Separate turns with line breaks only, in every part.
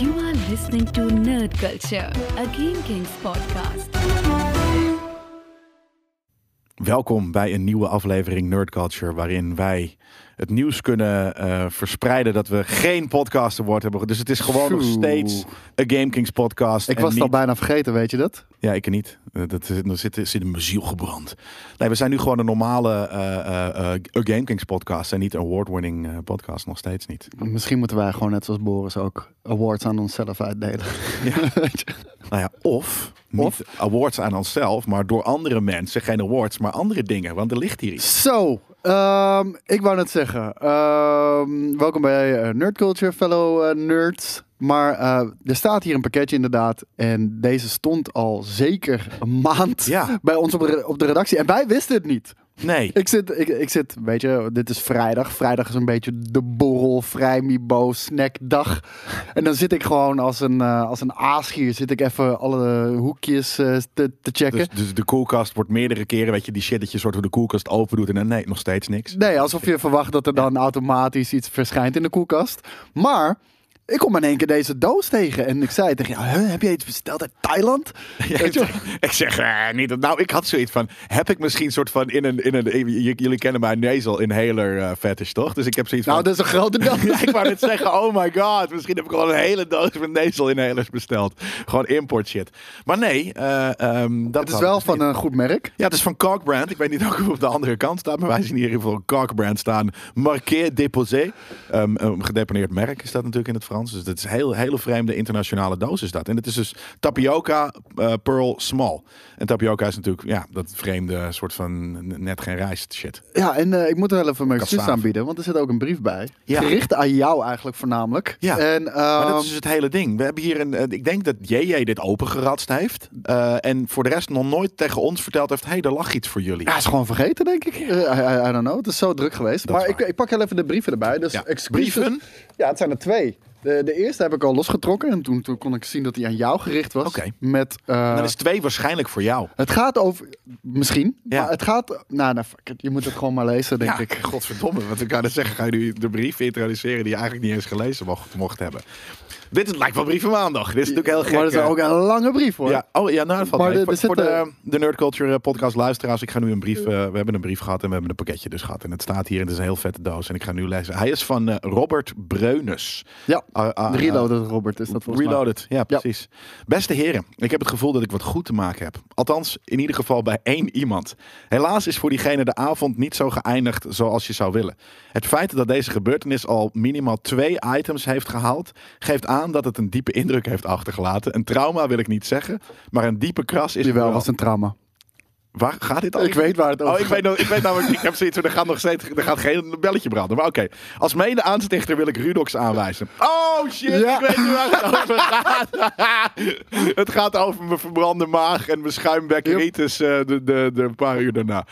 You are listening to Nerd Culture, a Game Kings podcast.
Welkom bij een nieuwe aflevering Nerd Culture, waarin wij het nieuws kunnen eh, verspreiden dat we geen podcast award hebben. Dus het is gewoon nog
Phew.
steeds een Game Kings podcast.
Ik
en
was het al
niet-
bijna vergeten, weet je dat?
Ja, ik niet. Eh, Dat zit, dat zit, zit in mijn ziel gebrand. Nee, we zijn nu gewoon een normale eh eh, eh, Game Kings podcast en niet een award-winning eh, podcast. Nog steeds niet.
Misschien moeten wij gewoon net zoals Boris ook awards aan onszelf uitdelen.
Ja.
Weet je?
Nou ja, of niet
Of?
awards aan onszelf, maar door andere mensen. Geen awards, maar andere dingen. Want er ligt hier iets.
Zo, ehm, ik wou net zeggen. ehm, welkom bij eh, Nerd Culture, fellow eh, nerds. Maar eh, er staat hier een pakketje inderdaad. En deze stond al zeker een maand
Ja.
bij ons op de, op de redactie. En wij wisten het niet.
Nee.
Ik zit, ik, ik zit, weet je, dit is vrijdag. Vrijdag is een beetje de borrel, vrijmibo, snackdag. En dan zit ik gewoon als een, eh, als een aas hier, zit ik even alle hoekjes eh, te, te checken.
Dus, dus de koelkast wordt meerdere keren, weet je, die shit dat je soort hoe de koelkast open doet en dan nee, nog steeds niks.
Nee, alsof je verwacht dat er dan automatisch iets verschijnt in de koelkast. Maar ik kom in één keer deze doos tegen en ik zei tegen jou, "Huh, heb je iets besteld uit Thailand? Weet je wel?
ik zeg eh, niet dat. Nou, ik had zoiets van. Heb ik misschien soort van in een. In een eh, j- jullie kennen mijn nasal inhaler eh, fetish, toch? Dus ik heb zoiets
Nou,
van.
dat is een grote doos.
Ja, ik wou net zeggen, oh my god, misschien heb ik al een hele doos met nasal inhalers besteld. Gewoon import shit. Maar nee, eh, ehm, dat
Het is
had ik
wel
dus
van
niet.
een goed merk.
Ja, het is van Cockbrand. Ik weet niet ook hoe het op de andere kant staat, maar wij zien hier in ieder geval Cockbrand staan. Marqué Déposé. Ehm een gedeponeerd merk is dat natuurlijk in het Frans. Dus dat is heel, hele vreemde internationale doos is dat. En het is dus tapioca eh, pearl small. En tapioca is natuurlijk ja, dat vreemde soort van net geen rijst shit.
Ja, en eh, ik moet er wel even mijn excuus
Kassaaf.
aanbieden, want er zit ook een brief bij.
Ja.
Gericht aan jou eigenlijk voornamelijk.
Ja,
en,
Maar dat
ehm,
is dus het hele ding. We hebben hier een. eh, Ik denk dat JJ dit opengeratst heeft. eh, en voor de rest nog nooit tegen ons verteld heeft: hé, hey, er lag iets voor jullie.
ja, is gewoon vergeten, denk ik. Eh, I, I- I don't know. Het is zo druk geweest.
Dat
maar
is
ik,
waar.
ik pak heel even de brieven erbij. Dus
Ja,
excuses.
brieven?
Ja, het zijn er twee. De, de eerste heb ik al losgetrokken en toen, toen kon ik zien dat hij aan jou gericht was.
Oké.
Met, eh,
Dan is twee waarschijnlijk voor jou.
Het gaat over... Misschien.
Ja.
Maar het gaat... Nou, nou, fuck it. Je moet het gewoon maar lezen, denk
ja,
ik.
godverdomme. Want ik kan net zeggen, ga je nu de brief introduceren die je eigenlijk niet eens gelezen mocht, mocht hebben. Dit is, lijkt wel brieven maandag. Dit is natuurlijk heel gek.
Maar het is
eh.
ook een lange brief, hoor.
ja, oh ja, nou dat valt
Maar
mee.
er-
Voor,
er zit,
voor de,
eh,
de Nerd Culture eh, podcast luisteraars, ik ga nu een brief, eh, we hebben een brief gehad en we hebben een pakketje dus gehad. En het staat hier en het is een heel vette doos en ik ga nu lezen. Hij is van eh, Robert Breunus.
Ja.
Ah, ah,
de reloaded Robert is dat volgens mij.
Reloaded, ja precies. Beste heren, ik heb het gevoel dat ik wat goed te maken heb. Althans, in ieder geval bij één iemand. Helaas is voor diegene de avond niet zo geëindigd zoals je zou willen. Het feit dat deze gebeurtenis al minimaal twee items heeft gehaald... geeft aan dat het een diepe indruk heeft achtergelaten. Een trauma wil ik niet zeggen, maar een diepe kras is... het
Jawel,
wel.
was een trauma.
Waar gaat dit over?
Ik weet waar het over
Oh, ik weet, nog- ik weet namelijk, ik heb zoiets van, er gaat nog steeds, er gaat geen belletje branden. Maar oké, als mede aanstichter wil ik Rudox aanwijzen. Oh shit,
Ja.
ik weet nu waar het over gaat. het gaat over mijn verbrande maag en mijn schuimbekkeritis eh de, de, de paar uur daarna.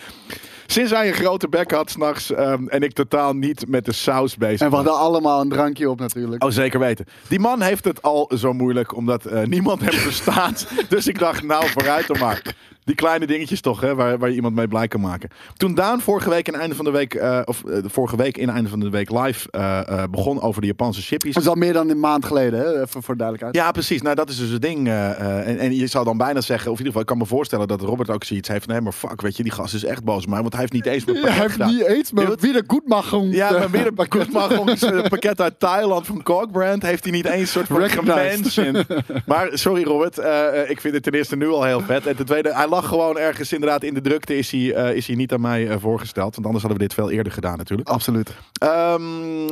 Sinds hij een grote bek had s'nachts ehm en ik totaal niet met de saus bezig
En we
was.
hadden allemaal een drankje op, natuurlijk.
Oh, zeker weten. Die man heeft het al zo moeilijk, omdat eh, niemand hem verstaat. dus ik dacht, nou, vooruit dan maar. Die kleine dingetjes toch, hè, waar, waar je iemand mee blij kan maken. Toen Daan vorige week, in einde van de week, eh, of eh, vorige week in einde van de week live eh, eh, begon over de Japanse shippies.
Oh, Dat is al meer dan een maand geleden, hè? even voor duidelijkheid.
Ja, precies. Nou, dat is dus het ding. eh, eh, en, en je zou dan bijna zeggen, of in ieder geval, ik kan me voorstellen dat Robert ook zoiets heeft. Nee, maar fuck, weet je, die gast is echt boos op mij, want hij heeft niet eens mijn pakket
Hij heeft
gedaan.
niet eens, maar
Heel-
wie de goed mag gewoon.
Ja, maar
Eh,
weer een Koetmagels eh, pakket uit Thailand van Cockbrand heeft hij niet eens soort van
Recognized.
gemanaged. Maar sorry Robert, eh, eh, ik vind het ten eerste nu al heel vet. En ten tweede, hij lag gewoon ergens inderdaad in de drukte is hij, eh, is hij niet aan mij eh, voorgesteld. Want anders hadden we dit veel eerder gedaan natuurlijk.
Absoluut.
Ehm,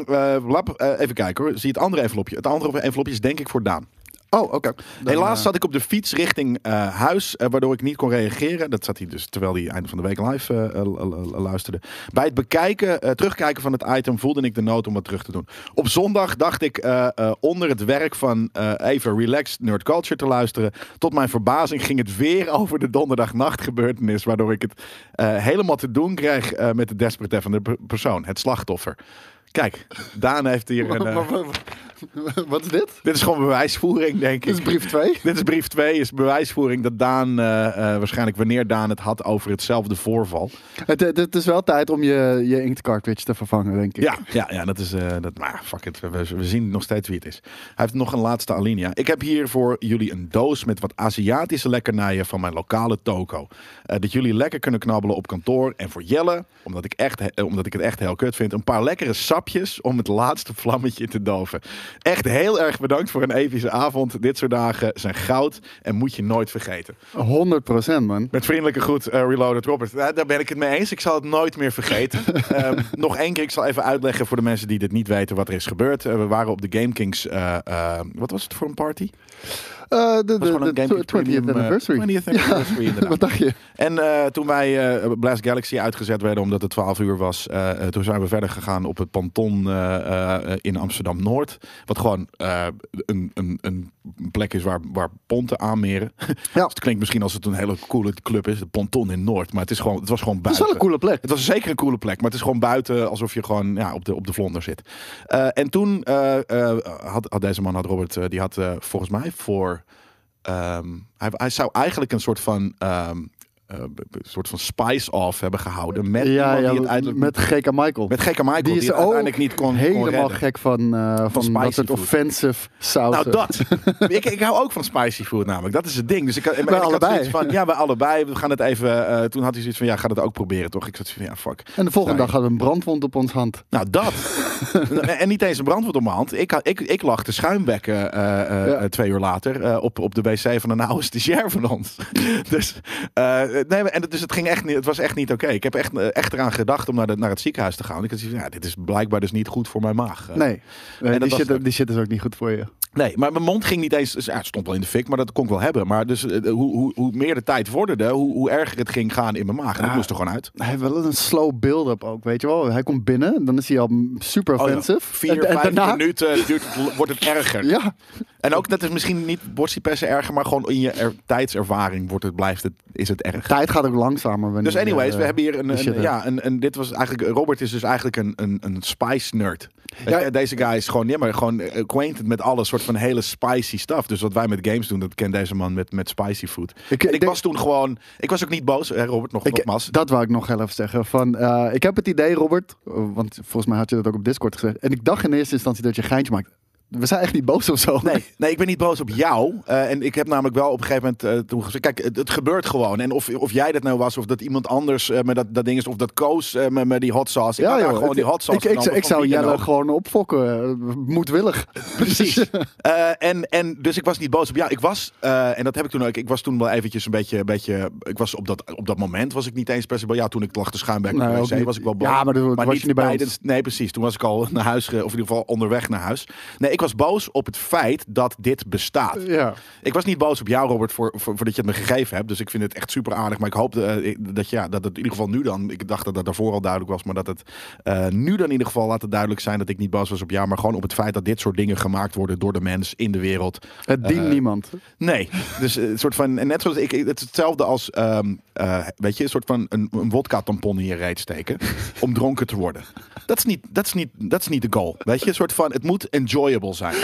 eh, lap, eh, even kijken hoor, zie het andere envelopje. Het andere envelopje is denk ik voor Daan.
Oh, oké. Dan,
Helaas
eh,
zat ik op de fiets richting eh, huis, eh, waardoor ik niet kon reageren. Dat zat hij dus terwijl hij einde van de week live eh, eh, l- l- luisterde. Bij het bekijken, eh, terugkijken van het item voelde ik de nood om wat terug te doen. Op zondag dacht ik eh, eh, onder het werk van eh, even relaxed nerd culture te luisteren. Tot mijn verbazing ging het weer over de donderdagnacht gebeurtenis, waardoor ik het eh, helemaal te doen kreeg eh, met de desperate van de persoon, het slachtoffer. Kijk, Daan heeft hier een... eh,
wa- wa- wa- Wat is dit?
Dit is gewoon bewijsvoering, denk
Dit is
ik.
brief 2.
Dit is brief 2, is bewijsvoering dat Daan, eh, eh, waarschijnlijk wanneer Daan het had over hetzelfde voorval.
Het, het, het is wel tijd om je, je inkt cartridge te vervangen, denk ik.
Ja, ja, ja dat is. eh, dat, maar fuck it, we, we- we zien nog steeds wie het is. Hij heeft nog een laatste alinea. Ik heb hier voor jullie een doos met wat Aziatische lekkernijen van mijn lokale toko. Eh, dat jullie lekker kunnen knabbelen op kantoor. En voor Jelle, omdat ik, echt, he- eh, omdat ik het echt heel kut vind, een paar lekkere sapjes om het laatste vlammetje te doven. Echt heel erg bedankt voor een epische avond. Dit soort dagen zijn goud en moet je nooit vergeten.
100% man.
Met vriendelijke groet, eh, Reloaded Robert. Nou, daar ben ik het mee eens. Ik zal het nooit meer vergeten. Ehm, nog één keer, ik zal even uitleggen voor de mensen die dit niet weten wat er is gebeurd. Eh, we waren op de Game Kings. eh, eh, wat was het voor een party? Het
Eh,
was
de de,
gewoon
de
een Game Kings
20th
Premium, eh,
anniversary.
20th anniversary, inderdaad.
Wat dacht je?
En eh, toen wij eh Blast Galaxy uitgezet werden omdat het 12 uur was, eh, eh, toen zijn we verder gegaan op het Panton eh, eh, in Amsterdam Noord. Wat gewoon eh, een, een, een plek is waar, waar ponten aanmeren. Dus het klinkt misschien als het een hele coole club is, de Panton in Noord. Maar het, is gewoon, het was gewoon
Dat is
buiten.
wel een coole plek.
Het was zeker een coole plek, maar het is gewoon buiten alsof je gewoon ja, op, de, op de vlonder zit. Eh, en toen eh, eh, had, had deze man, had Robert, eh, die had eh, volgens mij voor. ehm, hij, hij zou eigenlijk een soort van. ehm, eh, b- b- soort van spice-off hebben gehouden met
Ja,
iemand
ja
die het uiteindelijk-
met GK Michael.
met gekke Michael, die,
die is
het
ook
uiteindelijk niet kon, kon
Helemaal
redden.
gek van, eh, van,
spicy
dat soort
food.
offensive sausen.
Nou, dat. ik, ik hou ook van spicy food namelijk. Dat is het ding. Dus ik, en- en ik
allebei.
zoiets van, ja, bij allebei. We gaan het even... eh, toen had hij zoiets van, ja, ga dat ook proberen, toch? Ik zat van, ja, fuck.
En de volgende
Sorry.
dag hadden we een brandwond op ons hand.
Nou, dat. en, en niet eens een brandwoord op mijn hand. Ik, had- ik, ik lag te schuimbekken eh, eh,
Ja.
twee uur later eh, op, op de wc van een oude stagiair van ons. dus, eh, nee, maar- en, het- dus het, ging echt niet, het was echt niet oké. Ik heb echt, eh, echt eraan gedacht om naar, de, naar het ziekenhuis te gaan. Ik had zoiets van, ja, dit is blijkbaar dus niet goed voor mijn maag. Eh,
Nee,
dat
Eh, die,
was het
shit,
ook.
die shit is ook niet goed voor je.
Nee, maar mijn mond ging niet eens. dus, Ja, het stond wel in de fik, maar dat kon ik wel hebben. Maar dus, eh, hoe, hoe, hoe meer de tijd vorderde, hoe, hoe erger het ging gaan in mijn maag. En ik
Ah.
moest er gewoon uit.
Hij heeft wel een slow build-up ook, weet je wel. Hij komt binnen, dan is hij al m- super
Oh ja,
offensive.
Vier,
En- en
vijf
daarna-
minuten duurt het, wordt het erger.
Ja,
En ook dat is misschien niet borstiepessen erger, maar gewoon in je er- tijdservaring wordt het, blijft het, is het erg.
tijd gaat ook langzamer.
Dus
wanneer je,
anyways,
eh,
we hebben hier een,
de shit
een- ja, een, een, dit was eigenlijk, Robert is dus eigenlijk een, een, een spice nerd.
Ja.
Eh, Deze guy is gewoon, ja, maar gewoon acquainted met alle soort van hele spicy stuff. Dus wat wij met games doen, dat kent deze man met, met spicy food. En Ik,
ik denk-
was toen gewoon, ik was ook niet boos, hè, Robert, nog,
Ik-
nogmaals.
dat wou ik nog heel even zeggen. Van, eh, ik heb het idee, Robert, eh, want volgens mij had je dat ook op Discord gezegd. En ik dacht in eerste instantie dat je een geintje maakt. We zijn echt niet boos of zo.
Nee, nee, ik ben niet boos op jou. Eh, en ik heb namelijk wel op een gegeven moment eh, toen gezegd... Kijk, het, het gebeurt gewoon. En of, of jij dat nou was, of dat iemand anders eh, met dat, dat ding is... of dat Koos eh, met, met die hot sauce. Ik had daar
joh,
gewoon
het-
die hot sauce
Ik, ik,
genomen
zou- ik
van
zou
wie dan
Jelle
ook.
gewoon opfokken, eh, moedwillig.
Precies. Eh, en, en dus ik was niet boos op jou. Ik was, eh, en dat heb ik toen ook, ik was toen wel eventjes een beetje, een beetje ik was op dat, op dat moment was ik niet eens per se bij jou. Toen ik lag te schuimbekken
Nee,
op de
ook
wc,
niet.
was ik wel boos.
Ja, maar toen was je niet bij ons.
Nee, precies. Toen was ik al naar huis, ge- of in ieder geval onderweg naar huis. Nee, ik was boos op het feit dat dit bestaat.
Ja.
Ik was niet boos op jou, Robert, voor, voor, voordat je het me gegeven hebt. Dus ik vind het echt super aardig. Maar ik hoop eh, ik- dat, ja, dat het in ieder geval nu dan. Ik dacht dat dat daarvoor al duidelijk was. Maar dat het eh, nu dan in ieder geval laten duidelijk zijn dat ik niet boos was op jou. Maar gewoon op het feit dat dit soort dingen gemaakt worden door de mens in de wereld.
Het
Eh,
dient niemand.
Nee. Dus eh, een soort van. En net zoals ik. ik- Het is hetzelfde als. ehm, eh, weet je, een soort van. Een, een wodka-tampon in je reet steken. om dronken te worden. Dat is, niet, dat, is niet, dat is niet de goal. Weet je, een soort van. Het moet enjoyable zijn.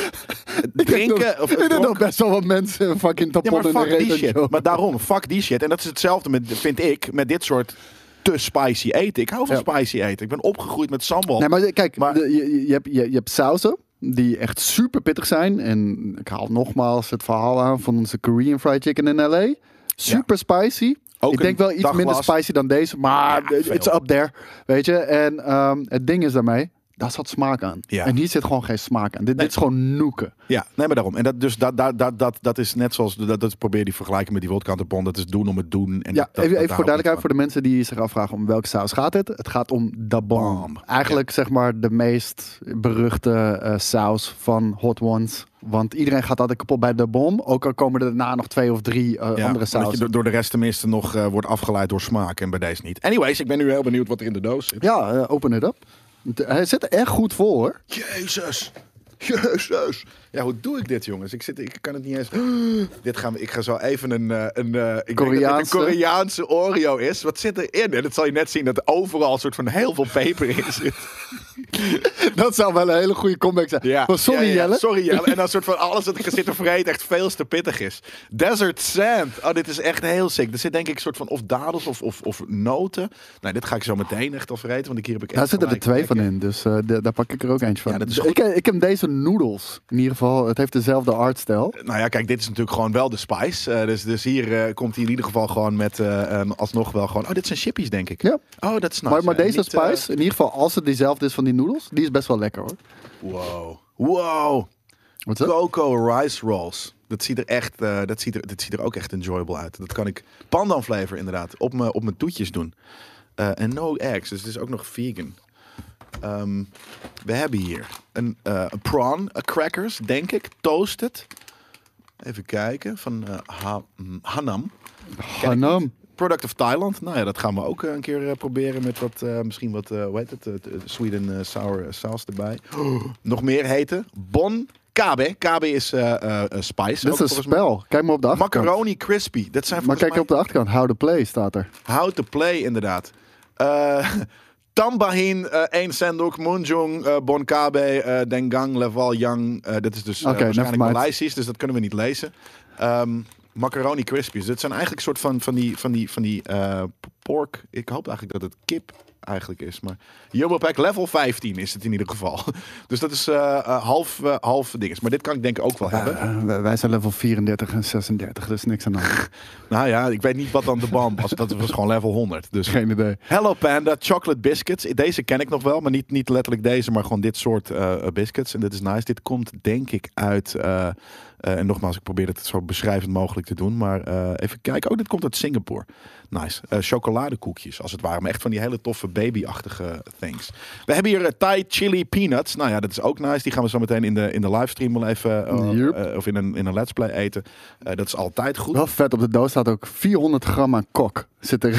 Drinken. Of,
Ik denk
dronken-
dat best wel wat mensen een fucking
ja,
tapon
maar
in de
fuck
reet
die
en
shit.
zo.
Maar daarom, fuck die shit. En dat is hetzelfde, met, vind ik, met dit soort te spicy eten. Ik hou van
Ja.
spicy eten. Ik ben opgegroeid met sambal.
Nee, maar kijk,
Maar-
de- je, je, hebt, je, je hebt sauzen die echt super pittig zijn. En ik haal nogmaals het verhaal aan van onze Korean Fried Chicken in L.A. Super spicy.
Ook
ik denk
een
wel iets
dagglas.
minder spicy dan deze, maar
Ja,
het it's
veel.
up there. Weet je, en ehm, het ding is daarmee, daar zat smaak aan.
Ja.
En hier zit gewoon geen smaak aan. Dit, dit is gewoon noeken.
Ja, nee, maar daarom. En dat, dus dat, dat, dat, dat, dat is net zoals, dat, dat probeer die vergelijken met die wodka-tampon. Dat is doen om het doen. En
Ja,
dat- dat- dat
even, even voor
daar ook
duidelijkheid
iets
voor de mensen die zich afvragen om welke saus gaat het. Het gaat om da bomb.
Bomb,
Eigenlijk zeg maar de meest beruchte eh, saus van Hot Ones. Want iedereen gaat altijd kapot bij de bomb. Ook al komen er daarna nog twee of drie
van.
eh,
Ja,
andere
omdat je
sausen.
door- door de rest tenminste nog eh, wordt afgeleid door smaak. En bij deze niet. Anyways, ik ben nu heel benieuwd wat er in de doos zit.
Ja, eh, open het up. Het- Hij zit er echt goed voor. hoor.
Jezus. Jezus. Ja, hoe doe ik dit, jongens? Ik, zit, ik kan het niet eens... dit gaan we, ik ga zo even een... eh, een eh, ik denk dat dit
Koreaanse.
een Koreaanse Oreo is. Wat zit erin? En dat zal je net zien dat er overal een soort van heel veel peper in zit.
Dat zou wel een hele goede comeback zijn.
Ja.
Maar sorry,
Ja, ja, ja.
Jelle.
Sorry Jelle. En dan soort van alles dat ik er zit te vreten echt veel te pittig is. Desert Sand. Oh, dit is echt heel sick. Er zit denk ik soort van of dadels of, of, of noten. Nou, dit ga ik zo meteen echt al vreten, want ik hier heb ik echt
Daar zitten er
gelijk.
twee van
Kijk,
in, dus eh, de- daar pak ik er ook eentje van.
Ja, dat is
Dus
goed.
ik, ik heb deze noodles. In ieder geval, het heeft dezelfde artstijl.
Nou ja, kijk, dit is natuurlijk gewoon wel de spice. Eh, dus, dus hier eh, komt hij in ieder geval gewoon met eh, een- alsnog wel gewoon... Oh, dit zijn chippies, denk ik.
Ja.
Oh, dat is nice.
Maar, maar
Ja,
deze
niet, eh,
spice, in ieder geval als het diezelfde is van die noedels, die is best wel lekker hoor.
wow. Wow.
Wat is dat?
Coco Rice Rolls. Dat ziet, er echt, eh, dat, ziet er, dat ziet er ook echt enjoyable uit. Dat kan ik pandan flavor inderdaad op mijn op mijn toetjes doen. Eh, En no eggs, dus het is ook nog vegan. Ehm, we hebben hier een, eh, een prawn eh, crackers, denk ik. Toasted. Even kijken. Van eh, Ha- mm, Hanam.
Hanam.
Product of Thailand. Nou ja, dat gaan we ook eh, een keer eh, proberen met wat, eh, misschien wat, eh hoe heet het, eh, t- eh, Sweden eh, sour saus erbij. Nog meer heten. Bon Kabe. Kabe is eh, eh, eh, spice.
Dit is
Ook
een
volgens mij.
spel. Kijk maar op de achterkant.
Macaroni crispy. Dat zijn
Maar
volgens
kijk
mij
op de achterkant, how to play staat er.
How to play, inderdaad. Eh Tambahin, eh Een Sendok, Munjung, eh Bonkabe, eh, Dengang, Leval, Yang. Eh, dat is dus eh,
Oké,
waarschijnlijk
nevermind.
Maleisisch, dus dat kunnen we niet lezen. Ehm, macaroni Crispies. Dat zijn eigenlijk soort van, van die, van die, van die eh, pork. Ik hoop eigenlijk dat het kip eigenlijk is. Maar Jumbo Pack level 15 is het in ieder geval. Dus dat is eh, eh, half, eh, half dinges. Maar dit kan ik denk ik ook wel hebben.
Eh, wij- wij zijn level 34 en 36, dus niks aan de hand.
Nou ja, ik weet niet wat dan de bam was. Dat was gewoon level 100. Dus
Geen idee.
Hello Panda, chocolate biscuits. Deze ken ik nog wel, maar niet, niet letterlijk deze, maar gewoon dit soort eh, biscuits. En dit is nice. Dit komt denk ik uit, eh, eh, en nogmaals, ik probeer het zo beschrijvend mogelijk te doen, maar eh, even kijken. Oh, dit komt uit Singapore. Nice. Eh, chocoladekoekjes, als het ware. Maar echt van die hele toffe babyachtige things. We hebben hier eh, Thai chili peanuts. Nou ja, dat is ook nice. Die gaan we zo meteen in de, in de livestream wel even, eh,
Yep.
eh, of in een, in een let's play eten. Eh, dat is altijd goed.
Wel vet, op de doos staat ook 400 gram aan kok. Zit er.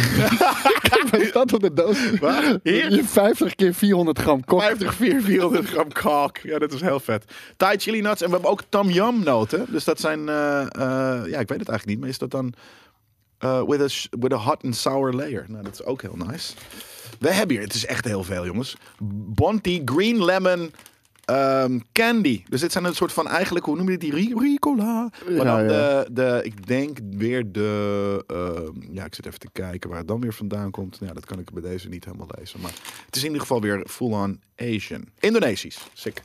Kijk, wat staat op de doos?
Waar? Hier?
Je 50 keer 400 gram kok.
50, 4, 400 gram kalk. Ja, dat is heel vet. Thai chili nuts. En we hebben ook tam yam noten. Dus dat zijn... eh, eh, ja, ik weet het eigenlijk niet. Maar is dat dan... eh, with, a, sh- with a hot and sour layer. Nou, dat is ook heel nice. We hebben hier... Het is echt heel veel, jongens. Bonti green lemon... ehm, candy. Dus dit zijn een soort van eigenlijk, hoe noem je dit? Die ri- Ricola. Maar
Ja,
dan
ja.
De, de, ik denk weer de, ehm, ja, ik zit even te kijken waar het dan weer vandaan komt. Nou, ja, dat kan ik bij deze niet helemaal lezen. Maar het is in ieder geval weer full-on Asian. Indonesisch. Sick.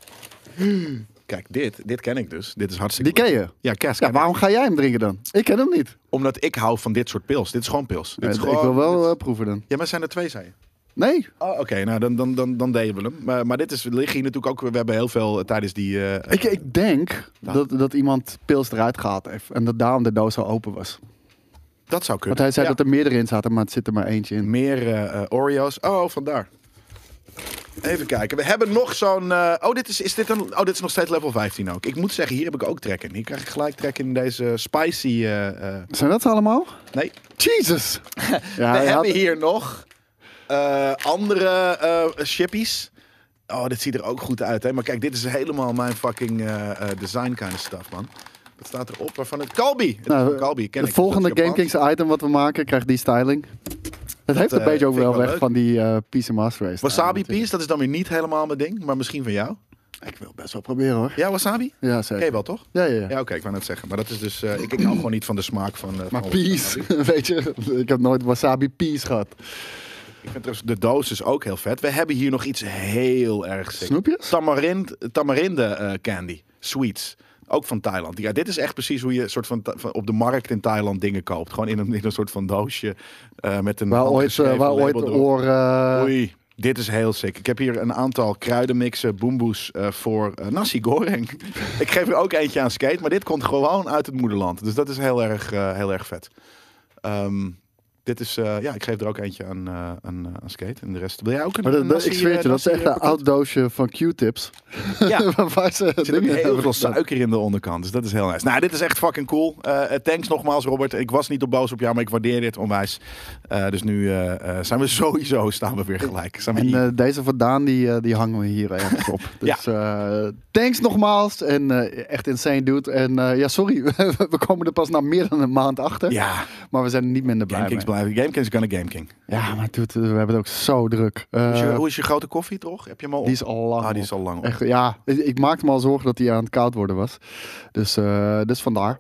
Kijk, dit, dit ken ik dus. Dit is hartstikke
Die ken je?
Ja, kerst
Ja, waarom ga jij hem drinken dan? Ik ken hem niet.
Omdat ik hou van dit soort pils. Dit is gewoon pils. Dit is
Eh,
gewoon,
ik wil wel
dit-
eh, proeven dan.
Ja, maar zijn er twee, zei je?
Nee?
Oh, oké. nou, dan, dan, dan, dan deden we hem. Maar, maar dit is, liggen hier natuurlijk ook... We hebben heel veel eh, tijdens die... eh,
Ik, ik denk dat, dat iemand pils eruit gehaald heeft en dat daarom de doos al open was.
dat zou kunnen.
Want hij zei
Ja.
dat er meerdere in zaten, maar het zit er maar eentje in.
Meer eh, eh, Oreo's. Oh, vandaar. Even kijken. We hebben nog zo'n. eh, oh, dit is, is dit een. Oh, dit is nog steeds level 15 ook. Ik moet zeggen, hier heb ik ook trek in. Hier krijg ik gelijk trek in deze spicy. eh, eh,
Zijn dat ze allemaal?
nee.
Jesus! ja,
We
hij had-
hebben hier nog eh, andere eh chippies. Oh, dit ziet er ook goed uit, hè? Maar kijk, dit is helemaal mijn fucking eh, eh, design kind of stuff, man. Wat staat erop? Waarvan het Kalbi. Het
Nou,
is Kalbi, ken
het
ik.
volgende
Dat is
Game
Japans.
Kings item wat we maken krijgt die styling. Het heeft
Dat,
een
eh,
beetje ook
vind ik
wel
wel
weg
leuk.
van die eh Peace and Master Race.
Wasabi
Peace?
Peas, dat is dan weer niet helemaal mijn ding, maar misschien van jou.
Ik wil best wel proberen hoor.
Ja, wasabi?
Ja,
Ken je
zeker.
wel, toch?
Ja, ja, ja.
Ja, oké, ik wou net zeggen. Maar dat is dus. eh, ik, ik hou gewoon niet van de smaak van. eh,
Maar
van
Peace,
wasabi.
weet je, ik heb nooit Wasabi Peace gehad.
Ik vind trouwens de doos is ook heel vet. We hebben hier nog iets heel erg sick.
Snoepjes?
Tamarind, tamarinde eh, candy. Sweets. Ook van Thailand. Ja, dit is echt precies hoe je soort van, ta- van op de markt in Thailand dingen koopt. Gewoon in een, in een soort van doosje eh, met een
Waar ooit, eh,
handgeschreven
waar ooit
label
de
erop.
oren... eh,
Oei, dit is heel sick. Ik heb hier een aantal kruidenmixen, boemboes eh, voor eh, nasi goreng. ik geef er ook eentje aan skate, maar dit komt gewoon uit het moederland. Dus dat is heel erg, eh, heel erg vet. Ehm, Dit is, eh, ja, ik geef er ook eentje aan, eh, aan, eh, aan Skate. En de rest. Wil jij ook een
Maar dat,
een
dat-
nasi,
ik zweer
eh,
het je, dat is
nasi,
echt
eh,
een oud doosje van Q-tips.
pakket? Ja.
waar ze
Er zit ook
dingen
heel
in hebben
veel
gedaan.
suiker in de onderkant. Dus dat is heel nice. Nou, dit is echt fucking cool. Eh, eh, thanks nogmaals, Robert. Ik was niet op boos op jou, maar ik waardeer dit onwijs. Eh, dus nu eh, eh, zijn we sowieso staan we weer gelijk. Zijn we
En
hier.
eh, deze vandaan, die, eh, die hangen we hier ergens op. Dus eh, thanks nogmaals. En eh, echt insane, dude. En eh, ja, sorry, we komen er pas na meer dan een maand achter.
ja,
Maar we zijn er niet minder blij mee.
Gamekings blijven. Gamekings gonna Gameking.
Ja, maar dude, we hebben het ook zo druk. Eh,
Hoe is je- hoe is je grote koffie, toch? Heb je hem al op?
die is al lang
ah, die
op.
is al lang op.
Echt, ja, ik, ik maakte me al zorgen dat hij aan het koud worden was. Dus, eh, dus vandaar.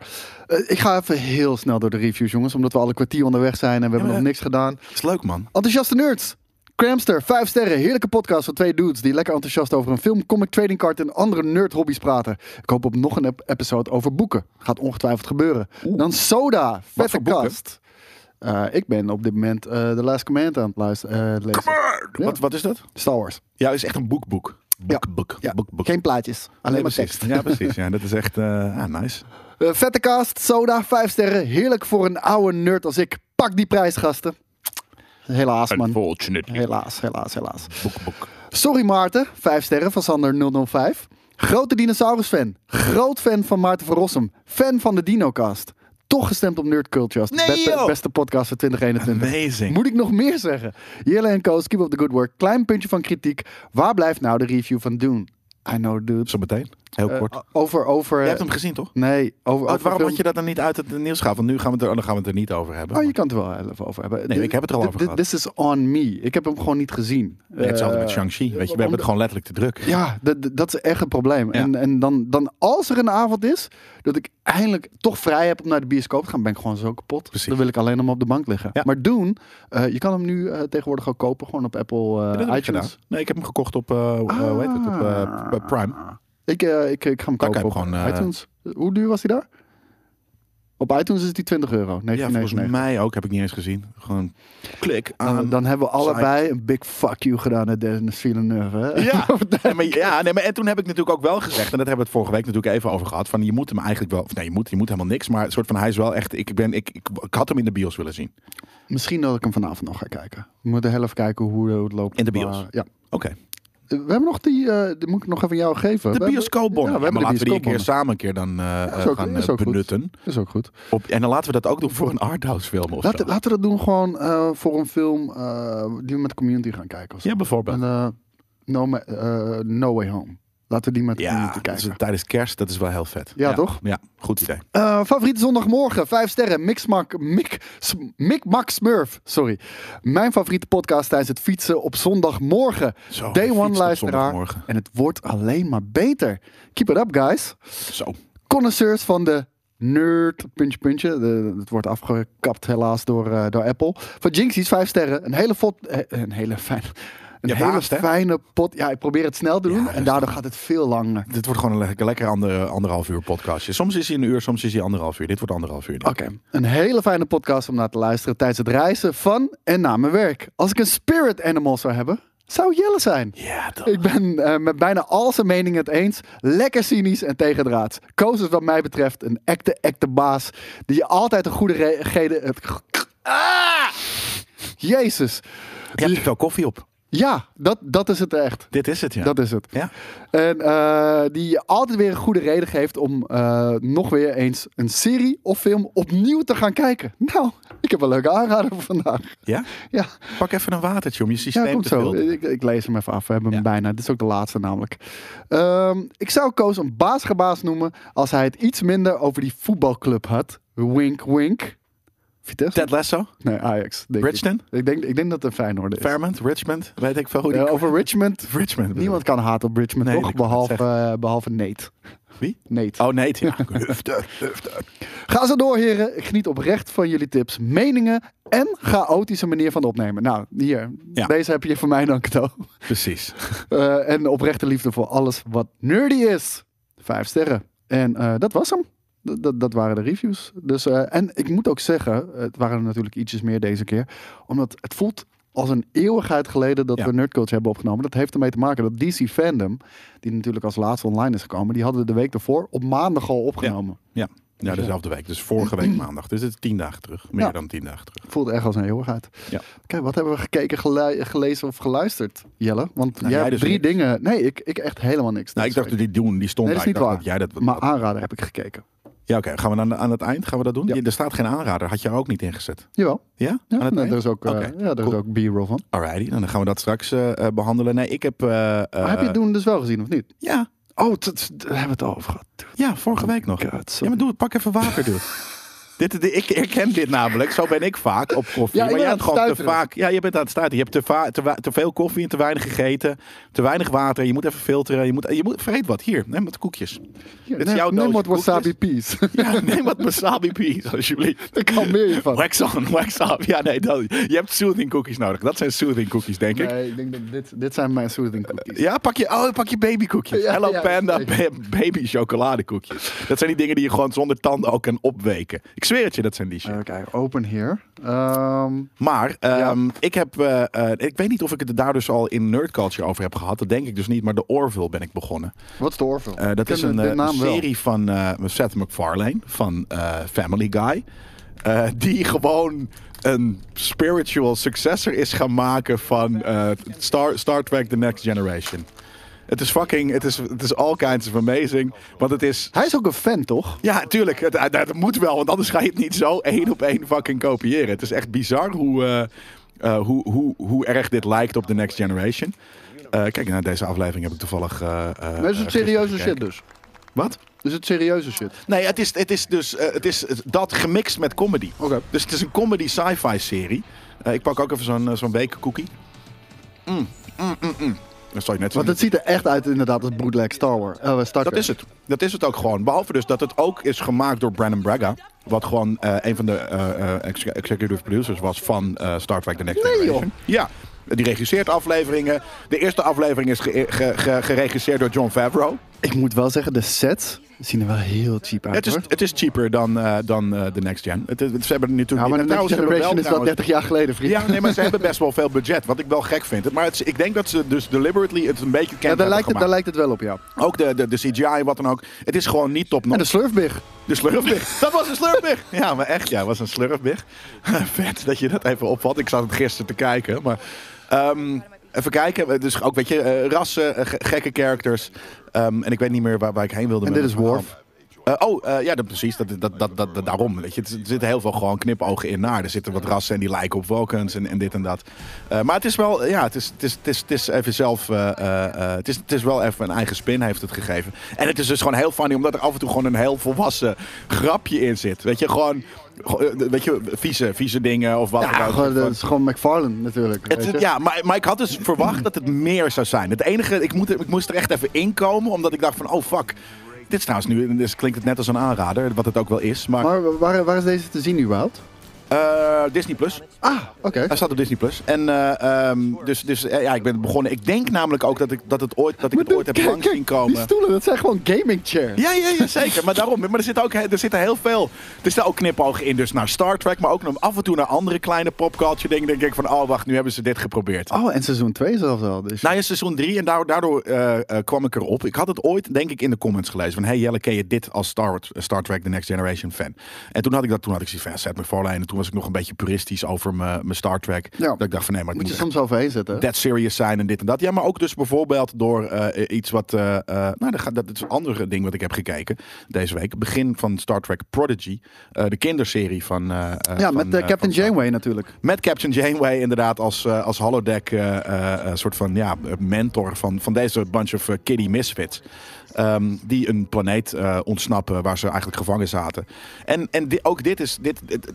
Eh, ik ga even heel snel door de reviews, jongens. Omdat we al een kwartier onderweg zijn en we hebben
maar-
nog niks gedaan.
is leuk, man.
Enthousiaste nerds. Cramster, 5 sterren, heerlijke podcast van twee dudes die lekker enthousiast over een film, comic, trading card en andere nerd hobby's praten. Ik hoop op nog een ep- episode over boeken. Gaat ongetwijfeld gebeuren. Dan Soda, vette
voor boeken?
kast. Eh, ik ben op dit moment eh The Last Command aan het luisteren, eh, lezen. Ja.
Wat, wat is dat?
Star Wars.
Ja, is echt een boekboek.
Ja.
Boekboek.
Ja,
Boekboek.
Geen plaatjes, alleen
Nee,
maar
precies.
tekst.
Ja, precies. Ja, dat is echt eh, ah, nice.
Eh, vette cast, Soda, 5 sterren, heerlijk voor een oude nerd als ik. Pak die prijs, gasten. Helaas, man.
Unfortunately.
Helaas, helaas, helaas.
Boekboek.
Sorry Maarten, 5 sterren van Sander 005. Grote dinosaurus-fan. Groot fan van Maarten van Rossum. Fan van de Dinocast. Toch gestemd op Nerd Culture als de
Nee,
beste,
joh!
beste podcast van 2021.
Amazing.
Moet ik nog meer zeggen? Jelle en Koos, keep up the good work. Klein puntje van kritiek. Waar blijft nou de review van Doen? I know, dude.
Zometeen. Heel kort.
Eh, over, over...
je hebt hem gezien, toch?
Nee, over...
Oh,
over
waarom
film-
had je dat dan niet uit het nieuws gehaald? Want nu gaan we het er, oh, dan gaan we het er niet over hebben.
Oh, je kan het er wel even over hebben.
Nee,
Dit-
ik heb het er al
dit-
over
dit-
gehad.
This is on me. Ik heb hem gewoon niet gezien.
Nee, hetzelfde
Eh,
met Shang-Chi. Weet je, we hebben het
omdat-
gewoon letterlijk te druk.
Ja, dat- dat- dat is echt een probleem.
Ja.
En, en dan, dan als er een avond is dat ik eindelijk toch vrij heb om naar de bioscoop te gaan, ben ik gewoon zo kapot.
Precies.
Dan wil ik alleen nog maar op de bank liggen.
Ja.
Maar doen, eh, je kan hem nu eh, tegenwoordig ook kopen, gewoon op Apple eh,
Dat heb ik gedaan.
iTunes.
Nee, ik heb hem gekocht op, eh, eh, hoe heet het, op
Ah.
eh, p- Prime.
Ik, eh, ik, ik ga
Daar
hem kopen
kan
op
je hem gewoon, eh,
iTunes. Hoe duur was hij daar? Op iTunes is die 20 euro. Nee, Nou,
Ja, volgens mij ook. Heb ik niet eens gezien. Gewoon klik aan.
Dan, dan hebben we
site.
allebei een big fuck you gedaan naar Dennis Villeneuve. hè?
Ja, nee, maar, ja nee, maar en toen heb ik natuurlijk ook wel gezegd, en dat hebben we het vorige week natuurlijk even over gehad, van je moet hem eigenlijk wel, of nee, je moet, je moet helemaal niks, maar een soort van hij is wel echt, ik, ben, ik, ik, ik had hem in de bios willen zien.
Misschien dat ik hem vanavond nog ga kijken. We moeten heel even kijken hoe, hoe het loopt.
In de bios.
Maar, ja.
Oké.
We hebben nog die, eh, die moet ik nog even jou geven.
De
We hebben-
bioscoopbon.
Ja, we
maar
hebben de
laten we die een keer
bioscoopbonnen.
samen een keer dan eh,
is
eh,
ook-
gaan
is
eh,
ook goed.
benutten.
Is ook goed.
Op, en dan laten we dat ook doen voor een arthouse film of zo.
Laten, laten we dat doen gewoon eh, voor een film eh, die we met de community gaan kijken. Of zo.
Ja, bijvoorbeeld.
En, eh, no, Ma- eh, no Way Home. Laten we die met de
Ja,
community
dat
kijken.
is- tijdens kerst, dat is wel heel vet.
Ja, toch?
Ja, goed idee.
Eh, favoriete zondagmorgen, vijf sterren, Mixmak, Mik, Mik, Max Smurf, sorry. Mijn favoriete podcast tijdens het fietsen op zondagmorgen.
Zo,
Day
gefietst
one
op
luisteraar.
zondagmorgen.
En het wordt alleen maar beter. Keep it up, guys.
Zo.
connoisseurs van de nerd, puntje, puntje. De- het wordt afgekapt helaas door, eh, door Apple. Van Jinxies, vijf sterren. Een hele, fot, eh, een hele fijne... Een
Je
hele
waast, hè?
fijne pot. Ja, ik probeer het snel te doen. en
rustig.
daardoor gaat het veel langer.
Dit wordt gewoon een lekker, lekker ander, anderhalf uur podcastje. Soms is hij een uur, soms is hij anderhalf uur. Dit wordt anderhalf uur. denk ik.
Oké, een hele fijne podcast om naar te luisteren tijdens het reizen van en na mijn werk. Als ik een spirit animal zou hebben, zou het Jelle zijn.
Ja, toch.
Ik ben eh, met bijna al zijn meningen het eens. Lekker cynisch en tegendraads. Koos is wat mij betreft een echte, echte baas. Die je altijd een goede re- reden... het- Ah! Jezus.
Je hebt er wel koffie op.
Ja, dat, dat is het echt.
Dit is het, ja.
Dat is het.
Ja.
En eh, die je altijd weer een goede reden geeft om eh, nog weer eens een serie of film opnieuw te gaan kijken. Nou, ik heb een leuke aanrader voor vandaag.
ja?
Ja,
Pak even een watertje om je
ja
systeem
komt
te
zo.
vullen.
Ik, ik lees hem even af. We hebben hem
Ja.
bijna. Dit is ook de laatste namelijk. Ehm, ik zou Koos een baasgebaas noemen als hij het iets minder over die voetbalclub had. Wink, wink. Vitesse?
Ted Lasso,
Nee, Ajax. Denk ik.
Bridgeton?
Ik. denk, ik denk dat het een Feyenoord is.
Fairmont, Richmond. Weet ik veel hoe die...
Eh, over Richmond.
Richmond. bedoel
Niemand kan haat op Richmond,
Nee,
toch?
dat kan ik
Behalve, eh, behalve Nate.
ik. Wie?
Nate.
Oh, nee. het- Ja. Hufte, hufte.
Ga zo door, heren. Ik geniet oprecht van jullie tips, meningen en chaotische manier van opnemen. Nou, hier.
Ja.
Deze heb je van mij dan cadeau.
Precies.
Eh, en oprechte liefde voor alles wat nerdy is. Vijf sterren. En eh, dat was hem. Dat- Dat, dat waren de reviews. Dus, eh, en ik moet ook zeggen, het waren er natuurlijk ietsjes meer deze keer. Omdat het voelt als een eeuwigheid geleden dat
Ja.
we Nerdculture hebben opgenomen. Dat heeft ermee te maken dat DC Fandom, die natuurlijk als laatste online is gekomen, die hadden we de week ervoor op maandag al opgenomen.
Ja. Ja, dezelfde week. Dus vorige week maandag. Dus het is tien dagen terug. Meer
Ja.
dan tien dagen terug. Nou,
Voelt echt als een eeuwigheid.
Ja.
Kijk, wat hebben we gekeken, gelu- gelezen of geluisterd, Jelle? Want jij
jij
hebt
dus
drie
niks.
dingen. Nee, ik, ik echt helemaal niks.
Nou, ik dacht dat die doen, die stond
Nee,
daar.
dat is niet
ik dacht
waar.
dat jij dat...
Maar aanrader heb ik gekeken.
Ja, oké. Gaan we dan aan het eind gaan we dat doen?
Ja.
Je- er staat geen aanrader. Had je ook niet ingezet?
Jawel.
Ja?
Ja,
aan het
nou,
eind?
er is ook, eh,
Oké,
ja, er is
cool.
ook B-roll van.
Alrighty, nou, dan gaan we dat straks eh, eh, behandelen. Nee, ik heb... eh, eh,
Maar heb je het doen dus wel gezien, of niet?
Ja,
Oh, t- t- daar hebben we het over gehad. Dude,
ja, vorige week nog.
Oh God,
Ja,
sorry.
maar doe het. Pak even water, doe het. Dit, dit- ik herken dit namelijk. Zo ben ik vaak op koffie.
Ja, ik
maar
ben
jij
aan
hebt
het
gewoon te
stuiteren.
vaak. Ja, je bent aan het stuiten. Je hebt te, va- te, wa- te veel koffie en te weinig gegeten. Te weinig water. Je moet even filteren. Je moet, je moet vreet wat. Hier, neem wat koekjes.
Hier,
dit is
neem-
jouw
Neem
doosje
wat wasabi peas.
Ja, neem wat wasabi peas, alsjeblieft.
Daar kan meer van.
Wax on, wax off. Ja, nee, dat, je hebt soothing cookies nodig. Dat zijn soothing cookies, denk ik.
Nee, ik denk dat dit, dit zijn mijn soothing cookies.
Ja, pak je, oh, pak je babykoekjes.
Ja,
Hello
ja,
Panda
zeker.
ba- baby chocoladekoekjes. Dat zijn die dingen die je gewoon zonder tanden ook kan opweken. Ik zweer het je, dat zijn die shit.
Oké, Eh, open here. Ehm,
Maar ehm, ik heb, eh, eh, ik weet niet of ik het daar dus al in nerd culture over heb gehad. Dat denk ik dus niet. Maar de Orville ben ik begonnen.
wat is de Orville?
Eh,
Ik
dat
ken
is
de-
een,
de
eh,
naam wel.
serie van eh, Seth MacFarlane van eh, Family Guy. Eh, die gewoon een spiritual successor is gaan maken van eh, Star, Star Trek The Next Generation. Het is fucking, het is, het is all kinds of amazing. Want het is
Hij is ook een fan, toch?
ja, tuurlijk. Het, het- het moet wel, want anders ga je het niet zo één op één fucking kopiëren. Het is echt bizar hoe, eh, eh, hoe, hoe, hoe erg dit lijkt op de Next Generation. Eh, kijk, naar deze aflevering heb ik toevallig. eh, eh,
Maar is
eh,
het serieuze
gisteren
shit
gekeken.
dus?
Wat?
Is het serieuze shit?
Nee, het is, het is dus eh, het is dat gemixt met comedy.
Oké.
Dus het is een comedy sci-fi serie. Eh, ik pak ook even zo'n eh, zo'n weekcookie. Mm, mm, mm, mm. Dat zal je net zien.
Want het ziet er echt uit inderdaad als bootleg Star Wars. Eh,
Dat
Star Trek.
is het. Dat is het ook gewoon. Behalve dus dat het ook is gemaakt door Brandon Braga. Wat gewoon eh, een van de eh, eh, ex- executive producers was van eh, Star Trek The Next
Nee,
Generation. Ja. Die regisseert afleveringen. De eerste aflevering is ge- ge- ge- geregisseerd door John Favreau.
Ik moet wel zeggen, de sets zien er wel heel cheap uit.
Het is,
hoor.
het is cheaper dan, eh, dan eh, de Next Gen. Het, is- ze hebben er
Ja,
natuurlijk
Nou, maar de
niet-
Next
trouwens, ze hebben wel
Generation is wel
trouwens-
30 jaar geleden, vriend.
Ja, nee, maar ze hebben best wel veel budget. Wat ik wel gek vind. Maar het, is- ik denk dat ze dus deliberately het een beetje
Ja,
kennen.
daar, lijkt het, daar lijkt het wel op, ja.
Ook de, de, de CGI, wat dan ook. Het is gewoon niet top
En
notch.
de Slurfbig.
De slurfbig. Dat was een slurfbig. Ja, maar echt, ja, was een slurfbig. Vet dat je dat even opvat. Ik zat het gisteren te kijken, maar... ehm, even kijken, dus ook, weet je, eh, rassen, eh, ge- gekke characters. Ehm, en ik weet niet meer waar, waar ik heen wilde.
En
met
dit
het
is
programma. Eh, oh, eh, ja, dat, precies. Dat, dat, dat, dat, dat- daarom, weet je. Er zitten heel veel gewoon knipogen in naar. Er zitten wat rassen en die lijken op Vulcans en, en dit en dat. Eh, maar het is wel, ja, het is, het is, het is, het is even zelf... eh, eh, eh, het, is, het is wel even een eigen spin heeft het gegeven. En het is dus gewoon heel funny, omdat er af en toe gewoon een heel volwassen grapje in zit. Weet je, gewoon... gewoon, eh, Weet je, vieze, vieze dingen of wat dan
Ja,
ook.
gewoon, dat is gewoon McFarlane natuurlijk.
Het-
weet je.
ja, maar, maar ik had dus verwacht dat het meer zou zijn. Het enige, ik, moet, er- ik moest er echt even inkomen, omdat ik dacht van, oh fuck. Dit is trouwens nu, dus klinkt het net als een aanrader, wat het ook wel is. Maar,
Maar waar, waar is deze te zien überhaupt?
eh, Disney Plus.
Ah, oké.
Hij staat op Disney Plus. En eh, ehm, dus, dus eh, ja, ik ben begonnen. Ik denk namelijk ook dat ik, dat het ooit, dat ik het
Maar
ooit heb
dude, kijk,
langs
kijk,
zien komen.
Die stoelen, dat zijn gewoon gaming chairs.
Ja, ja, ja, zeker. Maar daarom. Maar er zitten ook er zitten heel veel. Er zitten ook knipogen in, dus naar Star Trek. Maar ook nog af en toe naar andere kleine popculture dingen. Denk ik van, oh wacht, nu hebben ze dit geprobeerd.
Oh, en seizoen 2 zelfs al. Dus.
Nou ja, seizoen 3 en daar- daardoor eh, eh, kwam ik erop. Ik had het ooit, denk ik, in de comments gelezen. Van, hey Jelle, ken je dit als Star, eh, Star Trek The Next Generation fan? En toen had ik dat, toen had ik zoiets van, ja, Seth MacFarlane. En toen was ik nog een beetje puristisch over mijn mijn Star Trek.
Ja.
Dat ik dacht van, nee, maar ik
moet
moet
je
echt
soms overheen zetten.
dead serious zijn en dit en dat. Ja, maar ook dus bijvoorbeeld door eh, iets wat... eh, eh, nou, dat, gaat, dat is een andere ding wat ik heb gekeken deze week. Begin van Star Trek Prodigy. eh, de kinderserie van... eh, eh,
Ja,
van,
met eh,
eh, van
Captain
Star
Janeway natuurlijk.
met Captain Janeway inderdaad als, eh, als holodeck eh, eh, eh, soort van ja, mentor van, van deze bunch of eh, kiddie misfits. Ehm, die een planeet eh, ontsnappen waar ze eigenlijk gevangen zaten. En, en di- ook dit is... Dit, dit-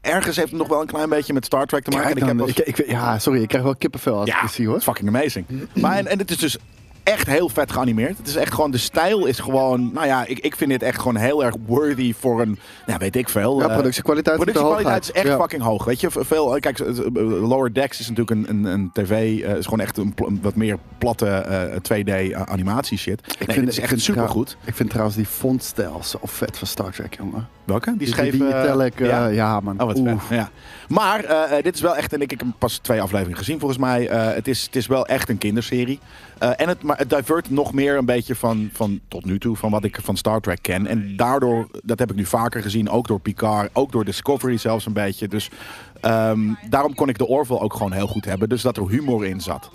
ergens heeft het nog wel een klein beetje met Star Trek te maken. En
Kijk dan,
wel-
ik, ik- ja, sorry, ik krijg wel kippenvel als ik
ja,
dit zie hoor.
fucking amazing. Maar en, en het is dus echt heel vet geanimeerd. Het is echt gewoon, de stijl is gewoon, nou ja, ik, ik vind dit echt gewoon heel erg worthy voor een, nou weet ik veel.
Ja,
eh,
productiekwaliteit zit er hoog
Productiekwaliteit is
uit.
echt
Ja.
fucking hoog. Weet je, veel, eh, kijk, eh, eh, Lower Decks is natuurlijk een, een, een tv, eh, is gewoon echt een, pl- een wat meer platte eh, 2D a- animatie shit. Ik
Ik
vind het is
ik
echt
trouw-
supergoed.
Ik vind trouwens die fontstijl zo vet van Star Trek, jongen.
Welke? Die,
Die, die,
scheve,
die
eh,
metallic, eh,
ja.
ja. man.
Oh, wat
Oeh.
vet. Ja. Maar eh, eh, dit is wel echt, en ik, ik heb pas twee afleveringen gezien volgens mij. Eh, het, is, het is wel echt een kinderserie. Eh, en het, maar maar het divert nog meer een beetje van, van tot nu toe, van wat ik van Star Trek ken. En daardoor, dat heb ik nu vaker gezien, ook door Picard, ook door Discovery zelfs een beetje. Dus ehm, daarom kon ik de Orville ook gewoon heel goed hebben. Dus dat er humor in zat.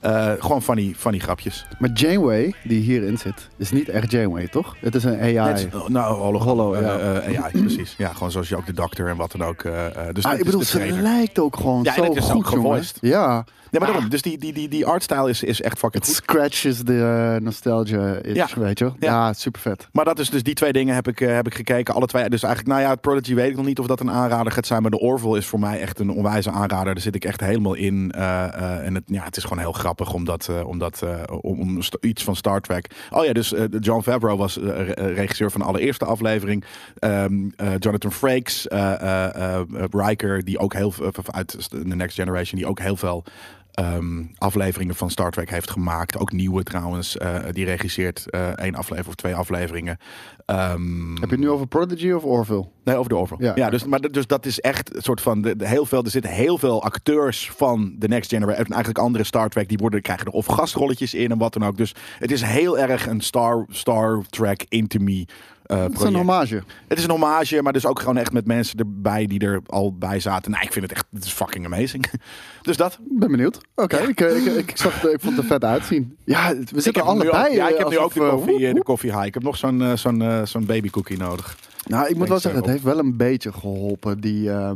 Eh, gewoon funny, funny grapjes.
Maar Janeway, die hierin zit, is niet echt Janeway, toch? Het is een AI.
Net, oh, nou, hologram.
Hollow,
Eh,
ja.
eh, AI, precies. Ja, gewoon zoals je ook de dokter en wat dan ook. eh, eh, dus
Ah,
dat
ik
is
bedoel,
de
ze
trainer.
lijkt ook gewoon
Ja, en
zo
het is
goed,
ook
jongen.
gevoiced.
Ja. Ah,
Nee, maar daarom. Dus die, die, die, die artstyle is, is echt fucking
Het
goed.
scratches de eh, nostalgia itch,
Ja.
weet je wel.
Ja.
Ja, super vet.
Maar dat is dus die twee dingen heb ik, eh, heb ik gekeken. Alle twee. Dus eigenlijk, nou ja, het Prodigy weet ik nog niet of dat een aanrader gaat zijn. Maar de Orville is voor mij echt een onwijze aanrader. Daar zit ik echt helemaal in. eh, eh, en het, ja, het is gewoon heel grappig om, dat, eh, om, dat, eh, om, om st- iets van Star Trek. Oh ja, dus eh, John Favreau was eh, re- eh, regisseur van de allereerste aflevering. Ehm, eh, Jonathan Frakes, eh, eh, eh, Riker, die ook heel veel uit The Next Generation, die ook heel veel ehm, afleveringen van Star Trek heeft gemaakt. Ook nieuwe trouwens. Eh, die regisseert eh, één aflevering of twee afleveringen. Ehm,
Heb je het nu over Prodigy of Orville?
Nee, over de Orville. Ja,
Ja.
dus, maar, dat- dus dat is echt een soort van... De, de- heel veel, er zitten heel veel acteurs van The Next Generation... en eigenlijk andere Star Trek, die worden, krijgen er of gastrolletjes in en wat dan ook. Dus het is heel erg een Star, Star Trek intimie eh
Het is een
project.
hommage.
Het is een hommage, maar dus ook gewoon echt met mensen erbij die er al bij zaten. Nou, ik vind het echt, het is fucking amazing. Dus dat.
Ik ben benieuwd. Oké, ik, eh, ik, ik, ik zag het- ik vond het er vet uitzien. Ja, we
ik
zitten
heb nu
allebei.
ook, ja,
eh,
ik heb nu ook
alsof,
de
eh,
koffie,
woep,
eh, de
woep.
koffie high. Ik heb nog zo'n eh, zo'n eh, zo'n babycookie nodig.
Nou, ik moet wel
Thanks,
zeggen, het
eh,
heeft wel een beetje geholpen, die, eh,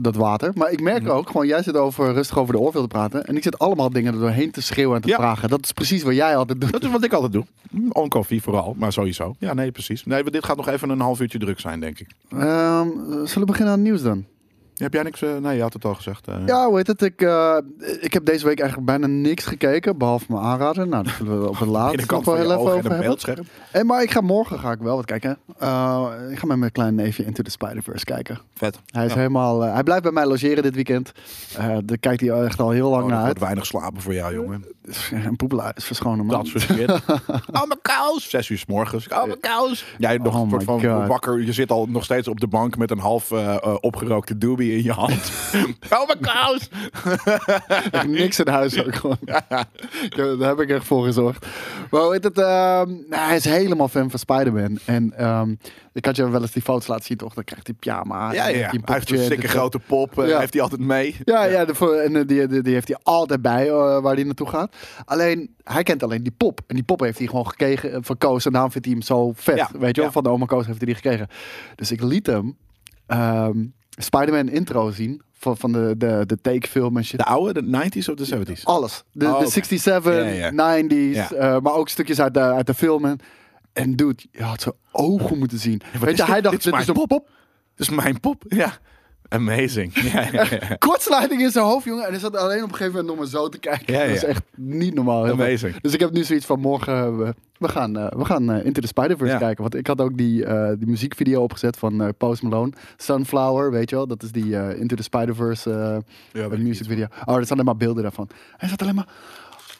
dat water. Maar ik
Mhm.
merk ook, gewoon jij zit over, rustig over de oorveel te praten. En ik zit allemaal dingen er doorheen te schreeuwen en te
Ja.
vragen. Dat is precies wat jij altijd doet.
Dat is wat ik altijd doe. Mm, On koffie vooral, maar sowieso. Ja, nee, precies. Nee, maar dit gaat nog even een half uurtje druk zijn, denk ik.
Ehm, zullen we beginnen aan het nieuws dan?
Heb jij niks? eh, nee, je had het al gezegd. eh.
Ja, hoe heet het? Ik, eh, ik heb deze week eigenlijk bijna niks gekeken, behalve mijn aanrader. Nou, dat zullen we op het laatst
Binnenkant
nog wel
van
heel
je
even
ogen en
over
een
hebben.
beeldscherm.
Hey, maar ik ga morgen ga ik wel wat kijken. Eh, ik ga met mijn kleine neefje Into the Spider-Verse kijken.
Vet.
Hij, is
Ja.
helemaal, eh, hij blijft bij mij logeren dit weekend. Eh daar kijkt hij echt al heel lang
Oh, dat
naar
wordt
uit.
weinig slapen voor jou, jongen.
Een poepelaar is verschonen, man.
Dat soort shit. Oh, mijn kous. Zes uur s morgens. Oh, mijn kous. Jij nog
Oh
een soort
my
van
God.
wakker. Je zit al nog steeds op de bank met een half eh, eh, opgerookte doobie in je hand. oh, mijn kous.
echt niks in huis ook gewoon. Ik heb- Daar heb ik echt voor gezorgd. Maar hoe heet het? ehm, nou, hij is helemaal fan van Spider-Man. En ehm, ik had je wel eens die foto's laten zien, toch? Dan krijgt hij pyjama.
Ja, ja. Hij heeft een
dikke
stikke grote pop. eh,
Ja.
Heeft hij altijd mee.
Ja, ja. de vo- en eh, die, die, die heeft hij altijd bij eh, waar hij naartoe gaat. Alleen, hij kent alleen die pop. En die pop heeft hij gewoon gekregen eh, van Koos. En daarom vindt hij hem zo vet.
Ja,
weet je wel,
ja.
van de oma Koos heeft hij die gekregen. Dus ik liet hem ehm, Spider-Man intro zien. Van, van de, de, de takefilm en shit.
De oude, de 90s of de 70s?
Alles. De,
Oh,
de
oké.
67,
Ja, ja.
90s,
Ja.
eh, maar ook stukjes uit de, uit de filmen. En dude, je had zijn ogen moeten zien. Weet
is
je,
dit?
hij dacht,
Dit is
dit is
mijn
een pop.
Dat is Dus mijn pop. Ja. Amazing. Ja, ja, ja.
Kortsluiting in zijn hoofd, jongen. En hij zat alleen op een gegeven moment nog maar zo te kijken.
Ja, ja.
Dat is echt niet normaal. Heel
Amazing.
vet. Dus ik heb nu zoiets van morgen, eh, we, we gaan, eh, we gaan eh, Into the Spider-Verse
Ja.
kijken. Want ik had ook die, eh, die muziekvideo opgezet van eh, Post Malone. Sunflower, weet je wel. Dat is die eh, Into the Spider-Verse eh,
weet ik niet
musicvideo. Oh, er staan alleen maar beelden daarvan. Hij zat alleen maar...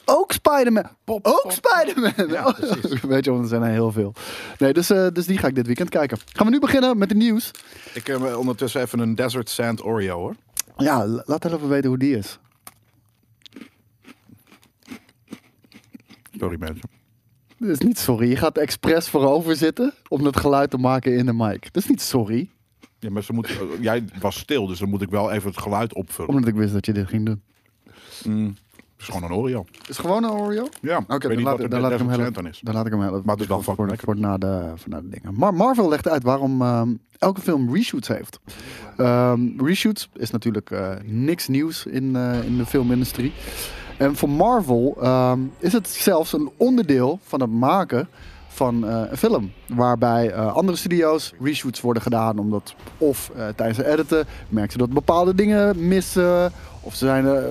Ook Spider-Man. Ook Spider-Man. Oh,
Ja, precies.
Weet je, want er zijn er heel veel. Nee, dus, eh, dus die ga ik dit weekend kijken. Gaan we nu beginnen met de nieuws.
Ik heb eh, ondertussen even een Desert Sand Oreo hoor.
Ja, la- laat even weten hoe die is.
Sorry mensen.
Dat is niet sorry. Je gaat expres voorover zitten om dat geluid te maken in de mic. Dat is niet sorry,
Ja, maar ze moet, eh, jij was stil, dus dan moet ik wel even het geluid opvullen.
omdat ik wist dat je dit ging doen.
Het is gewoon een Oreo.
Is het gewoon een Oreo?
Ja,
Oké,
ik weet
dan,
niet
laat-
wat er
dan laat ik hem
Desert Sand
heel
dan is.
Dan laat ik hem heel
Maar het is wel
voor,
fucking
voor,
lekker.
voor na de, voor na de dingen. Maar Marvel legt uit waarom ehm, elke film reshoots heeft. Ehm, reshoots is natuurlijk eh, niks nieuws in, eh, in de filmindustrie. En voor Marvel ehm, is het zelfs een onderdeel van het maken van eh, een film. Waarbij eh, andere studio's reshoots worden gedaan omdat of eh, tijdens het editen merken ze dat bepaalde dingen missen. Of ze zijn eh, eh,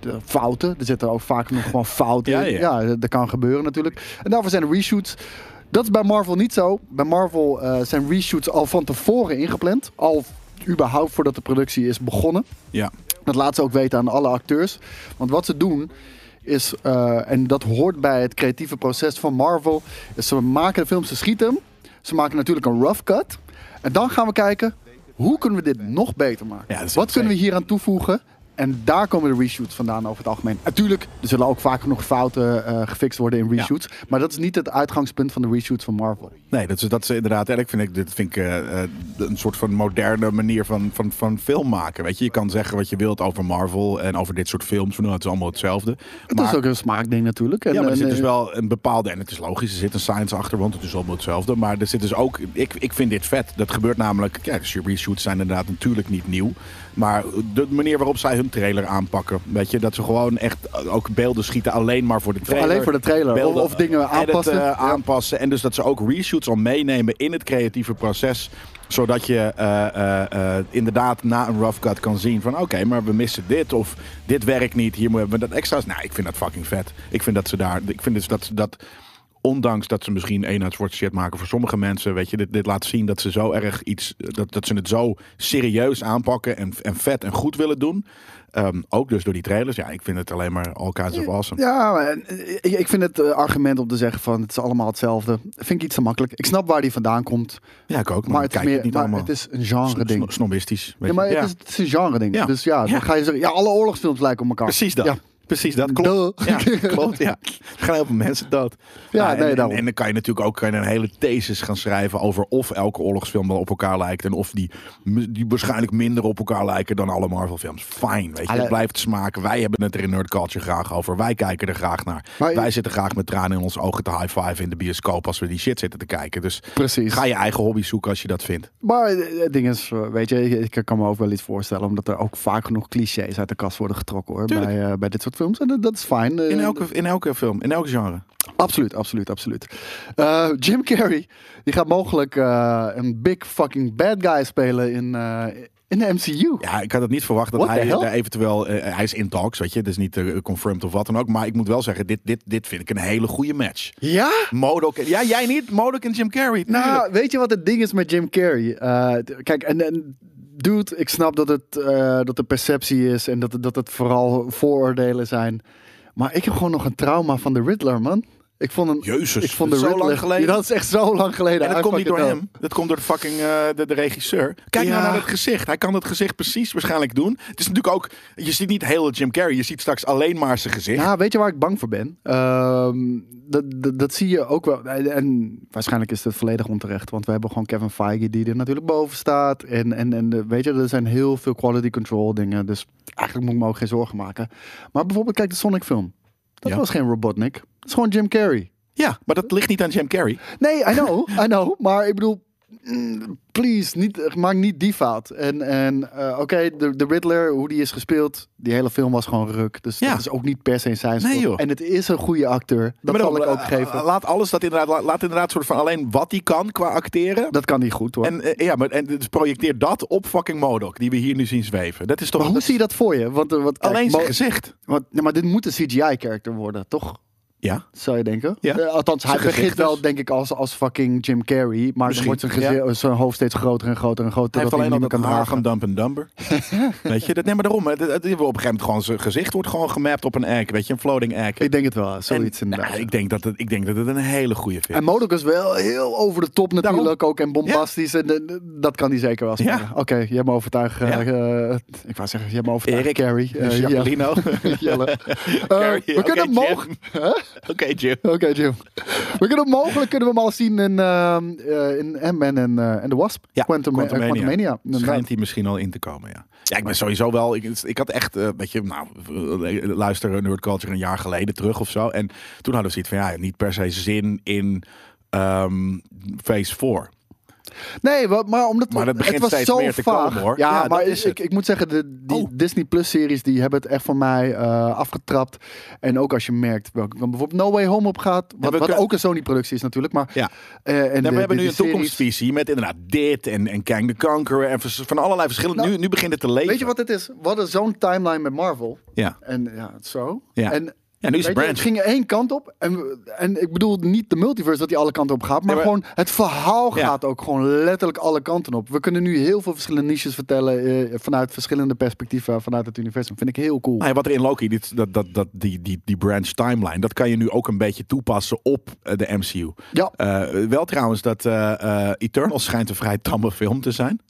de fouten. Er zitten ook vaak nog gewoon fouten
Ja,
in.
ja.
Ja, dat dat kan gebeuren natuurlijk. En daarvoor zijn er reshoots. Dat is bij Marvel niet zo. Bij Marvel eh, zijn reshoots al van tevoren ingepland. Al überhaupt voordat de productie is begonnen.
Ja.
Dat laat ze ook weten aan alle acteurs. Want wat ze doen is, eh, en dat hoort bij het creatieve proces van Marvel, is ze maken de film, ze schieten hem. Ze maken natuurlijk een rough cut. En dan gaan we kijken, hoe kunnen we dit nog beter maken?
Ja, dat is
wat kunnen we hier aan toevoegen? En daar komen de reshoots vandaan over het algemeen. Natuurlijk, er zullen ook vaak nog fouten eh, gefixt worden in reshoots. Maar dat is niet het uitgangspunt van de reshoots van Marvel.
Nee, dat is, dat is inderdaad. En ik vind, ik, dit vind ik eh, eh, een soort van moderne manier van, van, van film maken. Weet je, je kan zeggen wat je wilt over Marvel en over dit soort films. Van, nou, het is allemaal hetzelfde.
Het is ook een smaakding natuurlijk. En,
Ja, maar er
en,
zit dus
eh,
wel een bepaalde, en het is logisch, er zit een science achter, want het is allemaal hetzelfde. Maar er zit dus ook, ik, ik vind dit vet. Dat gebeurt namelijk, ja, de reshoots zijn inderdaad natuurlijk niet nieuw. Maar de manier waarop zij hun trailer aanpakken, weet je, dat ze gewoon echt ook beelden schieten alleen maar voor de trailer.
Alleen voor de trailer. Of- of dingen
editen,
aanpassen.
eh,
Ja.
aanpassen. En dus dat ze ook reshoots al meenemen in het creatieve proces zodat je eh, eh, eh, inderdaad na een rough cut kan zien van... oké, maar we missen dit of dit werkt niet. Hier hebben we dat extra's. Nou, ik vind dat fucking vet. Ik vind dat ze daar... Ik vind dus dat ze dat... Ondanks dat ze misschien eenheidswoord shit maken voor sommige mensen... weet je, dit, dit laat zien dat ze zo erg iets... dat, dat ze het zo serieus aanpakken en, en vet en goed willen doen. Ehm, ook dus door die trailers. Ja, ik vind het alleen maar all kinds of awesome.
Ja, maar, eh, ik, ik vind het eh, argument om te zeggen van het is allemaal hetzelfde. Vind ik iets te makkelijk. Ik snap waar die vandaan komt.
Ja, ik ook. Maar,
Maar
ik
het is,
kijk het
meer,
niet
maar
allemaal.
het is een
Sno-
genre
sno-
ding.
snobistisch. Weet
Ja, maar
je. Ja.
Het, is, het is een genre ding.
Ja.
Dus ja, dan
Ja.
ga je zeggen, ja, alle oorlogsfilms lijken op elkaar.
Precies dat.
Ja.
Precies dat. Klopt.
Duh.
Ja, klopt. Ja. Er gaan heel veel mensen dood.
Ja,
Nou, en-
nee,
en,
daarom.
en, dan kan je natuurlijk ook kan je een hele thesis gaan schrijven over of elke oorlogsfilm wel op elkaar lijkt. En of die, die waarschijnlijk minder op elkaar lijken dan alle Marvel films. Fijn. Weet je.
Alle-
Het blijft smaken. Wij hebben het er in Nerd Culture graag over. Wij kijken er graag naar.
Maar-
Wij zitten graag met tranen in onze ogen te high five in de bioscoop als we die shit zitten te kijken. Dus
Precies.
ga je eigen hobby zoeken als je dat vindt.
Maar eh, het ding is, eh, weet je, ik ik kan me ook wel iets voorstellen. Omdat er ook vaak genoeg clichés uit de kast worden getrokken hoor. Bij,
Tuurlijk.
eh, bij dit soort films. En dat, dat is fijn. eh,
In elke, in elke film. In elk genre.
Absoluut, absoluut, absoluut. Eh, Jim Carrey, die gaat mogelijk eh, een big fucking bad guy spelen in, eh, in de MCU.
Ja, ik had het niet verwacht dat
What the
hij
hell?
daar eventueel... eh, hij is in talks, weet je. Het is niet eh, confirmed of wat dan ook. Maar ik moet wel zeggen, dit, dit, dit vind ik een hele goede match.
Ja?
Modok... Ja, jij niet? Modok en Jim Carrey.
Nou,
tuurlijk.
weet je wat het ding is met Jim Carrey? Eh, d- kijk, en, en dude, ik snap dat het, eh, dat er perceptie is en dat, het- dat het vooral vooroordelen zijn. Maar ik heb gewoon nog een trauma van de Riddler, man. Ik vond hem.
Jezus,
ik vond
dat is zo lang
Riddler-
geleden.
Ja, dat is echt zo lang geleden.
en dat
I
komt niet door
fucking know.
hem. Dat komt door de fucking eh, de, de regisseur. Kijk nou
Ja.
naar het gezicht. Hij kan het gezicht precies waarschijnlijk doen. Het is natuurlijk ook... Je ziet niet heel Jim Carrey. Je ziet straks alleen maar zijn gezicht.
Ja, weet je waar ik bang voor ben? Ehm, dat, dat, dat zie je ook wel. En, en waarschijnlijk is het volledig onterecht. Want we hebben gewoon Kevin Feige die er natuurlijk boven staat. En, en, en eh, weet je, er zijn heel veel quality control dingen. Dus eigenlijk moet ik me ook geen zorgen maken. Maar bijvoorbeeld, kijk de Sonic film. Dat
Ja.
was geen Robotnik. Dat is gewoon Jim Carrey.
ja, maar dat ligt niet aan Jim Carrey.
Nee, I know, I know. Maar ik bedoel, mm, please, niet, eh, maak niet die fout. En, en eh, oké, de, de Riddler, hoe die is gespeeld, die hele film was gewoon ruk. Dus
Ja.
dat is ook niet per se zijn schuld.
Nee, joh.
En het is een goede acteur. Dat
Maar
zal
dan,
ik ook
eh,
geven.
Laat alles dat inderdaad... Laat, laat inderdaad soort van alleen wat hij kan qua acteren.
dat kan niet goed hoor.
En eh, ja, maar en dus projecteer dat op fucking Modok, die we hier nu zien zweven. Dat is toch
maar hoe
dat
zie je dat voor je? Want, eh, want, kijk,
alleen
Mo-
zijn gezicht?
want, nee, maar dit moet een CGI-character worden, toch?
Ja.
Zou je denken?
Ja.
Eh, althans, hij
Zijn gezicht
begint wel,
dus.
denk ik, als, als fucking Jim Carrey. Maar dan
Misschien,
wordt zijn,
ja.
gezi- zijn hoofd steeds groter en groter en groter.
Hij heeft
dat
alleen al
niet
dat
meer kan
haar
dragen.
van Dump and Dumber. weet je, dat, nee, maar daarom. Het, het, het- op een gegeven moment gewoon zijn gezicht wordt gewoon gemapt op een egg, weet je, een floating egg.
Ik denk het wel,
En,
zoiets inderdaad.
nou, ik, denk dat het, ik denk dat het een hele goede film
En
is.
Modok is wel heel over de top natuurlijk ook. En bombastisch. En, eh, dat kan hij zeker wel spelen.
Ja.
Oké, je hebt me overtuigd. eh,
Ja.
eh, ik wou zeggen, je hebt me overtuigd.
Erik.
Carrie.
En
eh, Jelle.
Jacqueline.
Jelle.
Carrie,
Eh, we
oké,
kunnen
Jim.
mogelijk...
Oké, Jim.
Oké, Jim. We kunnen mogelijk kunnen we hem al zien in, ehm eh, in Ant-Man en eh, en The Wasp.
Ja,
Quantum,
Quantumania.
Mania.
Schijnt hij misschien al in te komen, ja. Ja, ik ben sowieso wel... Ik, ik had echt, eh, weet je, nou, eh, luister Nerd Culture een jaar geleden terug of zo. En toen hadden we zoiets van, ja, niet per se zin in ehm Phase 4.
Nee, wa- maar omdat
Maar dat begint
het was
steeds
zo
meer te
vaag.
komen, hoor.
Ja,
Ja,
maar
dat is
ik,
het.
ik moet zeggen, de, die
Oh.
Disney Plus series die hebben het echt van mij eh, afgetrapt. En ook als je merkt welke kant bijvoorbeeld No Way Home op gaat, wat,
we
wat
kunnen-
ook een Sony productie is natuurlijk, maar
Ja.
eh, en de-
Nee, we hebben
de-
nu
die
een
series-
toekomstvisie met inderdaad dit en, en Kang the Conqueror en vers- van allerlei verschillende.
Nou,
nu, nu begint het te leven.
Weet je wat het is? We hadden zo'n timeline met Marvel.
Ja.
En ja, zo.
Ja.
En
Ja, nu is het
Weet je,
Branch.
het ging één kant op. En, we- en ik bedoel niet de multiverse dat die alle kanten op gaat. Maar,
Nee, maar-
gewoon het verhaal
Ja.
gaat ook gewoon letterlijk alle kanten op. We kunnen nu heel veel verschillende niches vertellen. eh, vanuit verschillende perspectieven. Vanuit het universum. Vind ik heel cool.
Nou ja, wat er in Loki, dit, dat, dat, dat, die, die, die branch timeline, dat kan je nu ook een beetje toepassen op eh, de MCU.
Ja.
Eh, wel trouwens dat eh, eh, Eternals schijnt een vrij tamme film te zijn.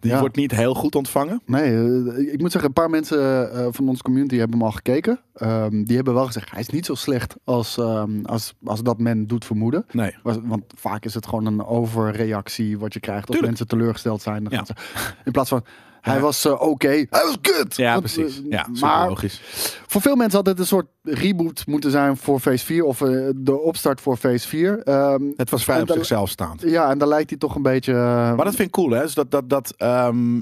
Die
Ja.
wordt niet heel goed ontvangen.
Nee, eh, ik moet zeggen, een paar mensen eh, van onze community hebben hem al gekeken. Ehm, die hebben wel gezegd, hij is niet zo slecht als, ehm, als, als dat men doet vermoeden.
Nee.
Was- Want vaak is het gewoon een overreactie wat je krijgt als
Tuurlijk.
mensen teleurgesteld zijn. Dan
Ja.
gaan ze- In plaats van, hij was eh, oké, hij was kut!
Ja,
Want,
precies.
eh,
Ja, maar...
maar
logisch.
voor veel mensen had dit een soort reboot moeten zijn voor Phase 4 of eh, de opstart voor Phase 4. Ehm,
Het was vrij
en
op
dan-
zichzelf staand.
ja, en daar lijkt hij toch een beetje... eh,
Maar dat vind ik cool, hè? Dus dat, dat, dat, ehm,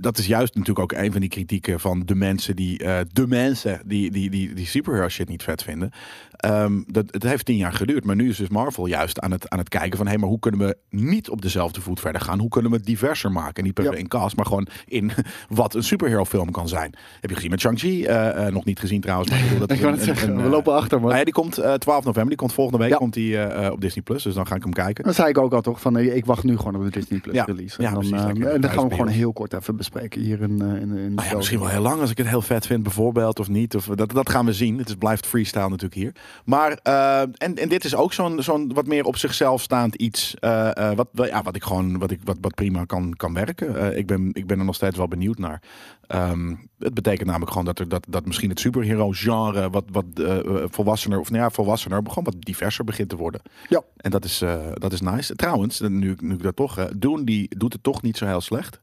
dat is juist natuurlijk ook een van die kritieken van de mensen die, eh, de mensen die, die, die, die superhero shit niet vet vinden. Ehm, dat, het heeft tien jaar geduurd, maar nu is dus Marvel juist aan het, aan het kijken van hé, maar hoe kunnen we niet op dezelfde voet verder gaan? Hoe kunnen we het diverser maken? Niet per se
Ja.
in cast, maar gewoon in wat een superhero film kan zijn. Heb je gezien met Shang-Chi? Eh, eh, nog niet gezien trouwens. Maar ik bedoel, dat
Ik
is
wou
een-
net
een-
zeggen,
een,
we
eh,
lopen achter, man.
nou ja, die komt eh, 12 november, die komt volgende week
Ja.
komt die, eh, eh, op Disney+. Plus, Dus dan ga ik hem kijken.
Dat zei ik ook al toch, van eh, ik wacht nu gewoon op de Disney Plus
Ja.
release.
Ja,
en dan,
precies,
eh,
lekker.
en dan gaan we hem
Thuisbewegen.
gewoon heel kort even bespreken hier in, eh, in, in de
Nou ja,
show.
misschien wel heel lang als ik het heel vet vind, bijvoorbeeld, of niet. Of, dat, dat gaan we zien. Het is, blijft freestyle natuurlijk hier. Maar, eh, en, en dit is ook zo'n zo'n wat meer op zichzelf staand iets. eh, eh, wat, wel- ja, wat ik gewoon, wat, ik, wat, wat prima kan, kan werken. Eh, ik, ben, ik ben er nog steeds wel benieuwd naar. Ehm, het betekent namelijk gewoon dat, er, dat, dat misschien het superhero-genre wat, wat eh, eh, volwassener, of nou ja, volwassener, gewoon wat diverser begint te worden.
Ja.
En dat is, eh, dat is nice. Trouwens, nu, ik- nu ik dat toch, eh, Doen die doet het toch niet zo heel slecht.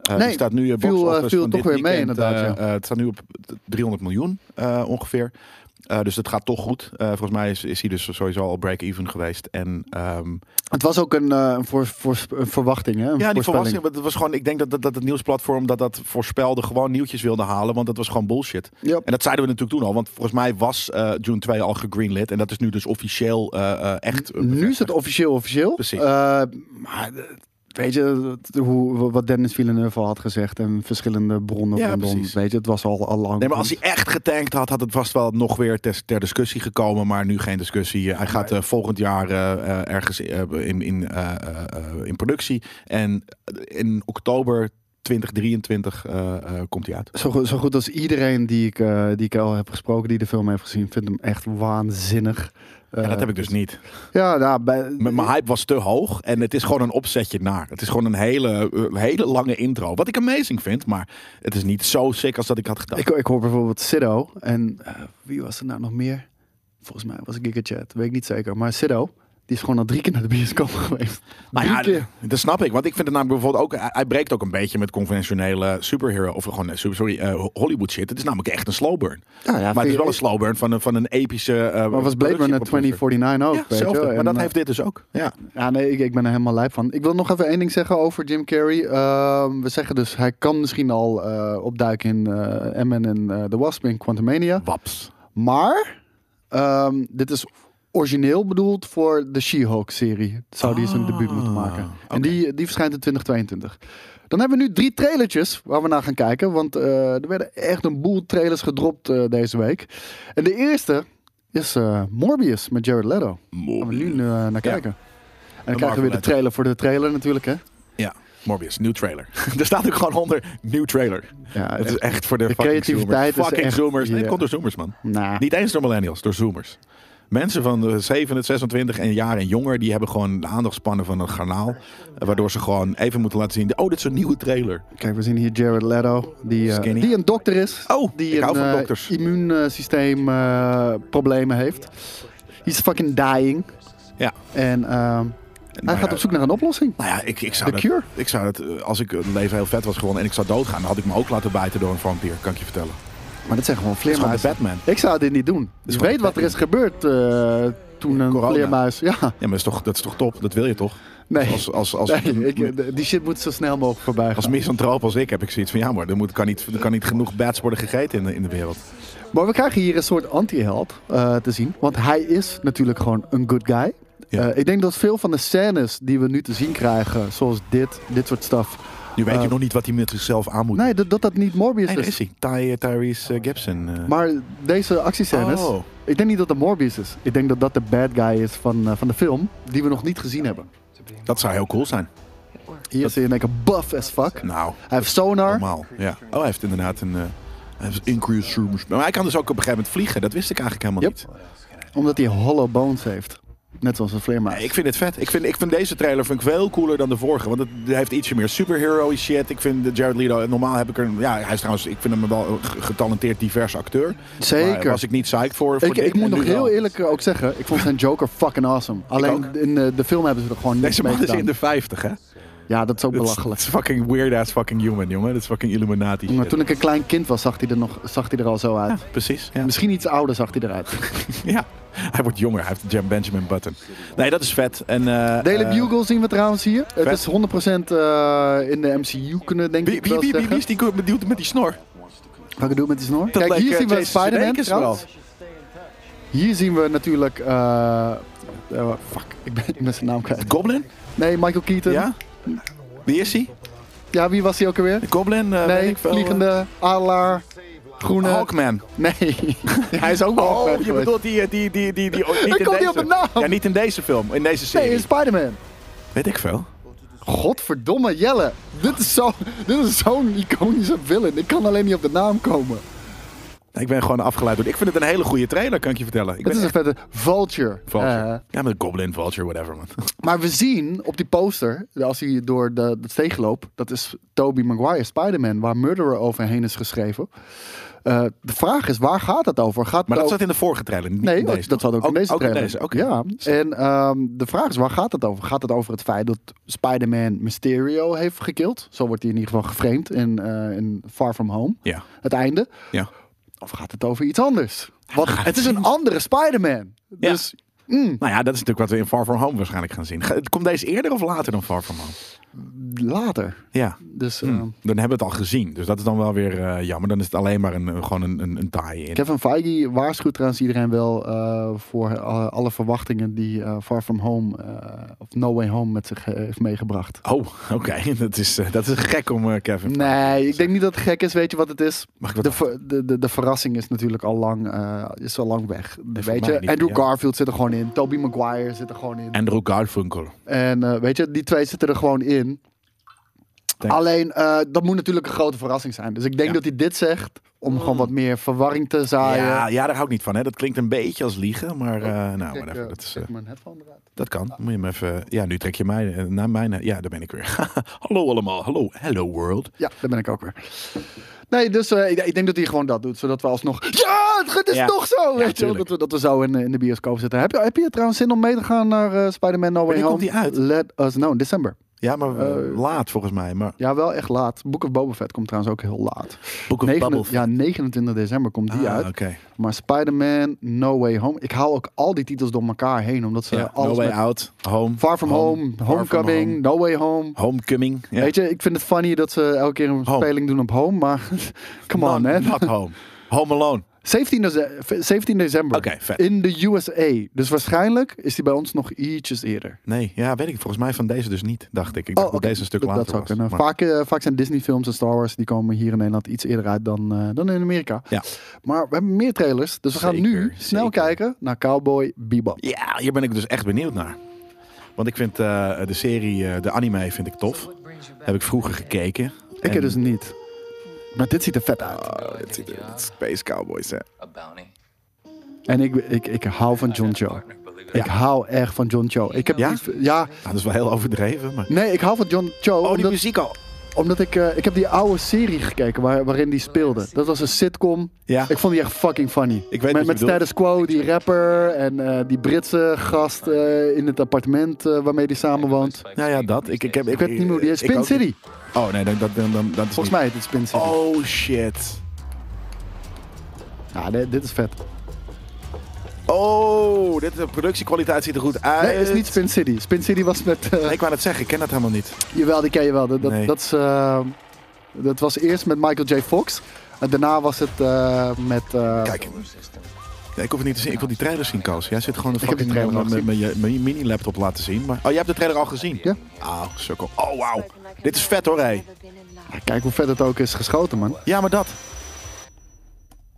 Eh,
Nee,
er staat nu eh,
viel,
box
eh,
office
viel
van
toch
dit
weer mee,
weekend,
inderdaad,
eh, eh, het staat nu op 300 miljoen eh, ongeveer. Eh, dus dat gaat toch goed. Eh, volgens mij is, is hij dus sowieso al break-even geweest. En ehm,
Het was ook een, eh, een voor, voor, een verwachting, hè? Een
ja, die
voorspelling.
verrassing. want Het was gewoon, ik denk dat, dat, dat het nieuwsplatform dat dat voorspelde gewoon nieuwtjes wilde halen. Want dat was gewoon bullshit.
Ja.
En dat zeiden we natuurlijk toen al. Want volgens mij was eh, June 2 al gegreenlit. En dat is nu dus officieel eh, eh, echt. eh,
Nu is het officieel officieel.
Precies.
Eh, maar eh, weet je, het- hoe, wat Dennis Villeneuve al had gezegd en verschillende bronnen
Ja,
rondom.
precies.
Weet je, het was al, al lang.
Nee, maar als hij echt getankt had, had het vast wel nog weer ter, ter discussie gekomen. Maar nu geen discussie. Hij gaat eh, volgend jaar eh, eh, ergens eh, in, in, eh, eh, eh, in productie. En eh, in oktober 2023 eh, eh, komt hij uit.
Zo, goed- zo goed als iedereen die ik, eh, die ik al heb gesproken, die de film heeft gezien, vindt hem echt waanzinnig.
En dat
Eh,
heb ik dus niet.
Ja, nou, bij,
M- Mijn hype was te hoog en het is gewoon een opzetje naar. Het is gewoon een hele, eh, hele lange intro. Wat ik amazing vind, maar het is niet zo sick als dat ik had gedacht.
Ik, ik hoor bijvoorbeeld Siddo en eh, wie was er nou nog meer? Volgens mij was Gigachat, weet ik niet zeker. Maar Siddo, die is gewoon al drie keer naar de bioscoop geweest.
Nou
drie
ja,
keer.
dat snap ik. Want ik vind het namelijk bijvoorbeeld ook... Hij hij breekt ook een beetje met conventionele superhero... Of gewoon, eh, super- sorry, eh, Hollywood shit. Het is namelijk echt een slow burn.
Ja, ja,
maar het is
vind-
wel een slow burn van een, van een epische... eh,
Maar was Blade Runner
productieproducer.
2049 ook,
Ja,
weet je?
hetzelfde.
En,
Maar dat
eh,
heeft dit dus ook. Ja.
Ja, nee, ik, ik ben er helemaal lijp van. Ik wil nog even één ding zeggen over Jim Carrey. Ehm, we zeggen dus, hij kan misschien al eh, opduiken in eh Ant-Man en eh, The Wasp in Quantumania.
Waps.
Maar, ehm, dit is origineel bedoeld voor de She-Hulk-serie. Zou die zijn debuut moeten maken. En die, die verschijnt in 2022. Dan hebben we nu drie trailertjes waar we naar gaan kijken. Want eh, er werden echt een boel trailers gedropt eh, deze week. En de eerste is eh, Morbius met Jared Leto.
Oh,
Gaan we nu eh, naar kijken. En dan krijgen we weer
Marvel-letter.
de trailer voor de trailer natuurlijk, hè?
Ja. Morbius, nieuw trailer. er staat ook gewoon onder, nieuw trailer.
Ja,
Het is echt voor de,
de
fucking
creativiteit
zoomers.
is
Fucking
echt-
zoomers. Nee, het
ja.
komt door zoomers, man.
nah.
Niet eens door millennials, door zoomers. Mensen van de 7, 26 en jaar en jonger, die hebben gewoon de aandachtspannen van een garnaal. eh, Waardoor ze gewoon even moeten laten zien, oh, dit is een nieuwe trailer.
Kijk, we zien hier Jared Leto, die, eh,
Skinny.
die een dokter is.
Oh,
die
ik hou van
eh,
dokters.
immuunsysteem eh, problemen heeft. He's fucking dying.
Ja.
En ehm, hij
Maar,
gaat
eh,
op zoek naar een oplossing.
Nou ja, ik, ik zou
The
dat,
Cure.
Ik zou dat, eh, als ik het leven heel vet was geworden en ik zou doodgaan, dan had ik me ook laten bijten door een vampier, kan ik je vertellen.
Maar dat zijn gewoon
Het is gewoon de
vleermuizen.
Batman.
Ik zou dit niet doen.
is
Dus
gewoon
weet
de
wat er is gebeurd eh, toen een
Corona.
vleermuis... Ja,
Ja, maar dat is, toch, dat is toch top? Dat wil je toch?
nee.
Als, als, als,
Nee, ik- die shit moet zo snel mogelijk voorbij
als
gaan.
misantroop als ik heb ik zoiets van, ja maar, er, moet, kan, niet, er kan niet genoeg bats worden gegeten in de, in de wereld.
Maar we krijgen hier een soort anti-held eh, te zien. Want hij is natuurlijk gewoon een good guy.
Ja.
Eh, ik denk dat veel van de scènes die we nu te zien krijgen, zoals dit, dit soort stuff,
Nu weet je
Eh,
nog niet wat hij met zichzelf aan moet.
Nee, dat dat, dat niet Morbius
Nee, daar
is.
is hij. Ty, Tyrese eh, Gibson. eh.
Maar deze actiescènes,
Oh.
ik denk niet dat dat Morbius is. Ik denk dat dat de bad guy is van, eh, van de film, die we nog niet gezien hebben.
Dat zou heel cool zijn.
Hier is hij in één keer buff as fuck.
Nou,
Hij heeft sonar.
normaal. Ja. Oh, hij heeft inderdaad een... eh hij heeft increased rumors. Maar hij kan dus ook op een gegeven moment vliegen. Dat wist ik eigenlijk helemaal
Yep.
niet.
Omdat hij hollow bones heeft. Net zoals een vleermuis.
Nee, ik vind het vet. Ik vind, ik vind deze trailer vind ik veel cooler dan de vorige. Want het heeft ietsje meer superhero shit. Ik vind de Jared Leto... Normaal heb ik er... Ja, hij is trouwens... Ik vind hem wel een ge- getalenteerd divers acteur.
Zeker.
Maar was ik niet psyched voor. voor
Ik,
dit.
ik moet
En nu
nog heel
wel.
eerlijk ook zeggen, ik vond zijn Joker fucking awesome. Alleen
ook.
in eh, de film hebben ze er gewoon niks
Deze
mee
man is
gedaan.
in de 50, hè?
Ja, dat is ook
Dat is-
belachelijk.
Dat is fucking weird ass fucking human, jongen. Dat is fucking Illuminati.
Maar
shit.
toen ik een klein kind was, zag hij er, nog, zag hij er al zo uit.
Precies. Ja.
Misschien iets ouder zag hij eruit.
Ja. Hij wordt jonger. Hij heeft de Jam Benjamin button. Nee, dat is vet. En, eh,
Daily
eh,
Bugle zien we trouwens hier. Het is 100% eh, in de MCU kunnen, denk
Wie,
ik
wie,
wel
wie, wie,
zeggen.
wie is die goed met die, met die snor?
Wat ik doe met die snor?
Dat
Kijk,
leek,
hier
eh,
zien we
Jason
Spider-Man
Sudeikis
trouwens. Hier zien we natuurlijk... eh, eh, fuck, ik ben, ik ben zijn naam kwijt.
Goblin?
Nee, Michael Keaton.
Ja? Wie is hij?
Ja, wie was hij ook alweer?
De Goblin? eh, weet
Nee,
ik veel,
vliegende, adelaar,
eh,
groene...
Hawkman.
Nee, hij is ook wel
Oh,
fan
je
geweest.
bedoelt die, eh, die, die, die, die oh, niet
Ik
in
kom niet
deze.
op de naam.
Ja, niet in deze film, in deze serie.
Nee, in Spider-Man.
Weet ik veel.
Godverdomme, Jelle. Dit is zo- dit is zo'n iconische villain. Ik kan alleen niet op de naam komen.
Ik ben gewoon afgeleid door. Ik vind het een hele goede trailer, kan ik je vertellen. Ik
Het
ben
is een vette vulture.
Vulture.
Eh,
ja, met Goblin, Vulture, whatever, man.
maar we zien op die poster, als hij door de, de steeg loopt, dat is Toby Maguire Spider-Man, waar Murderer overheen is geschreven. Eh, de vraag is, waar gaat het over? Gaat het
Maar dat
over-
zat in de vorige trailer, niet
Oh. Nee, oh,
in deze. Oh,
dat zat ook, in deze
ook
trailer.
oké.
Ja, en ehm, de vraag is, waar gaat het over? Gaat het over het feit dat Spider-Man Mysterio heeft gekild? Zo wordt hij in ieder geval geframed in, eh, in Far From Home.
Ja.
Het einde.
Ja.
Of gaat het over iets anders? Want
gaat
het is
het
een andere Spider-Man.
Ja.
Dus mm,
Nou ja, dat is natuurlijk wat we in Far From Home waarschijnlijk gaan zien. Ga- Komt deze eerder of later dan Far From Home?
later.
Ja.
Dus
Hmm.
ehm,
Dan hebben we het al gezien. Dus dat is dan wel weer eh, jammer. Dan is het alleen maar een, een- gewoon een, een, een tie-in.
Kevin Feige waarschuwt trouwens iedereen wel eh, voor eh, alle verwachtingen die eh, Far From Home eh, of No Way Home met zich eh, heeft meegebracht.
Oh, oké. Dat, is, eh, dat is gek om eh, Kevin.
Nee, ik denk niet dat het gek is. Weet je wat het is?
Mag ik dat
De, ver- de, de, de verrassing is natuurlijk al lang, eh, is al lang weg. weet
mij
je,
niet,
Andrew
ja.
Garfield zit er gewoon in. Tobey Maguire zit er gewoon in. En,
Andrew Garfunkel.
eh, weet je, die twee zitten er gewoon in.
Thanks.
Alleen, eh, dat moet natuurlijk een grote verrassing zijn. Dus ik denk
Ja. Mm.
dat hij dit zegt om gewoon wat meer verwarring te zaaien.
ja, ja, daar hou ik niet van. Hè. Dat klinkt een beetje als liegen, maar eh nou,
Kijk,
whatever.
eh,
Dat, is, eh,
kijk mijn headphone eruit.
dat kan. Moet je hem even... Ja, nu trek je mij eh, naar mijn... Ja, daar ben ik weer. hallo allemaal. Hallo. Hello world.
Ja, daar ben ik ook weer. Nee, dus eh, ik, ik denk dat hij gewoon dat doet, zodat we alsnog... Ja, het is
Ja.
toch zo!
Ja,
weet je, wel, dat,
tuurlijk.
we, dat we zo in, eh, in de bioscoop zitten. Heb je, heb je trouwens zin om mee te gaan naar eh, Spider-Man No Way
Wanneer
Home?
komt die uit?
Let us know, in december.
Ja, maar eh, laat volgens mij. Maar
Ja, wel echt laat. Book of Boba Fett komt trouwens ook heel laat.
Book of
Negen-
Bubble.
Ja, 29 december komt die
Ah,
uit.
oké.
Maar Spider-Man No Way Home. Ik haal ook al die titels door elkaar heen, omdat ze
Ja,
Eh, alles
no way
met-
out. Home.
Far From Home,
Far From
Homecoming,
Home.
No Way Home.
Homecoming. Ja.
Weet je, ik vind het funny dat ze elke keer een
Home. Nou,
speling doen op home, maar come on,
Not-
man.
Not home. Home alone.
17, deze- 17 december.
Oké, vet.
In de USA. Dus waarschijnlijk is die bij ons nog ietsjes eerder. Oh,
Nee, ja, weet ik. Volgens mij van deze dus niet, dacht ik. Ik dacht
oké.
dat deze een stuk
Dat-
later
dat zou
was.
kunnen.
Maar-
Vaak, eh, vaak zijn Disney-films en Star Wars die komen hier in Nederland iets eerder uit dan, eh, dan in Amerika.
Ja.
Maar we hebben meer trailers, dus we gaan nu
Zeker,
snel
zeker.
kijken naar Cowboy Bebop.
Ja, hier ben ik dus echt benieuwd naar. Want ik vind eh, de serie, eh, de anime vind ik tof. Heb ik vroeger gekeken.
Ik
En-
heb dus niet. Maar dit ziet er vet uit.
Oh, dit ziet er- dit is Space Cowboys, hè.
A bounty.
En ik, ik, ik hou van John Cho. Ik hou echt van John Cho. Ik heb
Ja?
die- ja?
Nou, dat is wel heel overdreven, maar...
Nee, ik hou van John Cho.
Oh, die
omdat-
muziek al.
Omdat ik, eh, ik heb die oude serie gekeken waar, waarin die speelde. Dat was een sitcom.
Ja.
Ik vond die echt fucking funny.
wat je
met met
bedoelt.
status quo, die rapper en eh, die Britse gast eh, in het appartement eh, waarmee die samenwoont.
Nou ja, dat. Ik, ik, heb,
Ik weet niet meer hoe die heet.
ik
Spin
ook
City.
niet. Oh, nee, dan, dat, dan, dan, dat is
Volgens mij heet het Spin City.
niet- Oh, shit.
Ja, nee, dit is vet.
Eh, Oh, dit, de productiekwaliteit ziet er goed uit.
Nee, het is niet Spin City. Spin City was met... eh,
Nee, ik wou net zeggen, ik ken dat helemaal niet.
Jawel, die ken je wel. Dat, dat,
Nee.
dat, is, eh, dat was eerst met Michael J. Fox. En daarna was het eh, met... eh,
Kijk, Ja, ik hoef het niet te zien. Ik wil die trailer zien, Koos. Jij zit gewoon een
Ik heb die
fucking eh,
trailer al
met met je met je mini-laptop laten zien. Maar... Oh, jij hebt de trailer al gezien?
Ja.
Oh, sukkel. Oh, wauw. Dit is vet hoor, hé.
Ja, kijk hoe vet het ook is geschoten, man.
Ja, maar dat.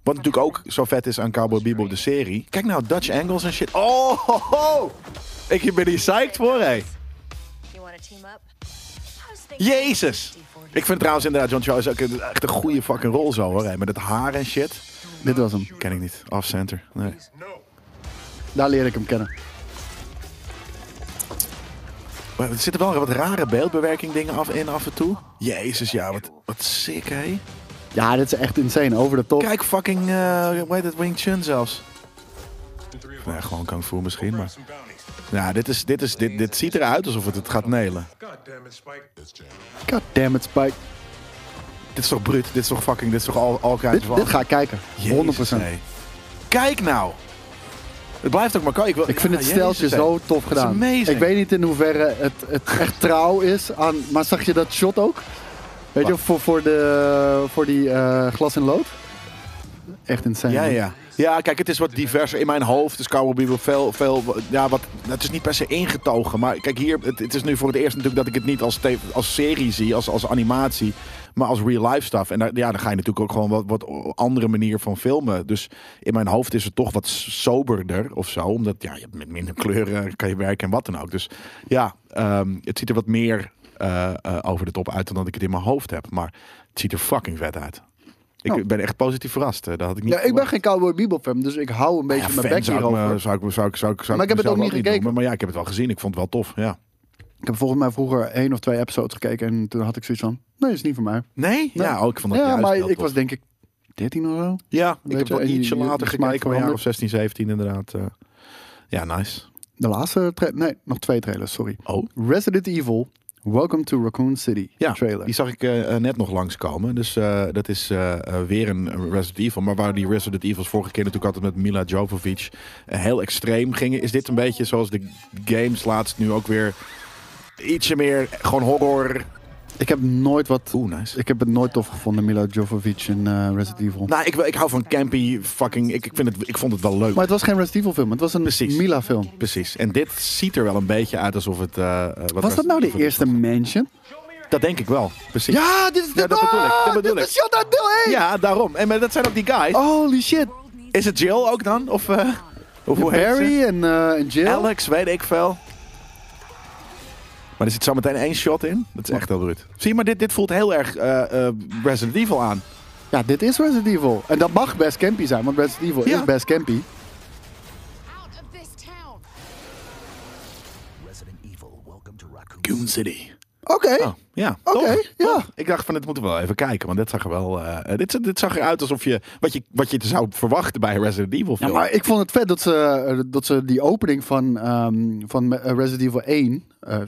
Wat natuurlijk ook zo vet is aan Cowboy Bebop, de serie. Kijk nou, Dutch Angles en shit. Oh, ho, ho. Ik ben hier psyched voor, hé. Jezus. Ik vind trouwens inderdaad John Charles ook een- echt een goede fucking rol zo, hoor. hé. Met het haar en shit.
Dit was hem.
Ken ik niet. Off-center. Nee.
Daar leer ik hem kennen.
Maar er zitten wel wat rare beeldbewerking dingen af in af en toe. Jezus, ja, wat, wat sick, hé.
Ja, dit is echt insane. Over de top.
Kijk, fucking, eh hoe heet het, Wing Chun zelfs. Nou, ja, gewoon Kung Fu misschien, maar... Ja, dit, is, dit, is, dit, dit ziet eruit alsof het het gaat nelen.
God damn it, Spike.
God damn it, Spike.
Dit is toch bruut? Dit is toch fucking... Dit is toch al, al
Dit, dit ga ik kijken. 100%.
Kijk nou! Het blijft ook maar... ko- Ik, wil,
Ik vind
Ja,
het
jezus,
steltje
hé.
zo tof gedaan.
amazing.
Ik weet niet in hoeverre het, het echt trouw is aan. Maar zag je dat shot ook? Weet je,
Wat?
voor, voor, de, voor die eh, glas en lood? Echt insane.
Ja,
man.
ja. Ja, kijk, het is wat diverser. In mijn hoofd is Cowboy Bebop veel, veel... Ja, wat, het is niet per se ingetogen. Maar kijk, hier, het, het is nu voor het eerst natuurlijk dat ik het niet als, te- als serie zie, als, als animatie. Maar als real-life stuff. En daar, ja, dan ga je natuurlijk ook gewoon wat, wat andere manier van filmen. Dus in mijn hoofd is het toch wat soberder of zo. Omdat ja, je hebt met minder kleuren kan je werken en wat dan ook. Dus ja, ehm, het ziet er wat meer eh, eh, over de top uit dan dat ik het in mijn hoofd heb. Maar het ziet er fucking vet uit. Ik
Nou.
ben echt positief verrast. hè. Dat had ik niet
Ja, ik ben
verwacht.
geen Cowboy Bebop fan, dus ik hou een beetje
Ja,
mijn
fan
bek
zou ik me-
hierover.
zou ik- zou ik- zou ik- zou
Maar ik heb het
mezelf
ook niet gekeken.
noemen, maar ja, ik heb het wel gezien. Ik vond het wel tof. Ja.
Ik heb volgens mij vroeger één of twee episodes gekeken en toen had ik zoiets van, nee, is niet voor mij.
Nee? Ja, ook ik vond dat
ja,
juist
maar
heel
ik
tof.
was denk ik 13 of zo.
Ja, ik
weet
heb
je,
wel
en die-
ietsje
die-
later
die smaak
gekeken. Maar een jaar
verandert.
of 16, 17 inderdaad. eh. ja, nice.
De laatste tra- nee, nog twee trailers, sorry.
Oh.
Resident Evil, Welcome to Raccoon City
Ja,
trailer.
die zag ik eh, eh, net nog langskomen. Dus eh, dat is eh, eh, weer een Resident Evil. Maar waar die Resident Evils vorige keer natuurlijk altijd met Mila Jovovich eh, heel extreem gingen... is dit een beetje zoals de games laatst nu ook weer... ietsje meer gewoon horror.
Ik heb nooit wat...
Oeh, nice.
Ik heb het nooit tof gevonden, Mila Jovovich in eh, Resident Evil.
Nou, ik, ik hou van campy fucking... Ik, ik, vind het, ik vond het wel leuk.
Maar het was geen Resident Evil film, het was een
Precies.
Mila film.
Precies. En dit ziet er wel een beetje uit alsof het... eh, eh, wat
Was dat nou de
voor-
eerste mansion?
Dat denk ik wel. Precies.
Ja, dit is de
Ja, dat bedoel ik, dat
Ah,
bedoel
dit
ik.
is shot uit deel 1!
Ja, daarom. En maar dat zijn ook die guys.
Holy shit.
Is het Jill ook dan? Of, eh, of hoe heet ze?
Barry en, eh, en Jill.
Alex, weet ik veel. Maar er zit zo meteen één shot in. Dat is echt heel bruut. Zie je, maar dit, dit voelt heel erg eh, eh, Resident Evil aan.
Ja, dit is Resident Evil. En dat mag best campy zijn, want Resident Evil
Ja.
is best campy.
Resident Evil, welcome to Raccoon
Goon City.
Oké.
Oh, ja,
Oké,
toch?
ja.
Toch? Ik dacht van, dit moeten we wel even kijken. Want dit zag er wel... eh, dit, dit zag eruit alsof je... Wat je, wat je zou verwachten bij een Resident Evil
Ja,
film.
maar ik vond het vet dat ze, eh, dat ze die opening van, ehm, van eh, Resident Evil 1... eh,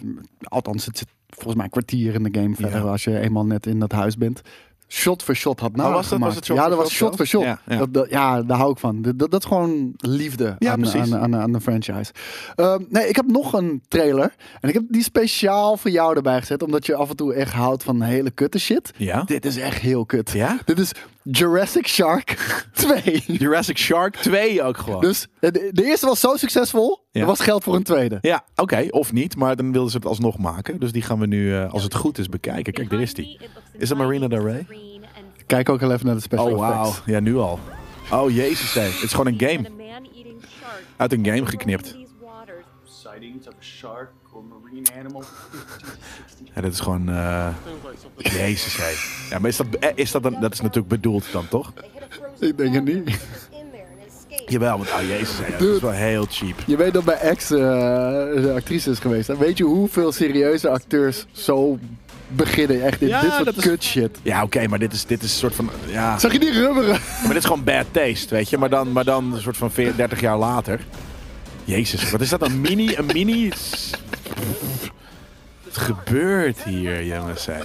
althans, het zit volgens mij een kwartier in de game verder
Ja.
als je eenmaal net in dat huis bent. Shot voor shot had
Oh, was dat-
nagemaakt.
was het shot
ja,
voor
dat was
shot
shot
zo?
voor shot.
Ja, ja.
Dat, dat- ja, daar hou ik van. Dat, dat, dat is gewoon liefde
Ja,
aan,
precies.
aan, aan, aan de franchise. Ehm, nee, ik heb nog een trailer. En ik heb die speciaal voor jou erbij gezet. Omdat je af en toe echt houdt van hele kutte shit.
Ja.
Dit is echt heel kut.
Ja?
Dit is Jurassic Shark 2.
Jurassic Shark 2 ook gewoon.
Dus eh, de, de eerste was zo succesvol,
Ja.
er was geld voor een tweede.
Ja, oké. Of niet. Maar dan wilden ze het alsnog maken. Dus die gaan we nu, eh, als het goed is, bekijken. Kijk, daar is die. Is dat Marina Del Rey?
Kijk ook heel even naar de special
Oh, wauw.
effects.
Ja, nu al. Oh, jezus. hé. Het is gewoon een game.
game.
Uit een game geknipt.
sightings of a shark or marine animal 50 to 60
Ja, dat is gewoon... eh, Jezus, hé. Ja, maar is dat, eh, is dat, dan, dat is natuurlijk bedoeld dan, toch?
Ik denk het niet.
Jawel, want... Oh, jezus, hé. Dat is
Dude.
wel heel cheap.
Je weet dat bij ex eh, de actrice is geweest. hè? Weet je hoeveel serieuze acteurs zo beginnen echt in
Ja,
dit soort
dat is-
kut shit?
Ja, oké, maar dit is, dit is een soort van... Ja,
Zag je die rubberen?
maar dit is gewoon bad taste, weet je. Maar dan, maar dan een soort van 40, 30 jaar later. Jezus, wat is dat? Een mini... Een mini... Wat gebeurt hier, jongens? hé?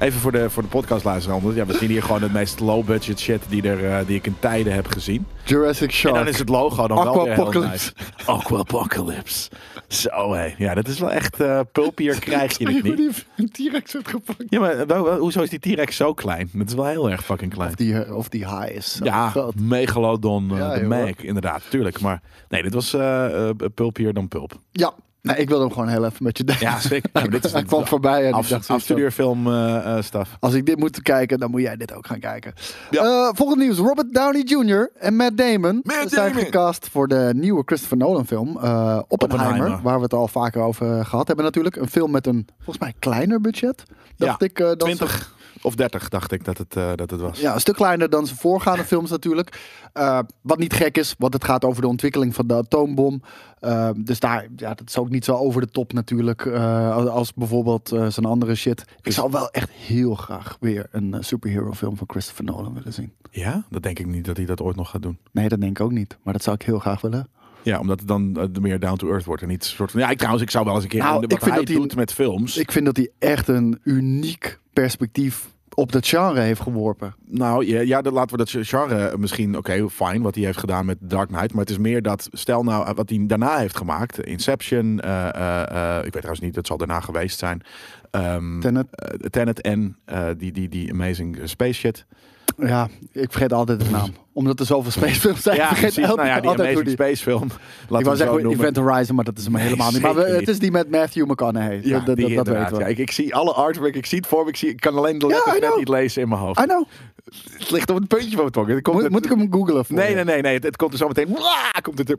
Even voor de, voor de podcastluisteraar. anders. Ja, we zien hier gewoon het meest low-budget shit die, er, eh, die ik in tijden heb gezien.
Jurassic
En
Shark.
dan is het logo dan wel weer heel nice.
Aquapocalypse.
Aquapocalypse. Zo hé. Ja, dat is wel echt eh pulpier krijg je het
Hoe
niet.
die een T-Rex werd gepakt.
Ja, maar wel- wel- hoezo is die T-Rex zo klein? Dat is wel heel erg fucking klein.
Of die, of die haai is zo
Ja,
groot.
Megalodon eh,
Ja,
de
joh.
Meg, inderdaad, tuurlijk. Maar nee, dit was eh eh, pulpier dan pulp.
Ja, nee, ik wilde hem gewoon heel even met je delen.
Ja, schrik. Ja, maar dit is-
Hij kwam voorbij en
Af,
ik dacht zoiets van,
afstudeerfilm eh, eh, stuff.
Als ik dit moet kijken, dan moet jij dit ook gaan kijken.
Ja.
Eh, volgend nieuws. Robert Downey Jr. en Matt Damon
Matt
zijn
Damon.
gecast voor de nieuwe Christopher Nolan film. eh, Oppenheimer,
Oppenheimer.
Waar we het al vaker over gehad hebben natuurlijk. Een film met een, volgens mij, kleiner budget. Dacht
ja,
ik. eh, dan ze-
20 of 30 dacht ik dat het, eh, dat het was.
ja, een stuk kleiner dan zijn voorgaande films natuurlijk. Eh, wat niet gek is, want het gaat over de ontwikkeling van de atoombom. Eh, dus daar, ja, dat is ook niet zo over de top natuurlijk. eh, als- als bijvoorbeeld eh, zijn andere shit. Ik
Dus-
zou wel echt heel graag weer een eh, superhero film van Christopher Nolan willen zien.
Ja, dat denk ik niet dat hij dat ooit nog gaat doen.
Nee, dat denk ik ook niet. Maar dat zou ik heel graag willen.
Ja, omdat het dan eh, meer down to earth wordt en niet een soort van. Ja, ik, trouwens, ik zou wel eens een keer
Nou,
wat
ik vind
hij
dat hij-
doet met films.
Ik vind dat hij echt een uniek perspectief op dat genre heeft geworpen.
Nou ja, ja dat laten we dat genre misschien, oké, fijn wat hij heeft gedaan met Dark Knight. Maar het is meer dat, stel nou eh, wat hij daarna heeft gemaakt. Inception, eh, eh, eh, ik weet trouwens niet, dat zal daarna geweest zijn. Ehm
Tenet.
eh, Tenet en eh, die, die, die Amazing Space Shit. Eh,
Ja, ik vergeet altijd de naam. Omdat er zoveel spacefilms zijn, ik vergeet
precies.
elke
Nou ja, die
altijd hoe
Amazing
die...
Space film.
Ik
Laten
wou
we
zeggen
zeggen,
Event Horizon, maar dat is hem helemaal niet. Maar we-
zeker
het is die met Matthew McConaughey.
Ja,
dat dat,
die
dat
inderdaad.
weten we.
Ja, ik, ik zie alle artwork, ik zie het voor me, ik, zie, ik kan alleen de letters
I
net
know.
niet lezen in mijn hoofd.
I know.
Het ligt op het puntje van mijn tong. Het komt-
Moet,
het-
moet ik hem googlen voor
Nee,
je?
nee, nee, nee. Het, het komt er zo meteen. Waa, komt het er.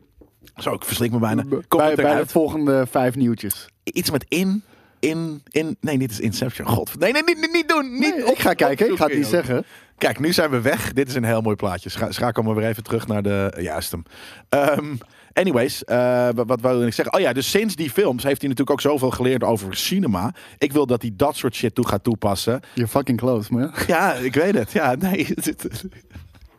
Zo, ik verslik me bijna. Komt
Bij,
Nou, het
bij de
eruit.
volgende vijf nieuwtjes.
Iets met in, in, in. Nee, dit is Inception. God. Nee, nee, niet, niet, niet doen. Niet,
Nee, ik ga kijken, ik ga het niet
opzoeken.
zeggen.
Kijk, nu zijn we weg. Dit is een heel mooi plaatje. Scha schakel maar weer even terug naar de. Juist hem. Ehm, anyways, eh, wa- wat wilde ik zeggen? Oh ja, dus sinds die films heeft hij natuurlijk ook zoveel geleerd over cinema. Ik wil dat hij dat soort shit toe gaat toepassen.
You're fucking close, man.
Ja, ik weet het. Ja, nee. het-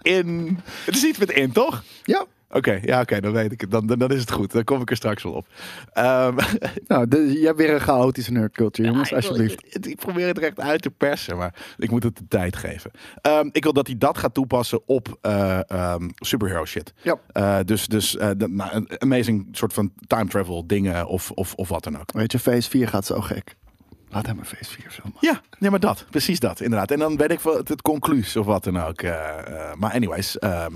In. Het is iets met in, toch?
Ja.
Oké, ja, oké, dan weet ik het. Dan, dan, dan is het goed. Dan kom ik er straks wel op. Ehm,
Nou, de- jij hebt weer een chaotische nerdculture, jongens,
ik wil-
alsjeblieft.
Ik, ik probeer het recht uit te persen, maar ik moet het de tijd geven. Ehm, ik wil dat hij dat gaat toepassen op eh, ehm, superhero shit.
Ja.
Eh, dus dus eh, dat- nou, een amazing soort van time travel dingen of, of, of wat dan ook.
Weet je, Phase 4 gaat zo gek. Laat hem een Phase 4 filmen.
Ja, nee, maar dat. Precies dat, inderdaad. En dan weet ik wel het, het concluus of wat dan ook. Eh, eh, maar anyways, ehm,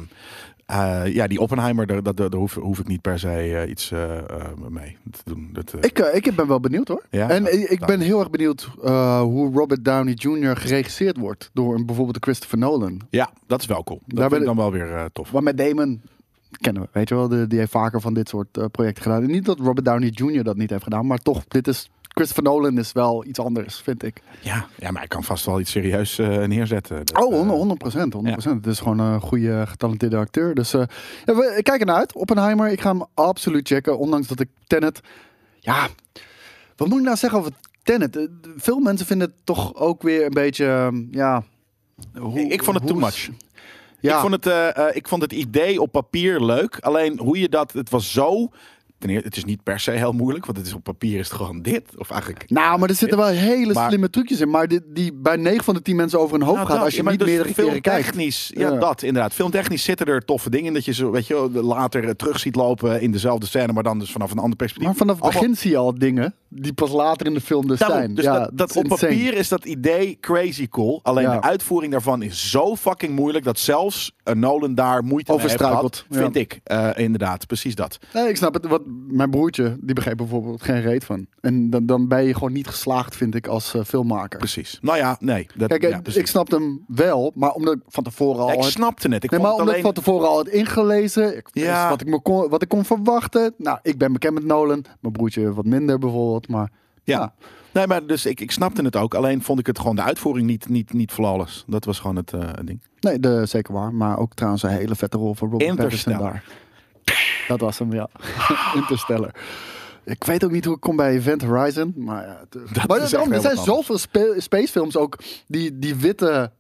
eh, ja, die Oppenheimer, daar, daar, daar hoef, hoef ik niet per se eh, iets eh, eh, mee te doen. Dat, eh,
Ik, eh, ik ben wel benieuwd hoor.
Ja? nou,
en
Ja,
ik- ik
daarom.
ben heel erg benieuwd eh, hoe Robert Downey Jr. geregisseerd wordt door een, bijvoorbeeld de Christopher Nolan.
Ja, dat is wel cool. Dat
Daar
vind ik
ben
dan wel weer eh, tof.
Maar met Damon kennen we, weet je wel, de, die heeft vaker van dit soort eh, projecten gedaan. En niet dat Robert Downey Jr. dat niet heeft gedaan, maar toch, dit is. Christopher Nolan is wel iets anders, vind ik.
Ja, ja maar ik kan vast wel iets serieus eh, neerzetten. Dat,
Oh,
eh,
100 100%. Het is gewoon een goede, getalenteerde acteur. Dus eh, ja, we kijken naar uit. Oppenheimer, ik ga hem absoluut checken. Ondanks dat ik Tenet... Ja, wat moet ik nou zeggen over Tenet? Eh, Veel mensen vinden het toch ook weer een beetje... ehm, ja, hoe-
ik vond het too
hoe-
much.
Ja,
Ik, vond het, eh, eh, ik vond het idee op papier leuk. Alleen hoe je dat... Het was zo... Ten eerste, het is niet per se heel moeilijk. Want het is op papier is het gewoon dit. Of eigenlijk...
Nou, maar er zitten wel hele
Maar-
slimme trucjes in. Maar die, die bij 9 van de 10 mensen over hun hoofd
Nou,
gaat
dat.
als je
Ja, maar
niet
dus
meerdere keren kijkt.
filmtechnisch, Ja,
Ja.
dat inderdaad. Filmtechnisch zitten er toffe dingen in. Dat je ze weet je, wel, later eh, terug ziet lopen in dezelfde scène. Maar dan dus vanaf een ander perspectief.
Maar vanaf het
Allemaal-
begin zie je al dingen die pas later in de film dus
Daarom.
zijn.
Dus
ja,
dat,
dat
dat
is
op
insane.
papier is dat idee crazy cool. Alleen
Ja.
de uitvoering daarvan is zo fucking moeilijk dat zelfs een Nolan daar moeite mee heeft gehad.
Overstruikelt, ja.
Vind ik. Eh, inderdaad, precies dat.
Nee, ik snap het. Wat, mijn broertje, die begreep bijvoorbeeld geen reet van. En dan, dan ben je gewoon niet geslaagd, vind ik, als eh, filmmaker.
Precies. Nou ja, nee. Dat,
Kijk,
ja,
eh,
precies.
ik snapte hem wel, maar omdat ik van tevoren al...
Ja, ik
had-
snapte het. Ik
Nee, maar
vond het
omdat ik
alleen...
van tevoren al had ingelezen, ik wist
Ja.
wat, ik me kon, wat ik kon verwachten. Nou, ik ben bekend met Nolan, mijn broertje wat minder bijvoorbeeld, maar...
Ja. Nee, maar dus ik, ik snapte het ook. Alleen vond ik het gewoon de uitvoering niet, niet, niet flawless. Dat was gewoon het eh, ding.
Nee, de, zeker waar. Maar ook trouwens een hele vette rol van Robert Pattinson
Interstellar.
daar. Dat was hem, ja. Interstellar. Ik weet ook niet hoe ik kom bij Event Horizon, maar ja, het-
Dat
maar
is echt
daarom, er
heel
zijn
wat
zoveel spe- spacefilms ook die, die witte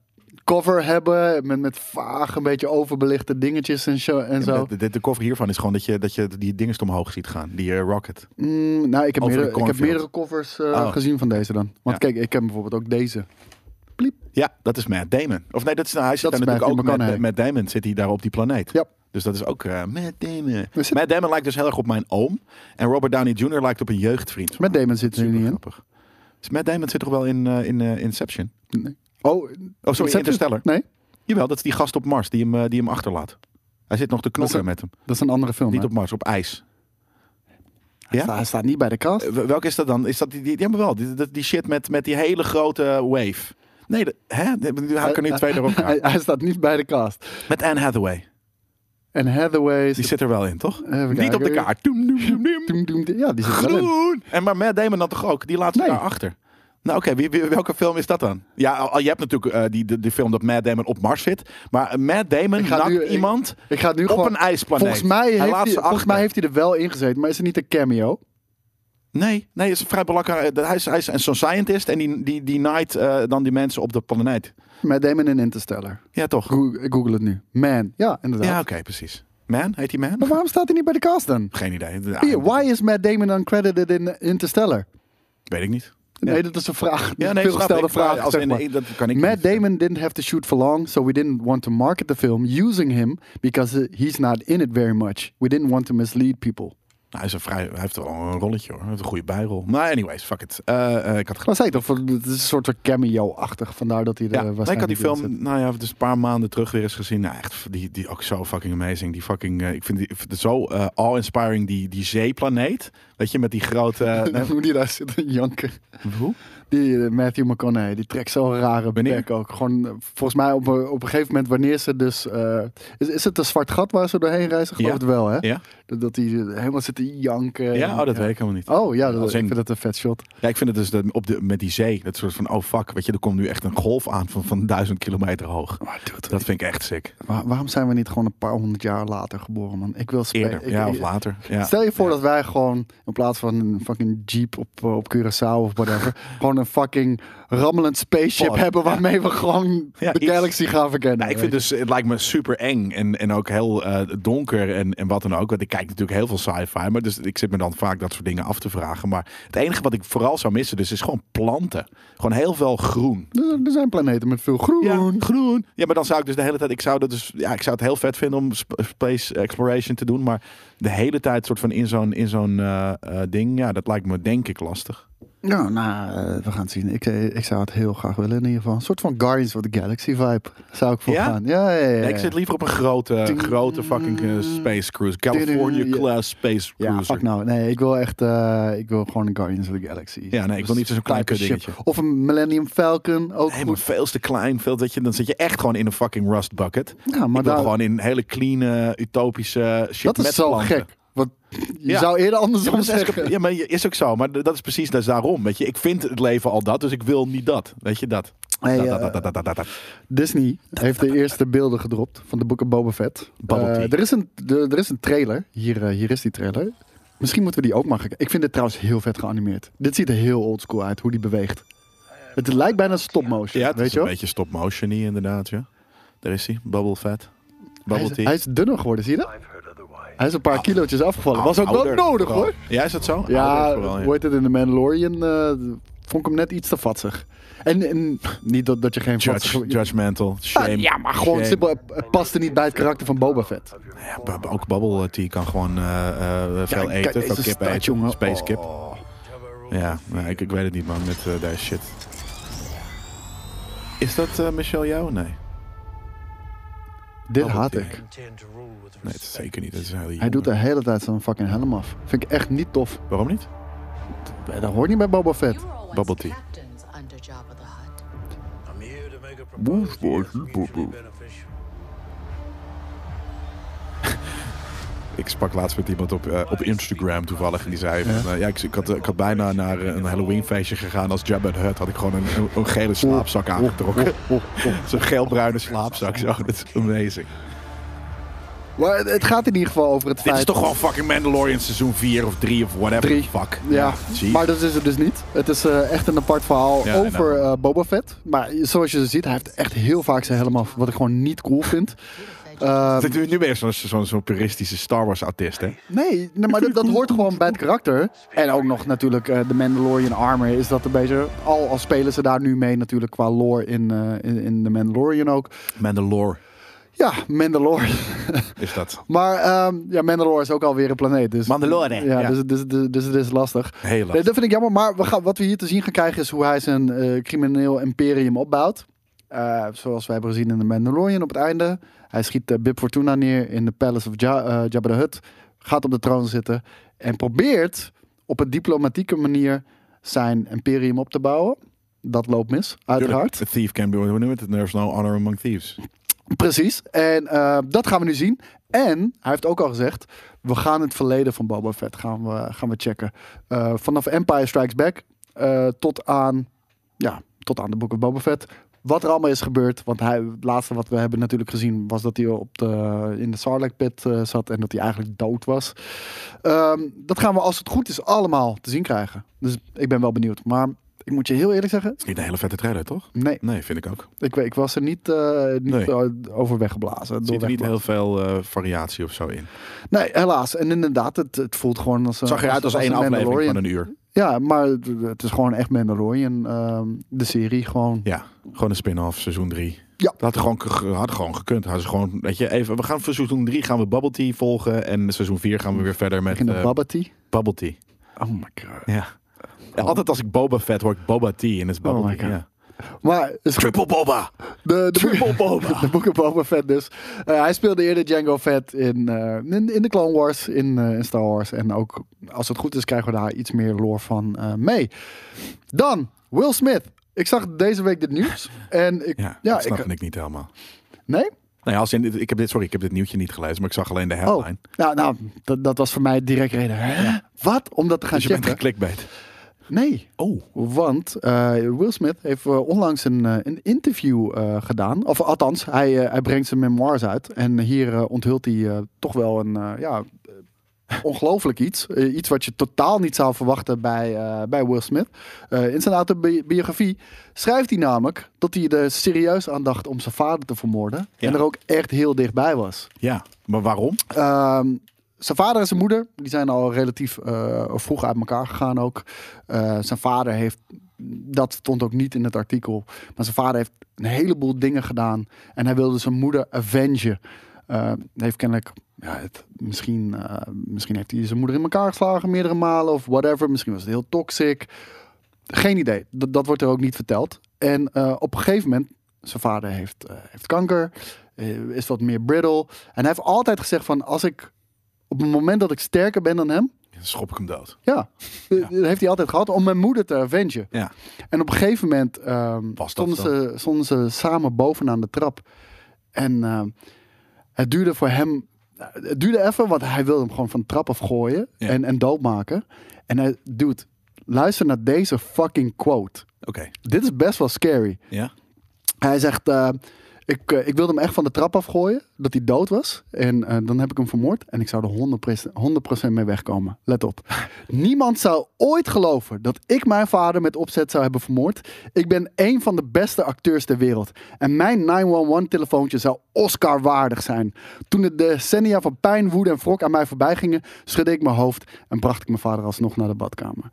cover hebben met, met vaag een beetje overbelichte dingetjes en, zo en zo.
De, de, de cover hiervan is gewoon dat je, dat je die dingen omhoog ziet gaan. Die eh, rocket.
Mm, nou, ik heb,
Over de
meerdere, ik heb
cornfield.
meerdere covers eh,
Oh.
gezien van deze dan. Want
Ja.
kijk, ik heb bijvoorbeeld ook deze. Pliep.
Ja, dat is Matt Damon. Of nee, dat is, nou, hij zit daar
Dat
natuurlijk
is Matthew
ook met,
McConaughey.
met Damon. Zit hij daar op die planeet.
Ja.
Dus dat is ook eh Matt Damon.
We zitten-
Matt Damon lijkt dus heel erg op mijn oom. En Robert Downey Jr. lijkt op een jeugdvriend.
Met Damon zit er nu niet in.
grappig. Dus Matt Damon zit toch wel in, eh, in eh, Inception?
Oh,
Oh, sorry, Interstellar.
Nee,
Jawel, dat is die gast op Mars die hem, eh, die hem achterlaat. Hij zit nog te knokken
Dat
met
is-
hem.
dat is een andere film.
Niet
hè?
op Mars, op ijs.
Hij staat- Hij staat niet bij de kast.
Eh, wel- Welke is dat dan? Is dat die, die, ja, maar wel. Die, die- die shit met, met die hele grote wave. Nee, dat- hè? Nu
Eh,
hou ik er nu twee door elkaar.
Hij, hij staat niet bij de cast.
Met Anne Hathaway.
En Hathaway...
Die zit er wel in, toch?
Even
Niet op de
kijken.
kaart. Doem, doem, doem, doem.
Doem, doem, doem. Ja, die zit er wel in.
Groen! En maar Matt Damon dan toch ook? Die laat ze
Nee.
daar achter. Nou oké, wie- wie- welke film is dat dan? Ja, al- je hebt natuurlijk eh, die, de, de film dat Matt Damon op Mars zit. Maar eh, Matt Damon
Ik ga
nakt
nu- ik-
iemand
Ik ga nu
op
gewoon...
een ijsplaneet.
volgens, mij
hij
heeft
laat ze
hij, volgens
achter.
mij heeft hij er wel in gezeten, maar is het niet een cameo?
Nee, nee, het is vrij belachelijk. Hij is, hij is een zo'n scientist en die, die, die naait eh, dan die mensen op de planeet.
Met Damon in Interstellar.
Ja, toch?
Go- Google het nu. Man. Ja, inderdaad.
Ja, oké, precies. Man? Heet die
Maar
man?
waarom staat hij niet bij de cast dan?
Geen idee.
Hier, why is Matt Damon uncredited in Interstellar?
Weet ik niet. Nou,
Nee, dat is een vraag.
Ja,
Ja,
nee,
nee,
snap
gestelde
ik. Maar
vraag.
als
zeg
in-
maar.
ik- dat kan ik
Matt
niet zeggen.
Damon didn't have to shoot for long, so we didn't want to market the film using him because uh, he's not in it very much. We didn't want to mislead people.
Nou, hij, is een vrij, hij heeft wel een rolletje hoor. Hij heeft een goede bijrol. Maar anyways, fuck it. Eh, eh, ik had
Dat zei ik toch, het is een soort van cameo-achtig, vandaar dat hij er
Ja,
eh,
nee, ik had die
waarschijnlijk in zit.
film, nou ja, dus een paar maanden terug weer eens gezien. Nou, echt, die, die ook zo fucking amazing. Die fucking, eh, ik vind die, ik vind het zo eh, awe-inspiring, die, die zeeplaneet. Weet je, met die grote... eh, nee,
Hoe die daar zit te janken.
hoe?
Die eh, Matthew McConaughey, die trekt zo'n rare
Wanneer?
bek ook. Gewoon, eh, volgens mij op, een- op een gegeven moment, wanneer ze dus... eh, is, is het een zwart gat waar ze doorheen reizen? Geloof
Ja.
het wel, hè?
Ja?
Dat, dat hij helemaal zit te janken.
Ja?
en-
Oh, dat weet ik helemaal niet.
Oh ja, dat,
Als
ik
in-
vind dat een vet shot.
Ja, ik vind het dus dat, op de, met die zee, dat soort van, oh fuck, weet je, er komt nu echt een golf aan van, van duizend kilometer hoog.
Maar Oh, dude,
Dat vind ik echt sick.
Waar- waarom zijn we niet gewoon een paar honderd jaar later geboren, man? Ik wil spe-
Eerder,
ik-
ja,
ik-
of later. Ja.
Stel je voor
Ja.
dat wij gewoon in plaats van een fucking jeep op, eh, op Curaçao of whatever, gewoon een fucking rammelend spaceship
Pod,
hebben waarmee we gewoon
Ja,
de
iets.
galaxy gaan verkennen.
Nou, ik
weet
vind dus, het lijkt me super eng en, en ook heel eh, donker en, en wat dan ook. Want ik kijk natuurlijk heel veel sci-fi, maar dus ik zit me dan vaak dat soort dingen af te vragen. Maar het enige wat ik vooral zou missen, dus is gewoon planten. Gewoon heel veel groen.
je. er, er zijn planeten met veel groen.
dus- Ja, groen. Ja, maar dan zou ik dus de hele tijd, ik zou, dat dus, ja, ik zou het heel vet vinden om sp- space exploration te doen, maar de hele tijd soort van in zo'n in zo'n eh, eh, ding, ja, dat lijkt me denk ik lastig.
Nou, nou, eh, we gaan het zien. Ik, eh, ik zou het heel graag willen in ieder geval. Een soort van Guardians of the Galaxy vibe zou ik voor
Ja?
gaan. Ja, ja, ja. ja.
Nee, ik zit liever op een grote,
Ding.
grote fucking eh, space cruise. California
Ja.
class space
Ja,
cruiser.
fuck nou. Nee, ik wil echt, eh, ik wil gewoon een Guardians of the Galaxy.
Ja, nee, ik wil niet zo'n klein
Type ship.
kutdingetje.
Of een Millennium Falcon, ook
Nee, maar
goed.
veel te klein. Veel dat je, dan zit je echt gewoon in een fucking rust bucket.
Ja, maar
Maar dan
daar-
gewoon in hele clean, eh, utopische shit
dat
met
is zo
planten.
gek. Want je
Ja.
zou eerder andersom
Ja, maar dat is,
zeggen.
ja, maar je- is ook zo. Maar d- dat is precies dat is daarom. Weet je, ik vind het leven al dat, dus ik wil niet dat. Weet je dat?
Hey,
dat,
eh,
dat, dat, dat, dat, dat, dat.
Disney heeft de eerste beelden gedropt van de boeken Boba Fett.
Bubble
Eh,
tea.
er, is een, de- er is een trailer. Hier, eh, hier is die trailer. Misschien moeten we die ook maar kijken. Ik vind dit trouwens heel vet geanimeerd. Dit ziet er heel oldschool uit, hoe die beweegt. Het lijkt bijna stop motion,
Ja, het
weet
is
je
een
wel?
beetje stop motion hier inderdaad. Ja. Daar is hij, bubble fat.
Hij
Bubble
is,
tea.
hij is dunner geworden, zie je dat?
I've heard otherwise.
Hij is een paar kilootjes afgevallen. Was ook
Ah, Ouder
wel nodig,
vooral.
hoor.
Ja, is dat zo?
Ja,
Ouder vooral,
hoe heet het in The Mandalorian? eh, vond ik hem net iets te vatsig. En, en niet dat, dat je geen
Judge,
vatsige-
judgmental.
Ja,
Shame.
ja, maar gewoon
Shame.
simpel, het- het paste niet bij het karakter van Boba Fett.
Nou Ja, bu- bu- ook bubble tea kan gewoon eh, eh, veel
kijk,
eten.
deze
Veel kip
staat,
eten.
jongen.
Space kip.
Oh.
Ja, nou, ik, ik weet het niet, man, met eh, deze shit. Is dat eh Michelle jou? Nee.
Dit
Oh,
haat
tea.
ik.
Nee, dat is zeker niet. Dat is een hele
Hij
jonge.
doet de hele tijd zo'n fucking helm af. Vind ik echt niet tof. Eh,
Waarom niet?
Dat hoort niet bij Boba Fett.
You were always
Bubble tea.
captains under Jabba the Hutt.
I'm here to make a proposal that's mutually beneficial.
Ik sprak laatst met iemand op, eh, op Instagram toevallig. En die zei: van, eh, ja, ik, ik, had, eh, ik had bijna naar eh, een Halloween-feestje gegaan als Jabba the Hutt. Had ik gewoon een, een, een gele slaapzak aangetrokken. Zo'n geelbruine slaapzak. Zo. Dat is amazing.
Maar het- het gaat in ieder geval over het
Dit
feit...
is toch gewoon fucking Mandalorian seizoen 4 of 3 of whatever.
Drie.
Fuck.
Ja,
zie.
maar dat is het dus niet. Het is eh, echt een apart verhaal
Ja,
over
nou.
eh, Boba Fett. Maar zoals je dus ziet, hij heeft echt heel vaak zijn helm af. Wat ik gewoon niet cool vind. Eh,
Dit- Nu ben je zo'n zo'n- zo'n puristische Star Wars-artiest, hè?
Nee, nee, maar dat, dat hoort gewoon bij het karakter. En ook nog natuurlijk eh, de Mandalorian armor is dat een beetje... Al, al spelen ze daar nu mee natuurlijk qua lore in, eh, in, in de Mandalorian ook.
Mandalore.
Ja, Mandalore.
Is dat
maar ehm, ja, Mandalore is ook alweer een planeet. Dus,
Mandalore,
Ja,
ja.
Dus, dus, dus, dus het is lastig.
heel lastig.
Nee, dat vind ik jammer. Maar we gaan, wat we hier te zien gaan krijgen is hoe hij zijn eh, crimineel imperium opbouwt. Eh, zoals we hebben gezien in The Mandalorian op het einde. Hij schiet eh, Bib Fortuna neer in de Palace of Ja- eh, Jabba the Hutt. Gaat op de troon zitten. En probeert op een diplomatieke manier zijn imperium op te bouwen. Dat loopt mis, uiteraard.
A thief can be hoe noem je het? There's no honor among thieves.
Precies. En eh, dat gaan we nu zien. En hij heeft ook al gezegd, we gaan het verleden van Boba Fett gaan we, gaan we checken. Eh, vanaf Empire Strikes Back eh, tot, aan, ja, tot aan de boeken Boba Fett. Wat er allemaal is gebeurd. Want hij, het laatste wat we hebben natuurlijk gezien was dat hij op de, in de Sarlacc pit eh, zat. En dat hij eigenlijk dood was. Ehm, dat gaan we als het goed is allemaal te zien krijgen. Dus ik ben wel benieuwd. Maar ik moet je heel eerlijk zeggen,
Is niet een hele vette trailer, toch?
nee.
Nee, vind ik ook.
Ik, ik was er niet, eh, niet
Nee.
eh, over weggeblazen.
Er
door
zit er niet
weggeblazen.
heel veel eh, variatie of zo in.
Nee, helaas. En inderdaad, het, het voelt gewoon als... een-
Het zag eruit als één aflevering
Mandalorian.
van een uur.
Ja, maar het- het is gewoon echt Mandalorian. ehm, de serie gewoon.
Ja, gewoon een spin-off, seizoen 3.
Ja.
Dat had gewoon, ge- had gewoon gekund. Had ze gewoon, weet je, even, we gaan voor seizoen 3 gaan we Bubble Tea volgen. En seizoen 4 gaan we weer verder met
in de
eh,
Bubba Tea.
Bubble Tea.
Oh my god.
Ja. Ja, Altijd als ik Boba Fett hoor ik Boba Tea en het is Bubble
Oh my
Tea.
God.
ja.
Maar het is
Triple Boba!
de, de,
Triple Boba!
de boeken Boba Fett dus. Eh, hij speelde eerder Django Fett in, eh, in, in de Clone Wars, in, eh, in Star Wars. En ook, als het goed is, krijgen we daar iets meer lore van eh, mee. Dan, Will Smith. Ik zag deze week dit nieuws. En ik...
Ja, dat
Ja, ik, eh,
snapte ik niet helemaal.
Nee?
Nee, als in, ik heb dit, sorry, ik heb dit nieuwtje niet gelezen, maar ik zag alleen de
Oh,
headline. Dus
nou, nou dat, dat was voor mij direct reden. Hè? Wat? Om dat te gaan
dus je bent
checken?
geklikbeet.
Nee.
Oh,
Want eh, Will Smith heeft eh, onlangs een, eh, een interview eh, gedaan. Of althans, hij, eh, hij brengt zijn memoirs uit. En hier eh, onthult hij eh, toch wel een eh, ja, eh, ongelooflijk iets. Eh, iets wat je totaal niet zou verwachten bij, eh, bij Will Smith. Eh, in zijn autobiografie schrijft hij namelijk dat hij er serieus aan dacht om zijn vader te vermoorden.
Ja.
En er ook echt heel dichtbij was.
ja. Maar waarom?
Ehm, zijn vader en zijn moeder die zijn al relatief eh, vroeg uit elkaar gegaan ook. Eh, zijn vader heeft, dat stond ook niet in het artikel, maar zijn vader heeft een heleboel dingen gedaan. En hij wilde zijn moeder avengen. Eh, heeft kennelijk, ja, het, misschien, eh, misschien heeft hij zijn moeder in elkaar geslagen meerdere malen of whatever. Misschien was het heel toxic. Geen idee. Dat, dat wordt er ook niet verteld. En eh, op een gegeven moment, zijn vader heeft, eh, heeft kanker, eh, is wat meer brittle. En hij heeft altijd gezegd van, als ik op het moment dat ik sterker ben dan hem,
Schop ik hem dood.
ja, eh, dat heeft hij altijd gehad om mijn moeder te avengen.
Ja.
En op een gegeven moment ehm,
dat
stonden,
zo?
ze, stonden ze samen bovenaan de trap. En ehm, het duurde voor hem... eh, Het duurde even, want hij wilde hem gewoon van de trap afgooien
Ja.
en, en doodmaken. En hij, dude, luister naar deze fucking quote.
Oké.
Dit is best wel scary.
Ja?
Hij zegt, eh, ik, eh, ik wilde hem echt van de trap afgooien, dat hij dood was. En eh, dan heb ik hem vermoord en ik zou er 100%, 100 mee wegkomen. Let op. Niemand zou ooit geloven dat ik mijn vader met opzet zou hebben vermoord. Ik ben een van de beste acteurs ter wereld. En mijn 911-telefoontje zou Oscar waardig zijn. Toen de decennia van pijn, woede en wrok aan mij voorbij gingen, schudde ik mijn hoofd en bracht ik mijn vader alsnog naar de badkamer.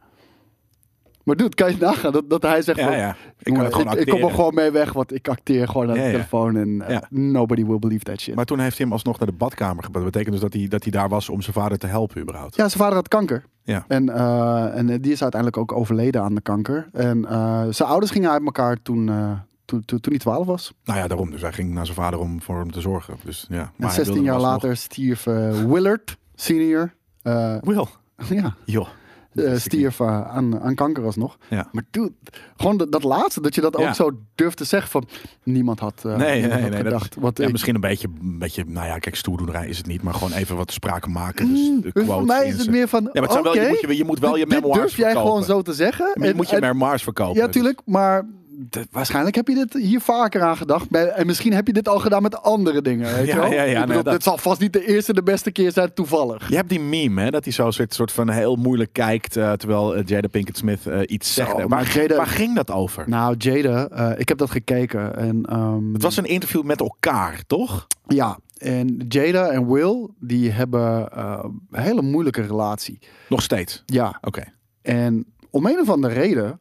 Maar dude, kan je nagaan dat, dat hij zegt
Ja,
van,
ja. Ik kan het gewoon
ik, ik kom
acteren.
er gewoon mee weg, want ik acteer gewoon aan
Ja,
de
ja.
telefoon en eh,
Ja.
nobody will believe that shit.
Maar toen heeft hij hem alsnog naar de badkamer gebracht. Dat betekent dus dat hij, dat hij daar was om zijn vader te helpen überhaupt.
ja, zijn vader had kanker.
Ja.
En, eh, en die is uiteindelijk ook overleden aan de kanker. En eh, zijn ouders gingen uit elkaar toen, eh, toen, toen, toen hij 12 was.
Nou ja, daarom. Dus hij ging naar zijn vader om voor hem te zorgen. Dus ja. Maar hij
en 16
wilde
jaar
hem alsnog-
later stierf eh, Willard, senior. eh,
Will.
ja,
Joh.
eh,
wist ik
stierf eh, aan, aan kanker alsnog.
Ja.
Maar dude, gewoon dat, dat laatste, dat je dat
Ja.
ook zo durft te zeggen van... Niemand had, eh,
Nee,
niemand
nee, nee.
had
dat-
gedacht. wat
ja,
ik-
Misschien een beetje, een beetje, nou ja, kijk, stoerdoenerij is het niet. Maar gewoon even wat sprake maken. Dus de
Dus voor
quotes
mij
in
is het
zijn-
meer van.
Ja, maar het zijn wel- je
oké,
moet je- je moet wel je
dit- dit
memoirs
durf jij
verkopen.
gewoon zo te zeggen.
Maar je
En-
moet je
en-
memoirs verkopen. dus.
Ja, tuurlijk, maar d- waarschijnlijk heb je dit hier vaker aan gedacht. Bij- En misschien heb je dit al gedaan met andere dingen. Weet
Ja,
je wel?
ja, ja,
Ik
nee,
bedoel,
dat-
Dit zal vast niet de eerste, de beste keer zijn, toevallig.
Je hebt die meme, hè, dat hij zo soort, soort van heel moeilijk kijkt, eh, terwijl eh, Jada Pinkett Smith eh, iets zegt.
maar
waar,
Jada-
waar ging dat over?
Nou, Jada, eh, ik heb dat gekeken. En, ehm,
het was een interview met elkaar, toch?
Ja, en Jada en Will, die hebben eh, een hele moeilijke relatie.
Nog steeds.
Ja,
Oké.
en om een of andere reden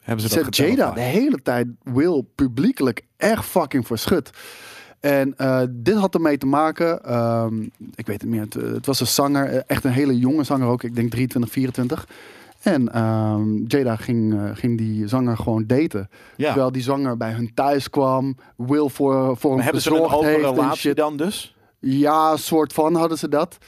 Hebben ze Dus dat
zet Jada
geteld?
de hele tijd Will publiekelijk echt fucking voor schut. En eh, dit had ermee te maken. ehm, ik weet het niet meer. Het, het was een zanger, eh, echt een hele jonge zanger ook. Ik denk 23, 24. En ehm, Jada ging, eh, ging die zanger gewoon daten.
Ja.
Terwijl die zanger bij hun thuis kwam. Will voor, voor hem
Maar hebben ze een
gezorgd
open
heeft en
relatie
shit.
dan dus?
Ja, soort van hadden ze dat.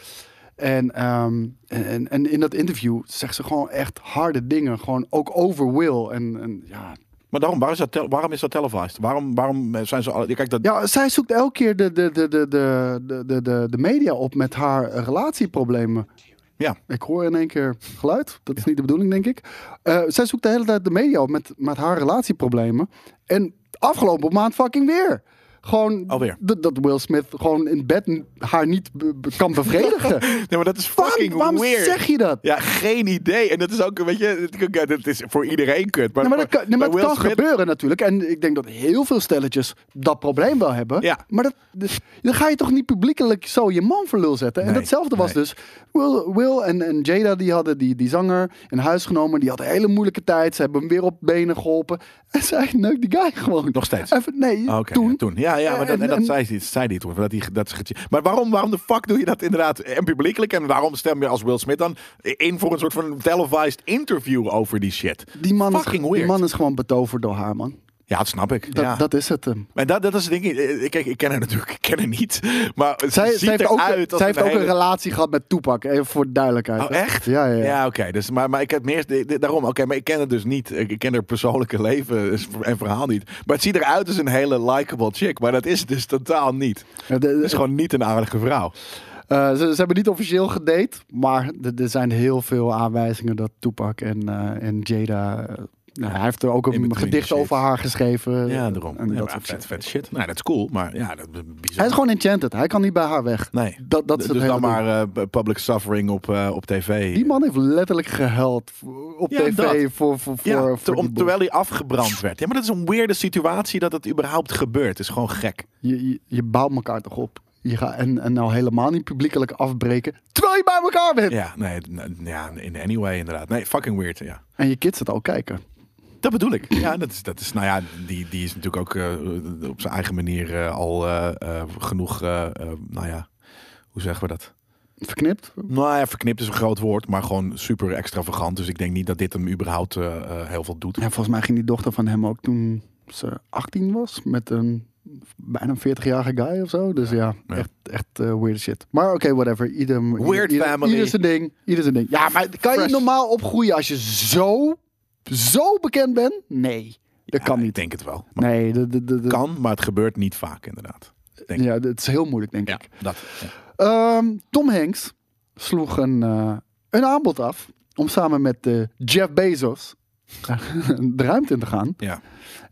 En, ehm, en, en in dat interview zegt ze gewoon echt harde dingen. Gewoon ook over Will. En, en ja.
Maar daarom, waar is dat tel- waarom is dat televised? Waarom, waarom eh, zijn ze... Al, kijk, dat,
ja, zij zoekt elke keer de, de, de, de, de, de- de, de, de media op met haar eh, relatieproblemen.
ja.
Ik hoor in één keer geluid. Dat is niet de bedoeling, denk ik. Eh, zij zoekt de hele tijd de media op met, met haar relatieproblemen. En afgelopen maand fucking weer. Gewoon
Alweer.
dat- dat Will Smith gewoon in bed n- haar niet be- be- kan bevredigen.
Nee, maar dat is fucking
waarom waarom
weird.
zeg je dat?
Ja, geen idee. En dat is ook, weet je, dat- dat is voor iedereen kut. Maar,
Nee, maar dat kan, nee, maar
bij
het
Will
kan
Smith-
gebeuren natuurlijk. En ik denk dat heel veel stelletjes dat probleem wel hebben.
Ja.
Maar dat, dus, dan ga je toch niet publiekelijk zo je man voor lul zetten. en
Nee,
datzelfde was
nee.
dus... Will, Will en, en Jada die hadden die, die zanger in huis genomen. Die had een hele moeilijke tijd. Ze hebben hem weer op benen geholpen. En zij neukt die guy gewoon.
Nog steeds? Ah,
Even, nee,
Oh, Oké,
toen.
ja, toen. Ja, ja maar dat, en,
En-
dat
en-
zei hij, zei hij toen. Dat hij, dat ze getje- maar waarom, waarom de fuck doe je dat inderdaad en publiekelijk? En waarom stem je als Will Smith dan in voor een soort van televised interview over die shit?
Die man, is,
Fucking
die
weird.
man is gewoon betoverd door haar, man.
Ja, dat snap ik.
Dat,
ja.
dat is het hem.
maar dat, dat is het ding. Ik, ik, ik ken haar natuurlijk, ik ken haar niet. Maar ze
Zij,
ziet
zij heeft ook,
eruit als
zij heeft ook
hele-
een relatie gehad met Tupac. Even voor de duidelijkheid.
Oh, echt?
Ja, ja. ja.
oké. Dus, maar, maar ik heb meer. di- di- Daarom, oké, maar ik ken het dus niet. Ik ik ken haar persoonlijke leven is- en verhaal niet. Maar het ziet eruit als een hele likable chick. Maar dat is het dus totaal niet.
Ja, de-
Het is gewoon niet een aardige vrouw.
Eh, ze, ze hebben niet officieel gedate, maar er- er zijn heel veel aanwijzingen dat Tupac en, eh, en Jada. eh, nou, hij heeft er ook
In
een
between
gedicht
the shit.
over haar geschreven.
Ja, daarom.
En
Ja,
dat
maar
soort
vet,
shit.
vet shit. Nou, dat is cool. Maar ja, dat is bizar.
Hij is gewoon enchanted. Hij kan niet bij haar weg.
Nee.
Dat, dat is het
dus
hele
dan
ding.
maar eh, public suffering op, eh, op tv.
Die man heeft letterlijk gehuild v- op
Ja,
tv
dat.
voor, voor,
Ja,
voor,
ter- om-
voor die boel.
terwijl hij afgebrand werd. Ja, maar dat is een weirde situatie dat het überhaupt gebeurt. Het is gewoon gek.
je, je, je bouwt elkaar toch op. Je gaat, en, en nou helemaal niet publiekelijk afbreken, terwijl je bij elkaar bent.
Ja, nee, n- ja, in any way inderdaad. Nee, fucking weird, ja.
En je kids het al kijken.
Dat bedoel ik. Ja, dat is, dat is nou ja, die, die is natuurlijk ook eh, op zijn eigen manier eh, al eh, eh, genoeg, eh, eh, nou ja, hoe zeggen we dat?
Verknipt.
Nou ja, verknipt is een groot woord, maar gewoon super extravagant. Dus ik denk niet dat dit hem überhaupt eh, eh, heel veel doet.
Ja, volgens mij ging die dochter van hem ook toen ze 18 was met een bijna 40-jarige guy of zo. Dus ja,
ja.
echt, echt eh, weird shit. Maar oké, whatever. Ieder,
Weird
ieder,
family.
Ieder zijn ding. Ieder zijn ding. Ja, maar kan
Fresh.
je normaal opgroeien als je zo, zo bekend bent? Nee, dat kan
Ik
niet.
denk het wel. Maar
Nee, dat dat- dat- dat-
het kan, maar het gebeurt niet vaak inderdaad. Denk ik.
ja, dat is heel moeilijk, denk
Ja,
ik.
dat. ja.
Ehm, Tom Hanks sloeg een, eh, een aanbod af om samen met eh, Jeff Bezos de ruimte in te gaan.
Ja.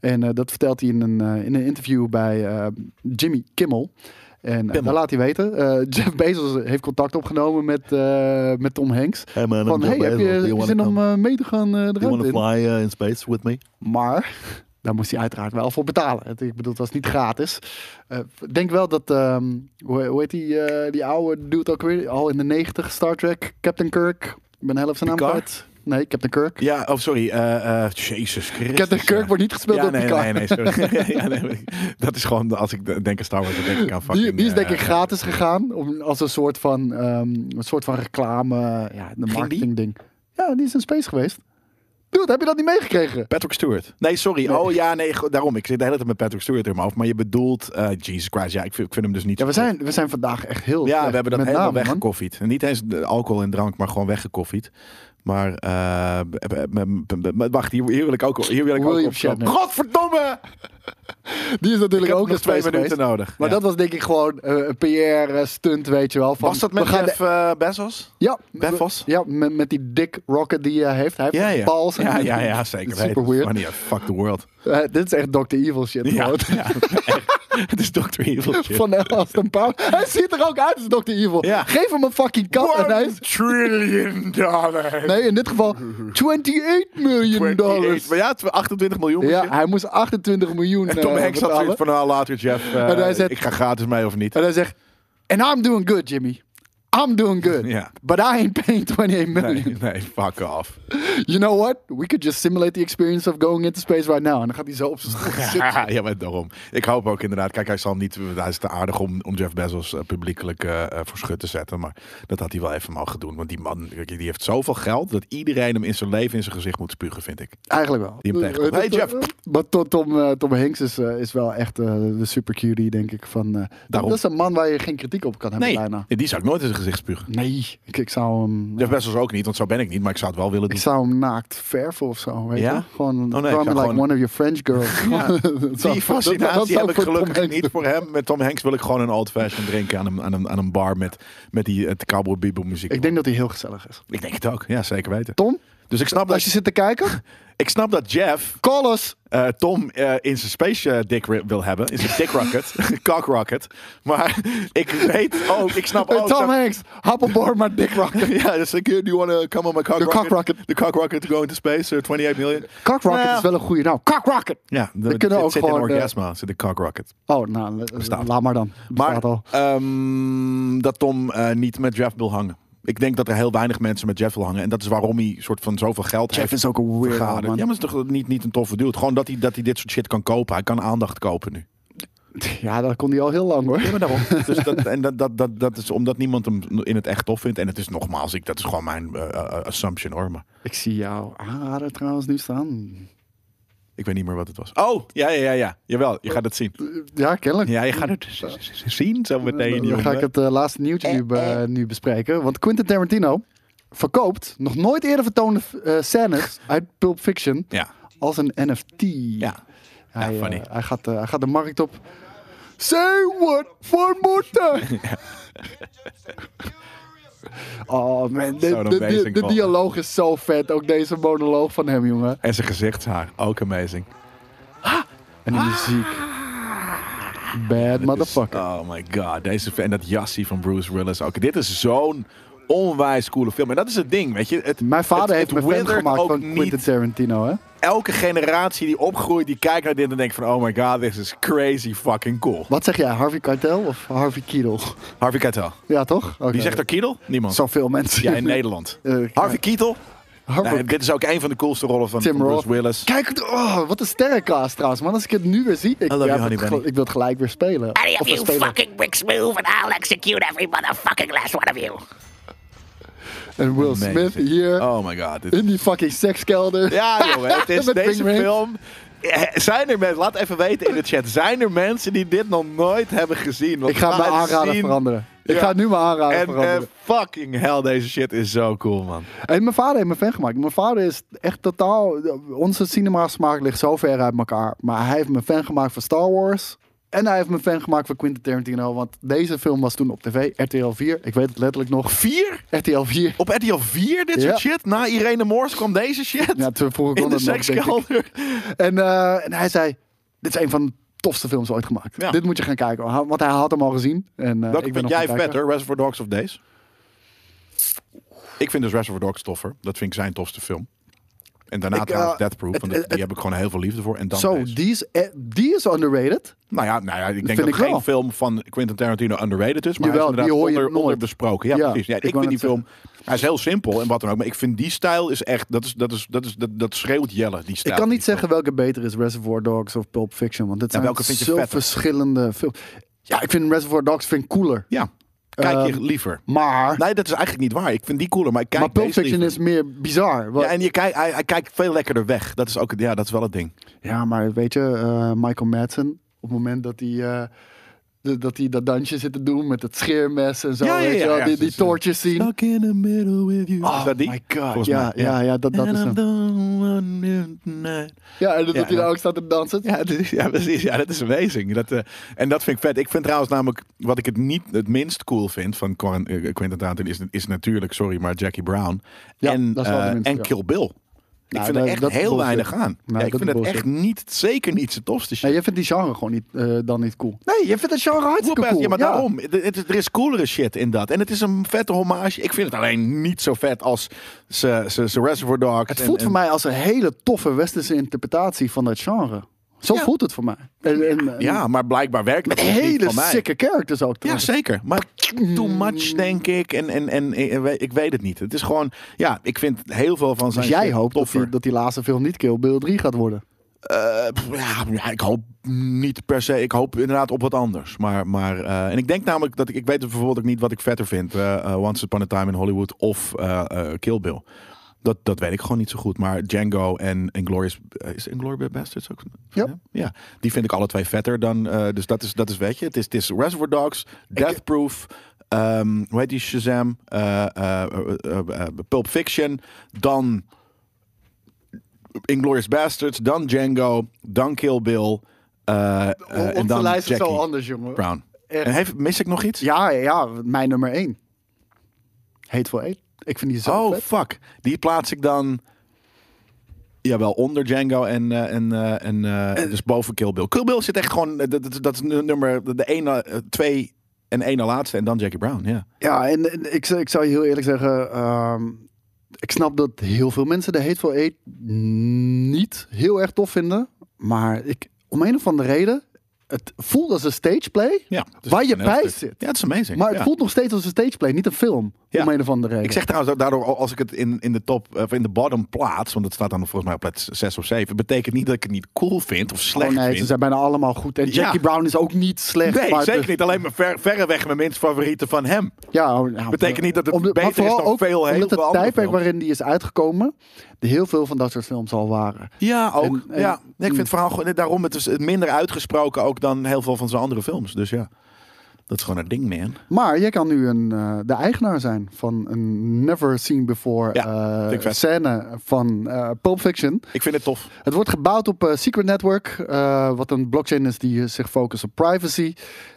En eh, dat vertelt hij in een, eh, in een interview bij eh, Jimmy Kimmel. En eh, daar laat hij weten. eh, Jeff Bezos heeft contact opgenomen met, eh, met Tom Hanks.
Hey man,
Van,
I'm
hey,
Jeff
heb
Bezos. Do
je
you wanna
zin om
come?
eh, mee te gaan eh, de
Do you want
ruimte
to
in?
fly uh, in space with me?
Maar daar moest hij uiteraard wel voor betalen. Het- Ik bedoel, het was niet gratis. Eh, Ik denk wel dat, ehm, hoe, hoe heet die, eh, die oude dude ook weer? Al in de 90 Star Trek, Captain Kirk. Ik ben de helft zijn naam
Picard?
kwijt. Nee, Captain Kirk.
Ja, oh sorry. eh eh Jezus Christus.
Captain Kirk
ja.
wordt niet gespeeld
ja,
door
nee,
Picard.
nee, nee, sorry. ja, nee, maar dat is gewoon, als ik denk aan Star Wars, dan denk ik aan fucking...
Die, die is denk
eh,
ik gratis gegaan om, als een soort van, ehm, een soort van reclame, ja, een marketing ding. Ja, die is in space geweest. Dude, heb je dat niet meegekregen?
Patrick Stewart. Nee, sorry. Oh ja, nee, go- daarom. Ik zit de hele tijd met Patrick Stewart in mijn hoofd. Maar je bedoelt, eh, Jesus Christ, ja, ik vind, ik vind hem dus niet...
Ja, we
zo goed.
zijn, we zijn vandaag echt heel
Ja,
slecht
we hebben dat
met
helemaal
namen, man.
weggekoffied. En niet eens de alcohol en drank, maar gewoon weggekoffied. Maar eh, b- b- b- b- wacht, hier, hier wil ik ook, hier wil ik ook
William
op.
Shatner.
Godverdomme!
Die is
Ik
natuurlijk
heb
ook
nog
in
twee
space
minuten
geweest.
nodig.
Maar
Ja.
dat was denk ik gewoon eh, een PR-stunt, weet je wel. Van,
Was dat
we
met
gaan de-
Jeff eh, Bezos?
ja,
Beffos?
Ja, met, met die dick rocket die hij heeft. Hij heeft
Ja,
ja,
ja.
balls. en-
ja, ja, ja, zeker.
Super
weten.
weird.
Funny, as fuck the world.
Eh, dit is echt Dr. Evil shit.
Ja,
gewoon.
ja, echt. Het is Dr. Evil shit.
Van Aston Power. Hij ziet er ook uit als Dr. Evil.
Ja.
Geef hem een fucking kat en hij is...
trillion dollar.
Nee, in dit geval 28 miljoen dollars.
Maar ja, 28 miljoen. moet
Ja,
je.
hij moest 28 miljoen
en Tom Hanks
eh,
had
betalen.
zoiets van, nou later Jeff, eh,
En hij zegt-
ik ga gratis mee of niet.
En hij zegt, and I'm doing good, Jimmy. I'm doing good.
Ja.
But I ain't paying 28 million.
Nee, nee, fuck off.
You know what? We could just simulate the experience of going into space right now. En dan gaat hij zo op zijn stoel zitten.
ja, maar daarom. Ik hoop ook inderdaad. Kijk, hij zal hem niet. Hij is te aardig om, om Jeff Bezos eh, publiekelijk eh, eh, voor schut te zetten. Maar dat had hij wel even mogen doen. Want die man, kijk, die heeft zoveel geld dat iedereen hem in zijn leven in zijn gezicht moet spugen, vind ik.
Eigenlijk wel.
Die hem tegenkomt.
Eh,
Hey,
dat-
Jeff.
Maar to- Tom, eh, Tom Hanks is, eh, is wel echt eh, de super cutie, denk ik. Van, eh,
Daarom.
dat is een man waar je geen kritiek op kan hebben
Nee,
bijna.
die zou ik nooit in zijn gezicht spugen.
Nee, ik, ik zou hem...
Jeff Bezos ook niet, want zo ben ik niet. Maar ik zou het wel willen
Ik
doen.
zou hem naakt verven of zo. Weet
Ja? Oh,
je? Gewoon,
nee, ik
draw
zou
me like
gewoon-
one of your French girls. Gewoon, dat zou- dat-
Die
dat- dat
fascinatie
zou
heb ik
voor Tom
gelukkig
Hanks
niet voor hem. Met Tom Hanks wil ik gewoon een old fashion drinken aan een, aan een, aan een bar met, met die het cowboy bebop muziek.
Ik denk dat hij heel gezellig is.
ik denk het ook. Ja, zeker weten.
Tom,
Dus ik snap,
als je
dat,
zit te kijken,
ik snap dat Jeff
call us.
eh, Tom eh, in zijn space eh, dick ri- wil hebben. In zijn dick rocket. cock rocket. Maar ik weet ook, ik snap
Hey,
ook...
Eh, Tom
dat-
Hanks, hop aboard my dick rocket.
Ja, dus ik, do you want to come on my cock
The
rocket?
cock rocket.
The cock rocket to go into space, eh, 28 million.
Cock rocket
Nou,
is wel een goede naam. Cock rocket.
Ja,
We kunnen ook
zit
gewoon,
in
eh,
orgasma, zit in cock rocket.
Oh, nou, eh,
Bestaat.
laat maar dan.
Maar
Bestaat al.
ehm, dat Tom eh, niet met Jeff wil hangen. Ik denk dat er heel weinig mensen met Jeff wil hangen. En dat is waarom hij soort van zoveel geld
Jeff
heeft.
is ook een weirdo,
vergaderd.
man.
Ja, maar is toch niet, niet een toffe dude. Gewoon dat hij, dat hij dit soort shit kan kopen. Hij kan aandacht kopen nu.
Ja, dat kon hij al heel lang hoor.
Ja, maar daarom. dus dat, en dat, dat, dat, dat is omdat niemand hem in het echt tof vindt. En het is nogmaals, ik, dat is gewoon mijn eh, eh, assumption hoor. Maar
Ik zie jouw aanrader trouwens nu staan.
ik weet niet meer wat het was. Oh, ja, ja, ja. ja. Jawel, je gaat het zien.
Ja, kennelijk.
Ja, je gaat het z- z- zien zo meteen.
Dan ga
jongen.
ik het eh, laatste nieuwtje nu, be- nu bespreken. Want Quentin Tarantino verkoopt nog nooit eerder vertoonde eh, scènes uit Pulp Fiction
Ja,
als een NFT.
ja.
hij, eh,
funny.
hij, gaat, eh, hij gaat de markt op. Say what one more time. Oh man, de,
Zo'n
de- de-
amazing
de
man.
dialoog is zo vet. Ook deze monoloog van hem, jongen.
En zijn gezichtshaar, ook amazing.
En
Ah.
de muziek. Bad motherfucker.
Oh my god, deze en dat jassie van Bruce Willis ook. Dit is zo'n onwijs coole film. En dat is het ding, weet je. Het,
Mijn vader
het-
heeft me
het
fan
withert
gemaakt
ook
van
niet.
Quentin Tarantino, hè?
Elke generatie die opgroeit, die kijkt naar dit en denkt van... Oh my god, this is crazy fucking cool.
Wat zeg jij, Harvey Keitel of Harvey Keitel?
Harvey Keitel.
Ja, toch?
Wie zegt er Kiedel? Niemand.
Zoveel mensen.
Ja, in Nederland.
Eh,
Harvey Keitel.
Harvey
Nee, dit is ook een van de coolste rollen van,
Tim
van
Roth.
Bruce Willis.
Kijk, oh, wat een sterrencast trouwens, man. Als ik het nu weer zie, ik,
I love you,
ik
honey
wil het
bunny.
gel- ik wil het gelijk weer spelen.
Any
Of
of
we
you
spelen.
fucking bricks move, and I'll execute every motherfucking last one of you.
En Will
Amazing.
Smith hier
Oh my god. dit-
in die fucking sekskelder.
Ja, jongen, het is
Met
deze
Bing Bang.
film. Eh, Zijn er mensen, laat even weten in de chat, zijn er mensen die dit nog nooit hebben gezien? Want
Ik ga mijn
het
aanrader
zien-
veranderen. Ik
Ja.
ga nu mijn aanrader
En
veranderen.
eh, fucking hell, deze shit is zo cool, man.
En mijn vader heeft me fan gemaakt. Mijn vader is echt totaal... Onze cinemasmaak ligt zo ver uit elkaar. Maar hij heeft me fan gemaakt van Star Wars. En hij heeft me fan gemaakt van Quentin Tarantino. Want deze film was toen op tv. RTL 4. Ik weet het letterlijk nog.
Vier?
RTL 4.
Op RTL 4 dit
Ja.
soort shit? Na Irene Moors kwam deze shit?
Ja, toen vroeg ik
in
kon
de
het nog, denk ik.
sekskelder.
En, eh, en hij zei... Dit is een van de tofste films ooit gemaakt.
Ja.
Dit moet je gaan kijken. Want hij had hem al gezien. En, eh,
Welke
ik ben
vind
nog
jij
gaan kijken.
vetter, Reservoir Dogs of Days? Ik vind dus Reservoir Dogs toffer. Dat vind ik zijn tofste film. En daarna
Ik,
trouwens
eh,
Death Proof, want
het-
die- die heb ik gewoon heel veel liefde voor. En dan
Zo,
deze.
die is, eh, die is underrated.
Nou ja, nou ja ik denk
vind
dat
ik
geen
wel.
film van Quentin Tarantino underrated is. Maar
Jawel,
hij is inderdaad
die hoor je
onder,
nooit.
onderbesproken. Ja,
Ja,
precies. Ja,
ik
ik,
wou
vind die
net
film... Hij is heel simpel en wat dan ook. Maar ik vind die stijl is echt... Dat, is, dat, is, dat, is, dat, dat schreeuwt Jelle, die
Ik
stijl.
kan
van
niet
die
zeggen welke beter is, Reservoir Dogs of Pulp Fiction. Want het zijn
welke vind je
zo
vetter?
verschillende films. Ja, ik vind Reservoir Dogs vind ik cooler.
film. Ja, kijk je
Ehm,
liever.
Maar,
Nee, dat is eigenlijk niet waar. Ik vind die cooler, maar ik kijk
maar Pulp
deze
Fiction
liever.
is meer bizar. Wa-
Ja, en je kijkt, hij, hij kijkt veel lekkerder weg. Dat is, ook, het- ja, dat is wel het ding.
Ja, maar weet je, eh, Michael Madsen, op het moment dat hij... eh, de- dat hij dat dansje zit te doen met het scheermes en zo.
Ja, ja,
weet je
ja,
wel,
ja,
die,
ze-
die
ze-
torture scene.
Stuck in the middle with you.
Oh
is dat die?
my god,
Volgens
ja,
mij,
ja, ja, dat- dat
And
is
I
hem.
don't want you tonight.
Ja, en dat
Ja,
hij
ja.
daar ook staat te dansen.
Ja, dat is, ja, precies. Ja, dat is amazing. Dat, eh, en dat vind ik vet. Ik vind trouwens namelijk, wat ik het niet het minst cool vind van Quar- eh, Quentin Tarantino is, is natuurlijk, sorry, maar Jackie Brown.
Ja,
en
dat is wel de
eh,
minste,
en
ja.
Kill Bill. Ik
Nou,
vind er
dat-
echt
dat is
heel
bullshit.
weinig aan.
Nou,
Ja, ik
dat
vind
is
het
bullshit.
echt niet, zeker niet zijn tofste shit.
Nee, jij vindt die genre gewoon niet, eh, dan niet cool.
Nee, je vindt het genre
hartstikke cool.
Ja, maar
Ja.
daarom. Het- het- er is coolere shit in dat. En het is een vette hommage. Ik vind het alleen niet zo vet als ze ze- ze Reservoir Dogs.
Het
en-
voelt
en-
voor mij als een hele toffe westerse interpretatie van dat genre. Zo voelt het voor mij. En, en, en
Ja, maar blijkbaar werkt dat
Met
dus niet
hele
van mij.
sikke characters ook.
Ja,
trouwens.
zeker. Maar too much, denk ik. En, en, en, en we- ik weet het niet. Het is gewoon... Ja, ik vind heel veel van zijn
Dus jij
shit
hoopt dat
toffer.
die, dat die laatste film niet Kill Bill 3 gaat worden.
Eh, pff, ja, ja, ik hoop niet per se. Ik hoop inderdaad op wat anders. Maar, maar, eh, en ik denk namelijk dat ik... Ik weet bijvoorbeeld ook niet wat ik vetter vind. eh, eh, Once Upon a Time in Hollywood of eh, eh, Kill Bill. Dat, dat weet ik gewoon niet zo goed. Maar Django en Inglourious... eh, Is Inglourious Bastards ook?
Ja.
van hem? ja. Die vind ik alle twee vetter dan... eh, dus dat is, dat is, weet je... Het is, het is Reservoir Dogs, Death Proof... ehm, hoe heet die Shazam? eh, eh, eh, eh, eh, Pulp Fiction. Dan... Inglourious Bastards, dan Django, dan Kill Bill. eh, eh, en dan Jackie
jongen.
Brown.
Echt.
En heeft, mis ik nog iets?
Ja, ja, mijn nummer 1. Hateful Eight. Ik vind die zo
oh,
vet.
fuck. Die plaats ik dan... Jawel, onder Django en, eh, en, eh, en eh, dus boven Kill Bill. Kill Bill zit echt gewoon... eh, Dat, dat, dat is nu- nummer de- de ene, eh, twee en één na laatste. En dan Jackie Brown, ja.
Ja, en, en ik, zou- ik zou je heel eerlijk zeggen... ehm, ik snap dat heel veel mensen de Hateful Eight niet heel erg tof vinden. Maar ik, om een of andere reden... Het voelt als een stageplay
ja dus
waar
het is
je
een heel
bij
stuk.
zit.
Ja, het is amazing.
Maar het
ja.
voelt nog steeds als een stageplay, niet een film.
Ja.
Om een of andere reden.
Ik zeg trouwens ook daardoor, als ik het in, in de top eh, of in de bottom plaats, want het staat dan volgens mij op plaats 6 of 7, betekent niet dat ik het niet cool vind of
Oh
slecht
nee, ze
vind.
zijn bijna allemaal goed. En
Ja.
Jackie Brown is ook niet slecht.
Nee,
maar
zeker
de-
niet. Alleen maar ver, verreweg mijn minst favoriete van hem.
Ja, oh, nou,
Betekent niet dat het
maar
beter is
vooral
dan veel heel
Omdat
veel
het
andere
tijdperk
films.
waarin die is uitgekomen, er heel veel van dat soort films al waren.
Ja, ook.
En- en-
ja. Nee, ik
Mm.
vind het verhaal gewoon, daarom het is minder uitgesproken ook dan heel veel van zijn andere films. Dus ja, dat is gewoon een ding, man.
Maar jij kan nu een, eh, de eigenaar zijn van een never seen before
Ja,
eh,
vind ik vet.
scène van eh Pulp Fiction.
Ik vind het tof.
Het wordt gebouwd op eh, Secret Network, eh, wat een blockchain is die eh, zich focust op privacy.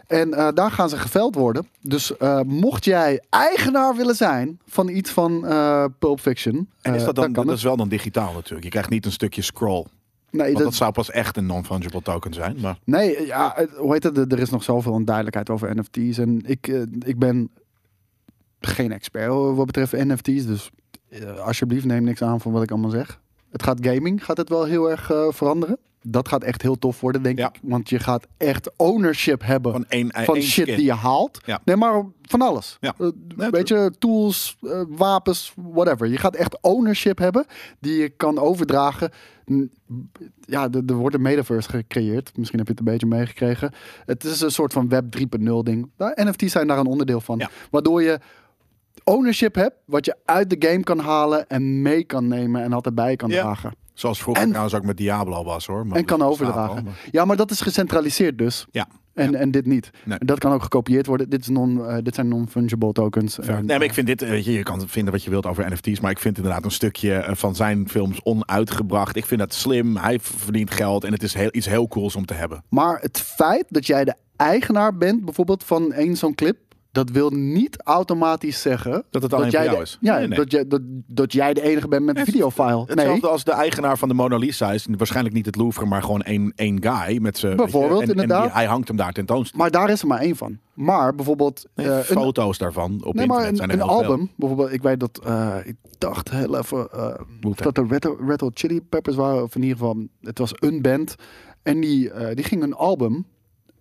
En eh, daar gaan ze geveld worden. Dus eh, mocht jij eigenaar willen zijn van iets van eh Pulp Fiction,
En is
eh,
dat dan,
kan
dat
het.
is wel dan digitaal natuurlijk. Je krijgt niet een stukje scroll.
Nee,
Want
dat,
dat zou pas echt een non-fungible token zijn. Maar
nee ja, het- hoe heet het? Er- Er is nog zoveel onduidelijkheid over NFT's. En ik, eh, ik ben geen expert wat betreft NFT's. Dus eh, alsjeblieft, neem niks aan van wat ik allemaal zeg. Het gaat gaming, gaat het wel heel erg eh, veranderen. Dat gaat echt heel tof worden, denk
Ja.
ik. Want je gaat echt ownership hebben
van één eh,
van
één
shit
skin.
die je haalt.
Ja.
Nee, maar van alles.
Ja.
Eh,
Nee,
weet je, tools, eh, wapens, whatever. Je gaat echt ownership hebben die je kan overdragen. N- Ja, er er wordt een metaverse gecreëerd. Misschien heb je het een beetje meegekregen. Het is een soort van web 3.0 ding. Nou, NFT's zijn daar een onderdeel van.
Ja.
Waardoor je ownership hebt wat je uit de game kan halen en mee kan nemen en altijd bij je kan
Ja.
dragen.
Zoals vroeger
En-
trouwens ook met Diablo was hoor. Maar
En kan
dat bestaat al,
overdragen.
maar-
Ja, maar dat is gecentraliseerd dus.
Ja.
En, en dit niet.
Nee.
En Dat kan ook gekopieerd worden. Dit, is non, eh, dit zijn non-fungible tokens. En,
Nee, maar ik vind dit, eh, weet je, je kan vinden wat je wilt over NFT's, maar ik vind inderdaad een stukje eh, van zijn films onuitgebracht. Ik vind dat slim, hij v- verdient geld en het is heel, iets heel cools om te hebben.
Maar het feit dat jij de eigenaar bent, bijvoorbeeld van één zo'n clip, dat wil niet automatisch zeggen
Dat het alleen
jij
voor jou
de-
is.
Ja,
Nee, nee.
Dat, jij, dat, dat jij de enige bent met een videofile.
Hetzelfde
Nee,
als de eigenaar van de Mona Lisa is waarschijnlijk niet het Louvre, maar gewoon één, één guy met zijn.
Bijvoorbeeld,
en, en die-
inderdaad.
hij hangt hem daar tentoonst.
maar daar is er maar één van. Maar bijvoorbeeld
Nee,
eh, een
foto's daarvan op
Nee, maar
internet
een,
zijn er
een
heel veel.
album, bijvoorbeeld, ik weet dat, eh, ik dacht heel even eh, of dat de Red, Red Hot Chili Peppers waren, of in ieder geval, het was een band. En die, eh, die ging een album,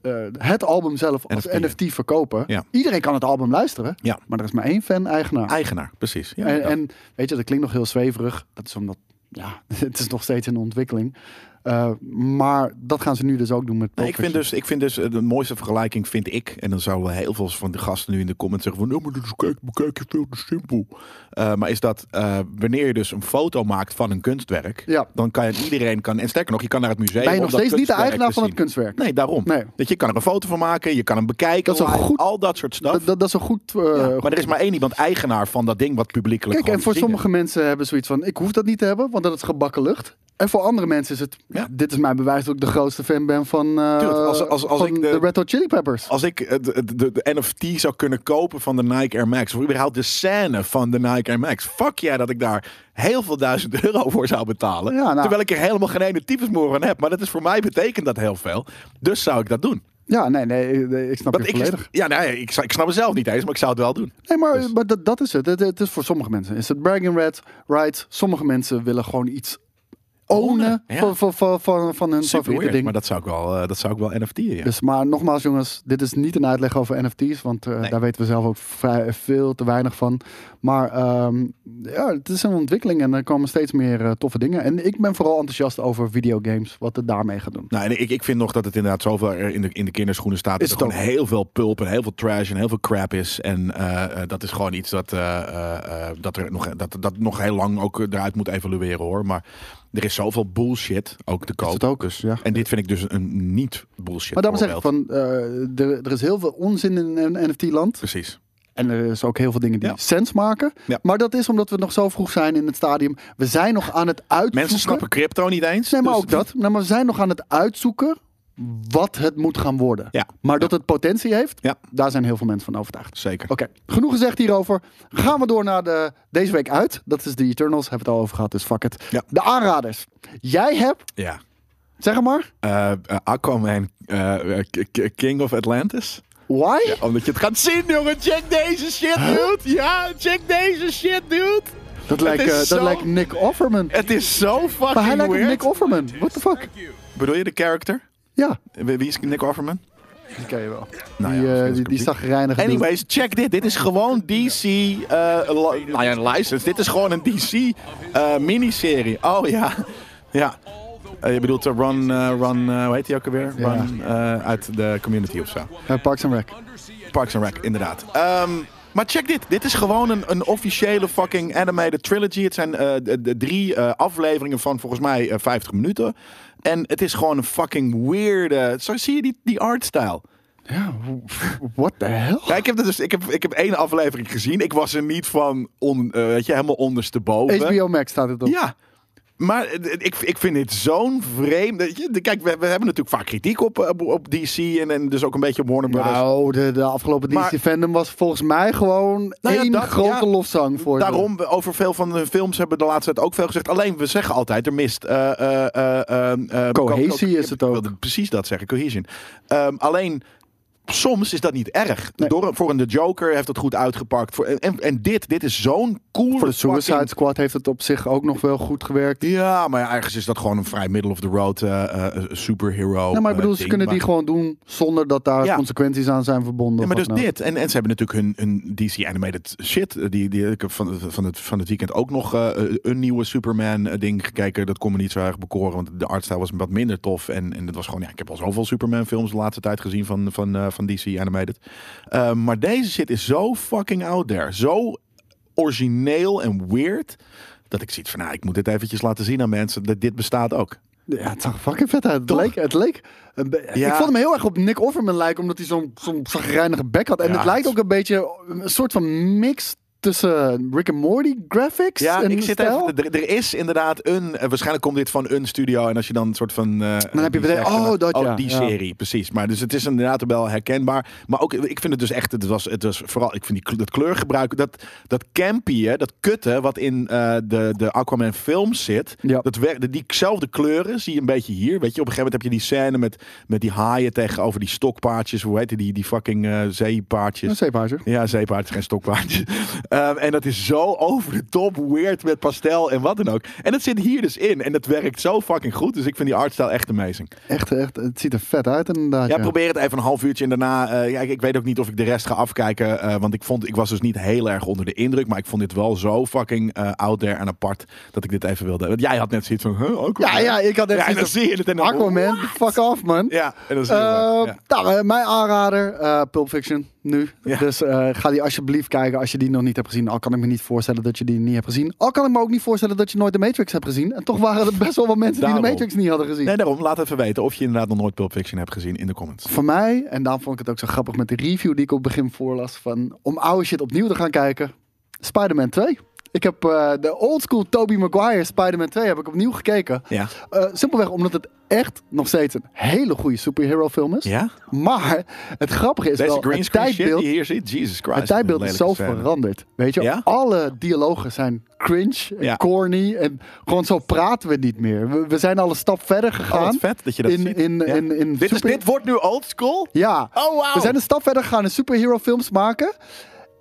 eh, het album zelf als
NFT, ja.
NFT, verkopen.
Ja.
Iedereen kan het album luisteren,
Ja.
maar er is maar één fan-eigenaar.
Eigenaar, precies. Ja,
en,
ja.
en weet je, dat klinkt nog heel zweverig. Dat is omdat, ja, het is nog steeds in ontwikkeling. Eh, maar dat gaan ze nu dus ook doen met
Nee, ik vind
Pulp Fiction.
dus, ik vind dus eh, de mooiste vergelijking vind ik, en dan zouden heel veel van de gasten nu in de comments zeggen van, nee, maar dit is kijk, kijk je veel te simpel. Eh, maar is dat eh, wanneer je dus een foto maakt van een kunstwerk,
Ja.
dan kan je- iedereen kan, en sterker nog, je kan naar het museum.
Ben je
dus om
nog
dat
steeds niet de
kunstwerk
eigenaar
te
van het
zien.
kunstwerk?
Nee, daarom.
Nee.
Dat je kan er een foto van maken, je kan hem bekijken,
Dat is een
live,
goed-
al dat soort stuff.
Dat, dat, dat is een goed... eh,
Ja,
goed
maar er is maar één iemand eigenaar van dat ding wat publiekelijk
Kijk, en voor
gewoon te zien
sommige mensen hebben zoiets van: ik hoef dat niet te hebben, want dat is gebakken lucht. En voor andere mensen is het:
Ja.
dit is mijn bewijs dat ik de grootste fan ben van, eh,
Dude, als- als- als
van
ik de-
de... Red Hot Chili Peppers.
Als ik eh, de, de, de NFT zou kunnen kopen van de Nike Air Max, of überhaupt de scène van de Nike Air Max, fuck jij dat ik daar heel veel duizend euro voor zou betalen.
Ja, nou.
Terwijl ik er helemaal geen ene typesmoer van heb. Maar dat is voor mij betekent dat heel veel. Dus zou ik dat doen.
Ja, nee, nee, nee, ik snap
Want
je
ik,
volledig.
ja, nee, ik, zou- ik snap het zelf niet eens, maar ik zou het wel doen.
Nee, maar,
Dus-
maar dat, dat is het. het. Het is voor sommige mensen. Is het bragging red, right? Sommige mensen willen gewoon iets ownen
Ja.
van, van, van, van, van hun
Super
favoriete
weird,
ding.
Maar dat zou ik wel, eh, dat zou ik wel NFT'en, ja.
Dus, maar nogmaals, jongens, dit is niet een uitleg over NFT's, want eh, daar weten we zelf ook vrij, veel te weinig van. Maar ehm, ja, het is een ontwikkeling en er komen steeds meer eh, toffe dingen. En ik ben vooral enthousiast over videogames, wat het daarmee gaat doen.
Nou, en ik, ik vind nog dat het inderdaad zoveel er in de, in de kinderschoenen staat.
Is
dat er
het
gewoon heel veel pulp en heel veel trash en heel veel crap is. En eh, eh, dat is gewoon iets dat, eh, eh, eh, dat, er nog, dat, dat nog heel lang ook eh, eruit moet evolueren hoor. Maar er is zoveel bullshit ook te koop.
het ook,
dus,
ja.
En dit vind ik dus een niet bullshit
Maar daarom zeg ik
voorbeeld.
van, eh, er, er is heel veel onzin in een NFT-land.
Precies.
En er is ook heel veel dingen die
Ja.
sens maken.
Ja.
Maar dat is omdat we nog zo vroeg zijn in het stadium. We zijn nog aan het uitzoeken.
Mensen snappen crypto niet eens.
Nee, maar
dus-
ook dat. Nou, maar we zijn nog aan het uitzoeken wat het moet gaan worden.
Ja.
Maar dat het potentie heeft,
Ja.
daar zijn heel veel mensen van overtuigd.
Zeker.
Oké, genoeg gezegd hierover. Gaan we door naar de, deze week uit. Dat is de Eternals, hebben we het al over gehad, dus fuck it.
Ja.
De aanraders. Jij hebt,
Ja.
zeg het maar,
Eh, eh, Aquaman, eh, eh, K- K- King of Atlantis.
why?
Ja, omdat je het gaat zien, jongen. Check deze shit, dude. Ja, check deze shit, dude.
dat lijkt,
het is
eh, dat
zo-
lijkt Nick Offerman.
Het is zo fucking
Maar hij lijkt op
weird.
Nick Offerman. What the fuck?
Bedoel je de character?
Ja,
Wie wie is Nick Offerman?
die ken je wel.
Nou ja,
die,
misschien is
eh, die,
het
die
publiek.
zagrijnige dude.
Anyways, check dit. Dit is gewoon DC. eh, li- nou ja, een license. Dit is gewoon een DC eh, miniserie. Oh ja. Ja. Eh, je bedoelt eh, Ron, eh, Ron eh, hoe heet hij ook alweer?
Ja.
Ron eh, uit de community of zo.
Eh, Parks and Rec.
Parks and Rec, inderdaad. Ehm, maar check dit. Dit is gewoon een, een officiële fucking animated trilogy. Het zijn eh, de, de drie eh, afleveringen van volgens mij eh, 50 minuten. En het is gewoon een fucking weirde... Zo zie je die, die artstyle.
Ja, what the hell?
Ja, ik, heb er dus, ik, heb, ik heb één aflevering gezien. Ik was er niet van on, eh, weet je, helemaal ondersteboven.
HBO Max staat het op.
Ja. Maar eh, ik, ik vind dit zo'n vreemd. weet je, de- Kijk, we, we hebben natuurlijk vaak kritiek op, eh, op, op DC en, en dus ook een beetje op Warner Brothers.
Nou, de, de afgelopen
Maar-
DC-fandom was volgens mij gewoon
Nou ja,
één
dat-
grote
ja,
lofzang voor ze.
Daarom, we- over veel van de films hebben we de laatste tijd ook veel gezegd. Alleen, we zeggen altijd, er mist... eh, eh, eh, eh, eh,
Cohesie
co- co-
is het ook.
Ik wilde precies dat zeggen, cohesion. Ehm, alleen, soms is dat niet erg.
Nee.
Door, voor een The Joker heeft dat goed uitgepakt. Voor, en, en dit, dit is zo'n cool...
Voor de Suicide Squad heeft het op zich ook nog wel goed gewerkt.
Ja, maar ja, ergens is dat gewoon een vrij middle of the road eh, eh, superhero.
nou, maar ik
eh,
bedoel, ze
ding.
kunnen die
Maar-
gewoon doen zonder dat daar
Ja.
consequenties aan zijn verbonden.
Ja, maar
of
dus
wat dan ook.
dit. En, en ze hebben natuurlijk hun, hun DC animated shit. eh, Die, die, ik heb van, van, het, van het weekend ook nog eh, een nieuwe Superman eh, ding gekeken. Dat kon me niet zo erg bekoren, want de artstyle was wat minder tof. En, en het was gewoon, ja, ik heb al zoveel Superman films de laatste tijd gezien van, van, eh, van DC animated. Eh, maar deze shit is zo fucking out there. Zo origineel en weird. Dat ik ziet van, nou, ik moet dit eventjes laten zien aan mensen. Dat dit bestaat ook.
Ja, het zag fucking vet uit. Het
Toch?
leek, het leek een be-
Ja.
Ik vond hem heel erg op Nick Offerman lijken, omdat hij zo'n zo'n zagrijnige bek had. En
Ja,
het lijkt
het-
ook een beetje een soort van mix tussen Rick and Morty graphics
Ja,
en
ik zit
stijl.
even, er, er is inderdaad een. eh, waarschijnlijk komt dit van een studio. En als je dan een soort van. eh,
Dan heb
die
je meteen,
zegt,
oh,
eh,
dat ja,
die
ja.
serie, precies. Maar dus het is inderdaad wel herkenbaar. Maar ook, ik vind het dus echt. Het was, het was vooral. Ik vind die, kle- dat kleurgebruik. Dat, dat campy, hè, dat kutte. wat in eh, de, de Aquaman film zit.
Ja.
Dat wer- die- diezelfde kleuren zie je een beetje hier. Weet je, op een gegeven moment heb je die scène met, met die haaien tegenover die stokpaardjes. Hoe heet die? Die, die fucking eh, zeepaardjes.
Een zeephuizer.
Ja, zeepaard is geen stokpaard. Ehm, en dat is zo over de top, weird met pastel en wat dan ook. En dat zit hier dus in. En dat werkt zo fucking goed. Dus ik vind die artstyle echt amazing.
Echt, echt, het ziet er vet uit inderdaad.
Ja,
ja.
probeer het even een half uurtje en daarna... eh, ja, ik, ik weet ook niet of ik de rest ga afkijken. eh, want ik, vond, ik was dus niet heel erg onder de indruk. Maar ik vond dit wel zo fucking eh, out there en apart... dat ik dit even wilde. Want jij had net zoiets van... Huh, ook
Ja, ja, ik had echt
Ja, en dan
zoiets
zie je het en dan...
Aquaman, fuck off man.
Ja, en dan zie je
Eh,
het. Ja.
nou, eh, mijn aanrader, eh Pulp Fiction, nu.
Ja.
Dus eh, ga die alsjeblieft kijken als je die nog niet hebt gezien. Al kan ik me niet voorstellen dat je die niet hebt gezien. Al kan ik me ook niet voorstellen dat je nooit de Matrix hebt gezien. En toch waren er best wel wat mensen die de
Daarom.
Matrix niet hadden gezien.
Nee, daarom. Laat even weten of je inderdaad nog nooit Pulp Fiction hebt gezien in de comments.
Voor mij, en daarom vond ik het ook zo grappig met de review die ik op het begin voorlas, van om oude shit opnieuw te gaan kijken, Spider-Man 2. Ik heb eh, de oldschool Tobey Maguire Spider-Man 2 heb ik opnieuw gekeken.
Ja.
Eh, simpelweg omdat het echt nog steeds een hele goede superhero film is.
Ja?
Maar het grappige is
Deze
wel,
green
het
screen shit
tijdbeeld,
die je hier ziet, Jesus Christ.
het tijdbeeld
wat
is
een
zo
lelijke scène.
veranderd. Weet je,
Ja?
alle dialogen zijn cringe en
Ja.
corny en gewoon zo praten we niet meer. We, we zijn al een stap verder
Oh,
gegaan.
wat vet dat je dat
in,
ziet.
In,
Ja.
in, in
dit, is,
super-
dit wordt nu old school?
ja,
Oh, wauw.
we zijn een stap verder gegaan in superhero films maken.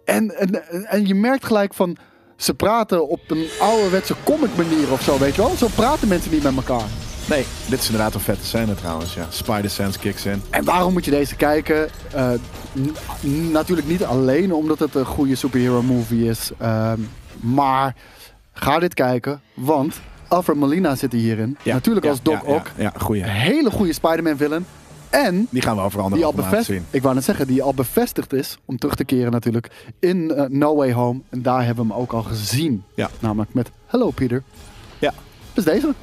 En, en, en je merkt gelijk van, Ze praten op een ouderwetse comic manier of zo, weet je wel? Zo praten mensen niet met elkaar.
Nee, dit is inderdaad een vette scène trouwens. Ja. Spider Sense kicks in.
En waarom moet je deze kijken? Eh, n- n- natuurlijk niet alleen omdat het een goede superhero movie is. ehm, maar ga dit kijken, want Alfred Molina zit er hierin.
Ja,
Natuurlijk
ja,
als Doc
ja, ja,
ook.
Ja, goeie.
Een hele goede Spider-Man villain. En
Die gaan we over andere
die al
laten
bevestigd,
zien.
ik wou net zeggen, die al bevestigd is om terug te keren natuurlijk in eh, No Way Home. En daar hebben we hem ook al gezien.
Ja.
Namelijk met Hello Peter.
Ja,
Dus deze.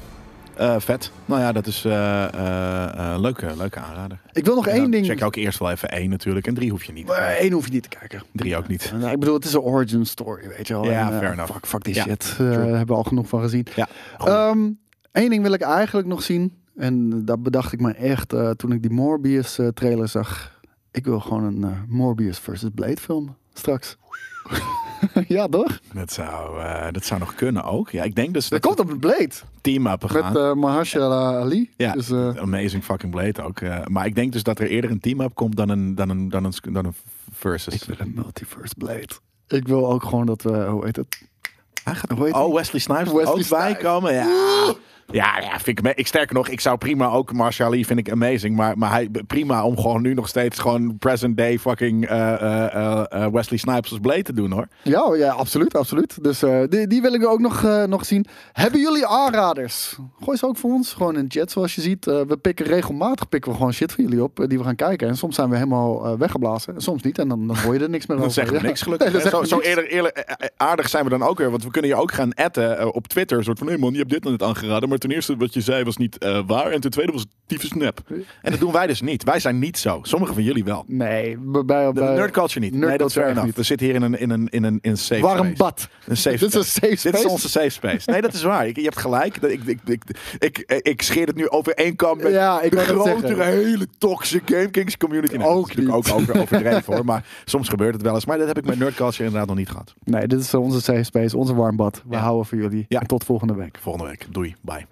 eh, vet. Nou ja, dat is eh eh, eh, leuke, leuke aanrader.
Ik wil nog
En
één
dan
ding.
Check ook eerst wel even één natuurlijk. En drie hoef je niet.
Eh, één hoef je niet te kijken.
Drie ook niet.
Nou, ik bedoel, het is een origin story, weet je wel.
Ja,
En, eh,
fair enough.
Fuck, fuck die
Ja,
shit.
true.
Daar hebben we al genoeg van gezien.
Ja, goed.
Eén ding wil ik eigenlijk nog zien. En dat bedacht ik me echt eh, toen ik die Morbius eh, trailer zag. Ik wil gewoon een eh, Morbius versus Blade film straks. ja, toch?
dat, zou, eh, dat zou nog kunnen ook. Ja, ik denk dus
Dat
dat
komt op het Blade.
team-up
Met
gaan.
eh Mahershala Ali.
Ja,
Dus, eh,
Amazing fucking Blade ook. eh, maar ik denk dus dat er eerder een team-up komt dan een, dan een, dan een, dan een versus.
ik wil een multiverse Blade. Ik wil ook gewoon dat we, eh, hoe heet het?
Hij gaat-
Hoe heet
oh,
die?
Wesley Snipes
Wesley
ook bij
Snipes.
komen. Ja. Ja, ja, vind ik, me- ik sterker nog, ik zou prima ook Marshall Lee vind ik amazing, maar, maar hij prima om gewoon nu nog steeds gewoon present day fucking eh, eh, eh, eh, Wesley Snipes als Blade te doen hoor.
Ja, ja absoluut, absoluut. Dus eh, die, die wil ik ook nog, eh, nog zien. Hebben jullie aanraders? Gooi ze ook voor ons. Gewoon in de chat, zoals je ziet. Eh, we pikken regelmatig pikken we gewoon shit voor jullie op eh, die we gaan kijken. En soms zijn we helemaal eh, weggeblazen. En soms niet. En dan, dan hoor je er niks meer
Dan
over.
zeggen we
Ja.
niks gelukkig.
Nee, dan
zo
zeggen we
zo
niks.
eerder, eerlijk- eh, eh, aardig zijn we dan ook weer, want we kunnen je ook gaan atten eh, op Twitter. Een soort van, hé man, je hebt dit net aangeraden, maar ten eerste wat je zei was niet eh, waar en ten tweede was het tyfus nep. En dat doen wij dus niet. Wij zijn niet zo. Sommigen van jullie wel.
Nee, bij, bij,
De nerd culture niet. nee, dat is fair enough. We zitten hier in een, in een, in een, in een safe
Warm
space.
bad.
Een safe
Dit is een
space.
safe
Dit is
space.
onze safe space. Nee, dat is waar. Ik, je hebt gelijk. Dat- Ik, ik, ik, ik, ik, scheer het nu over één kam met
Ja, ik
de
wou net
grotere,
zeggen.
hele toxic Game Kings community. Nou,
Ook
dat is natuurlijk ook over, overdreven hoor. Maar soms gebeurt het wel eens. Maar dat heb ik met Nerd Culture inderdaad nog niet gehad.
Nee, dit is eh, onze safe space, onze warm bad. We houden voor jullie.
Ja.
En tot volgende week.
Volgende week. Doei. Bye.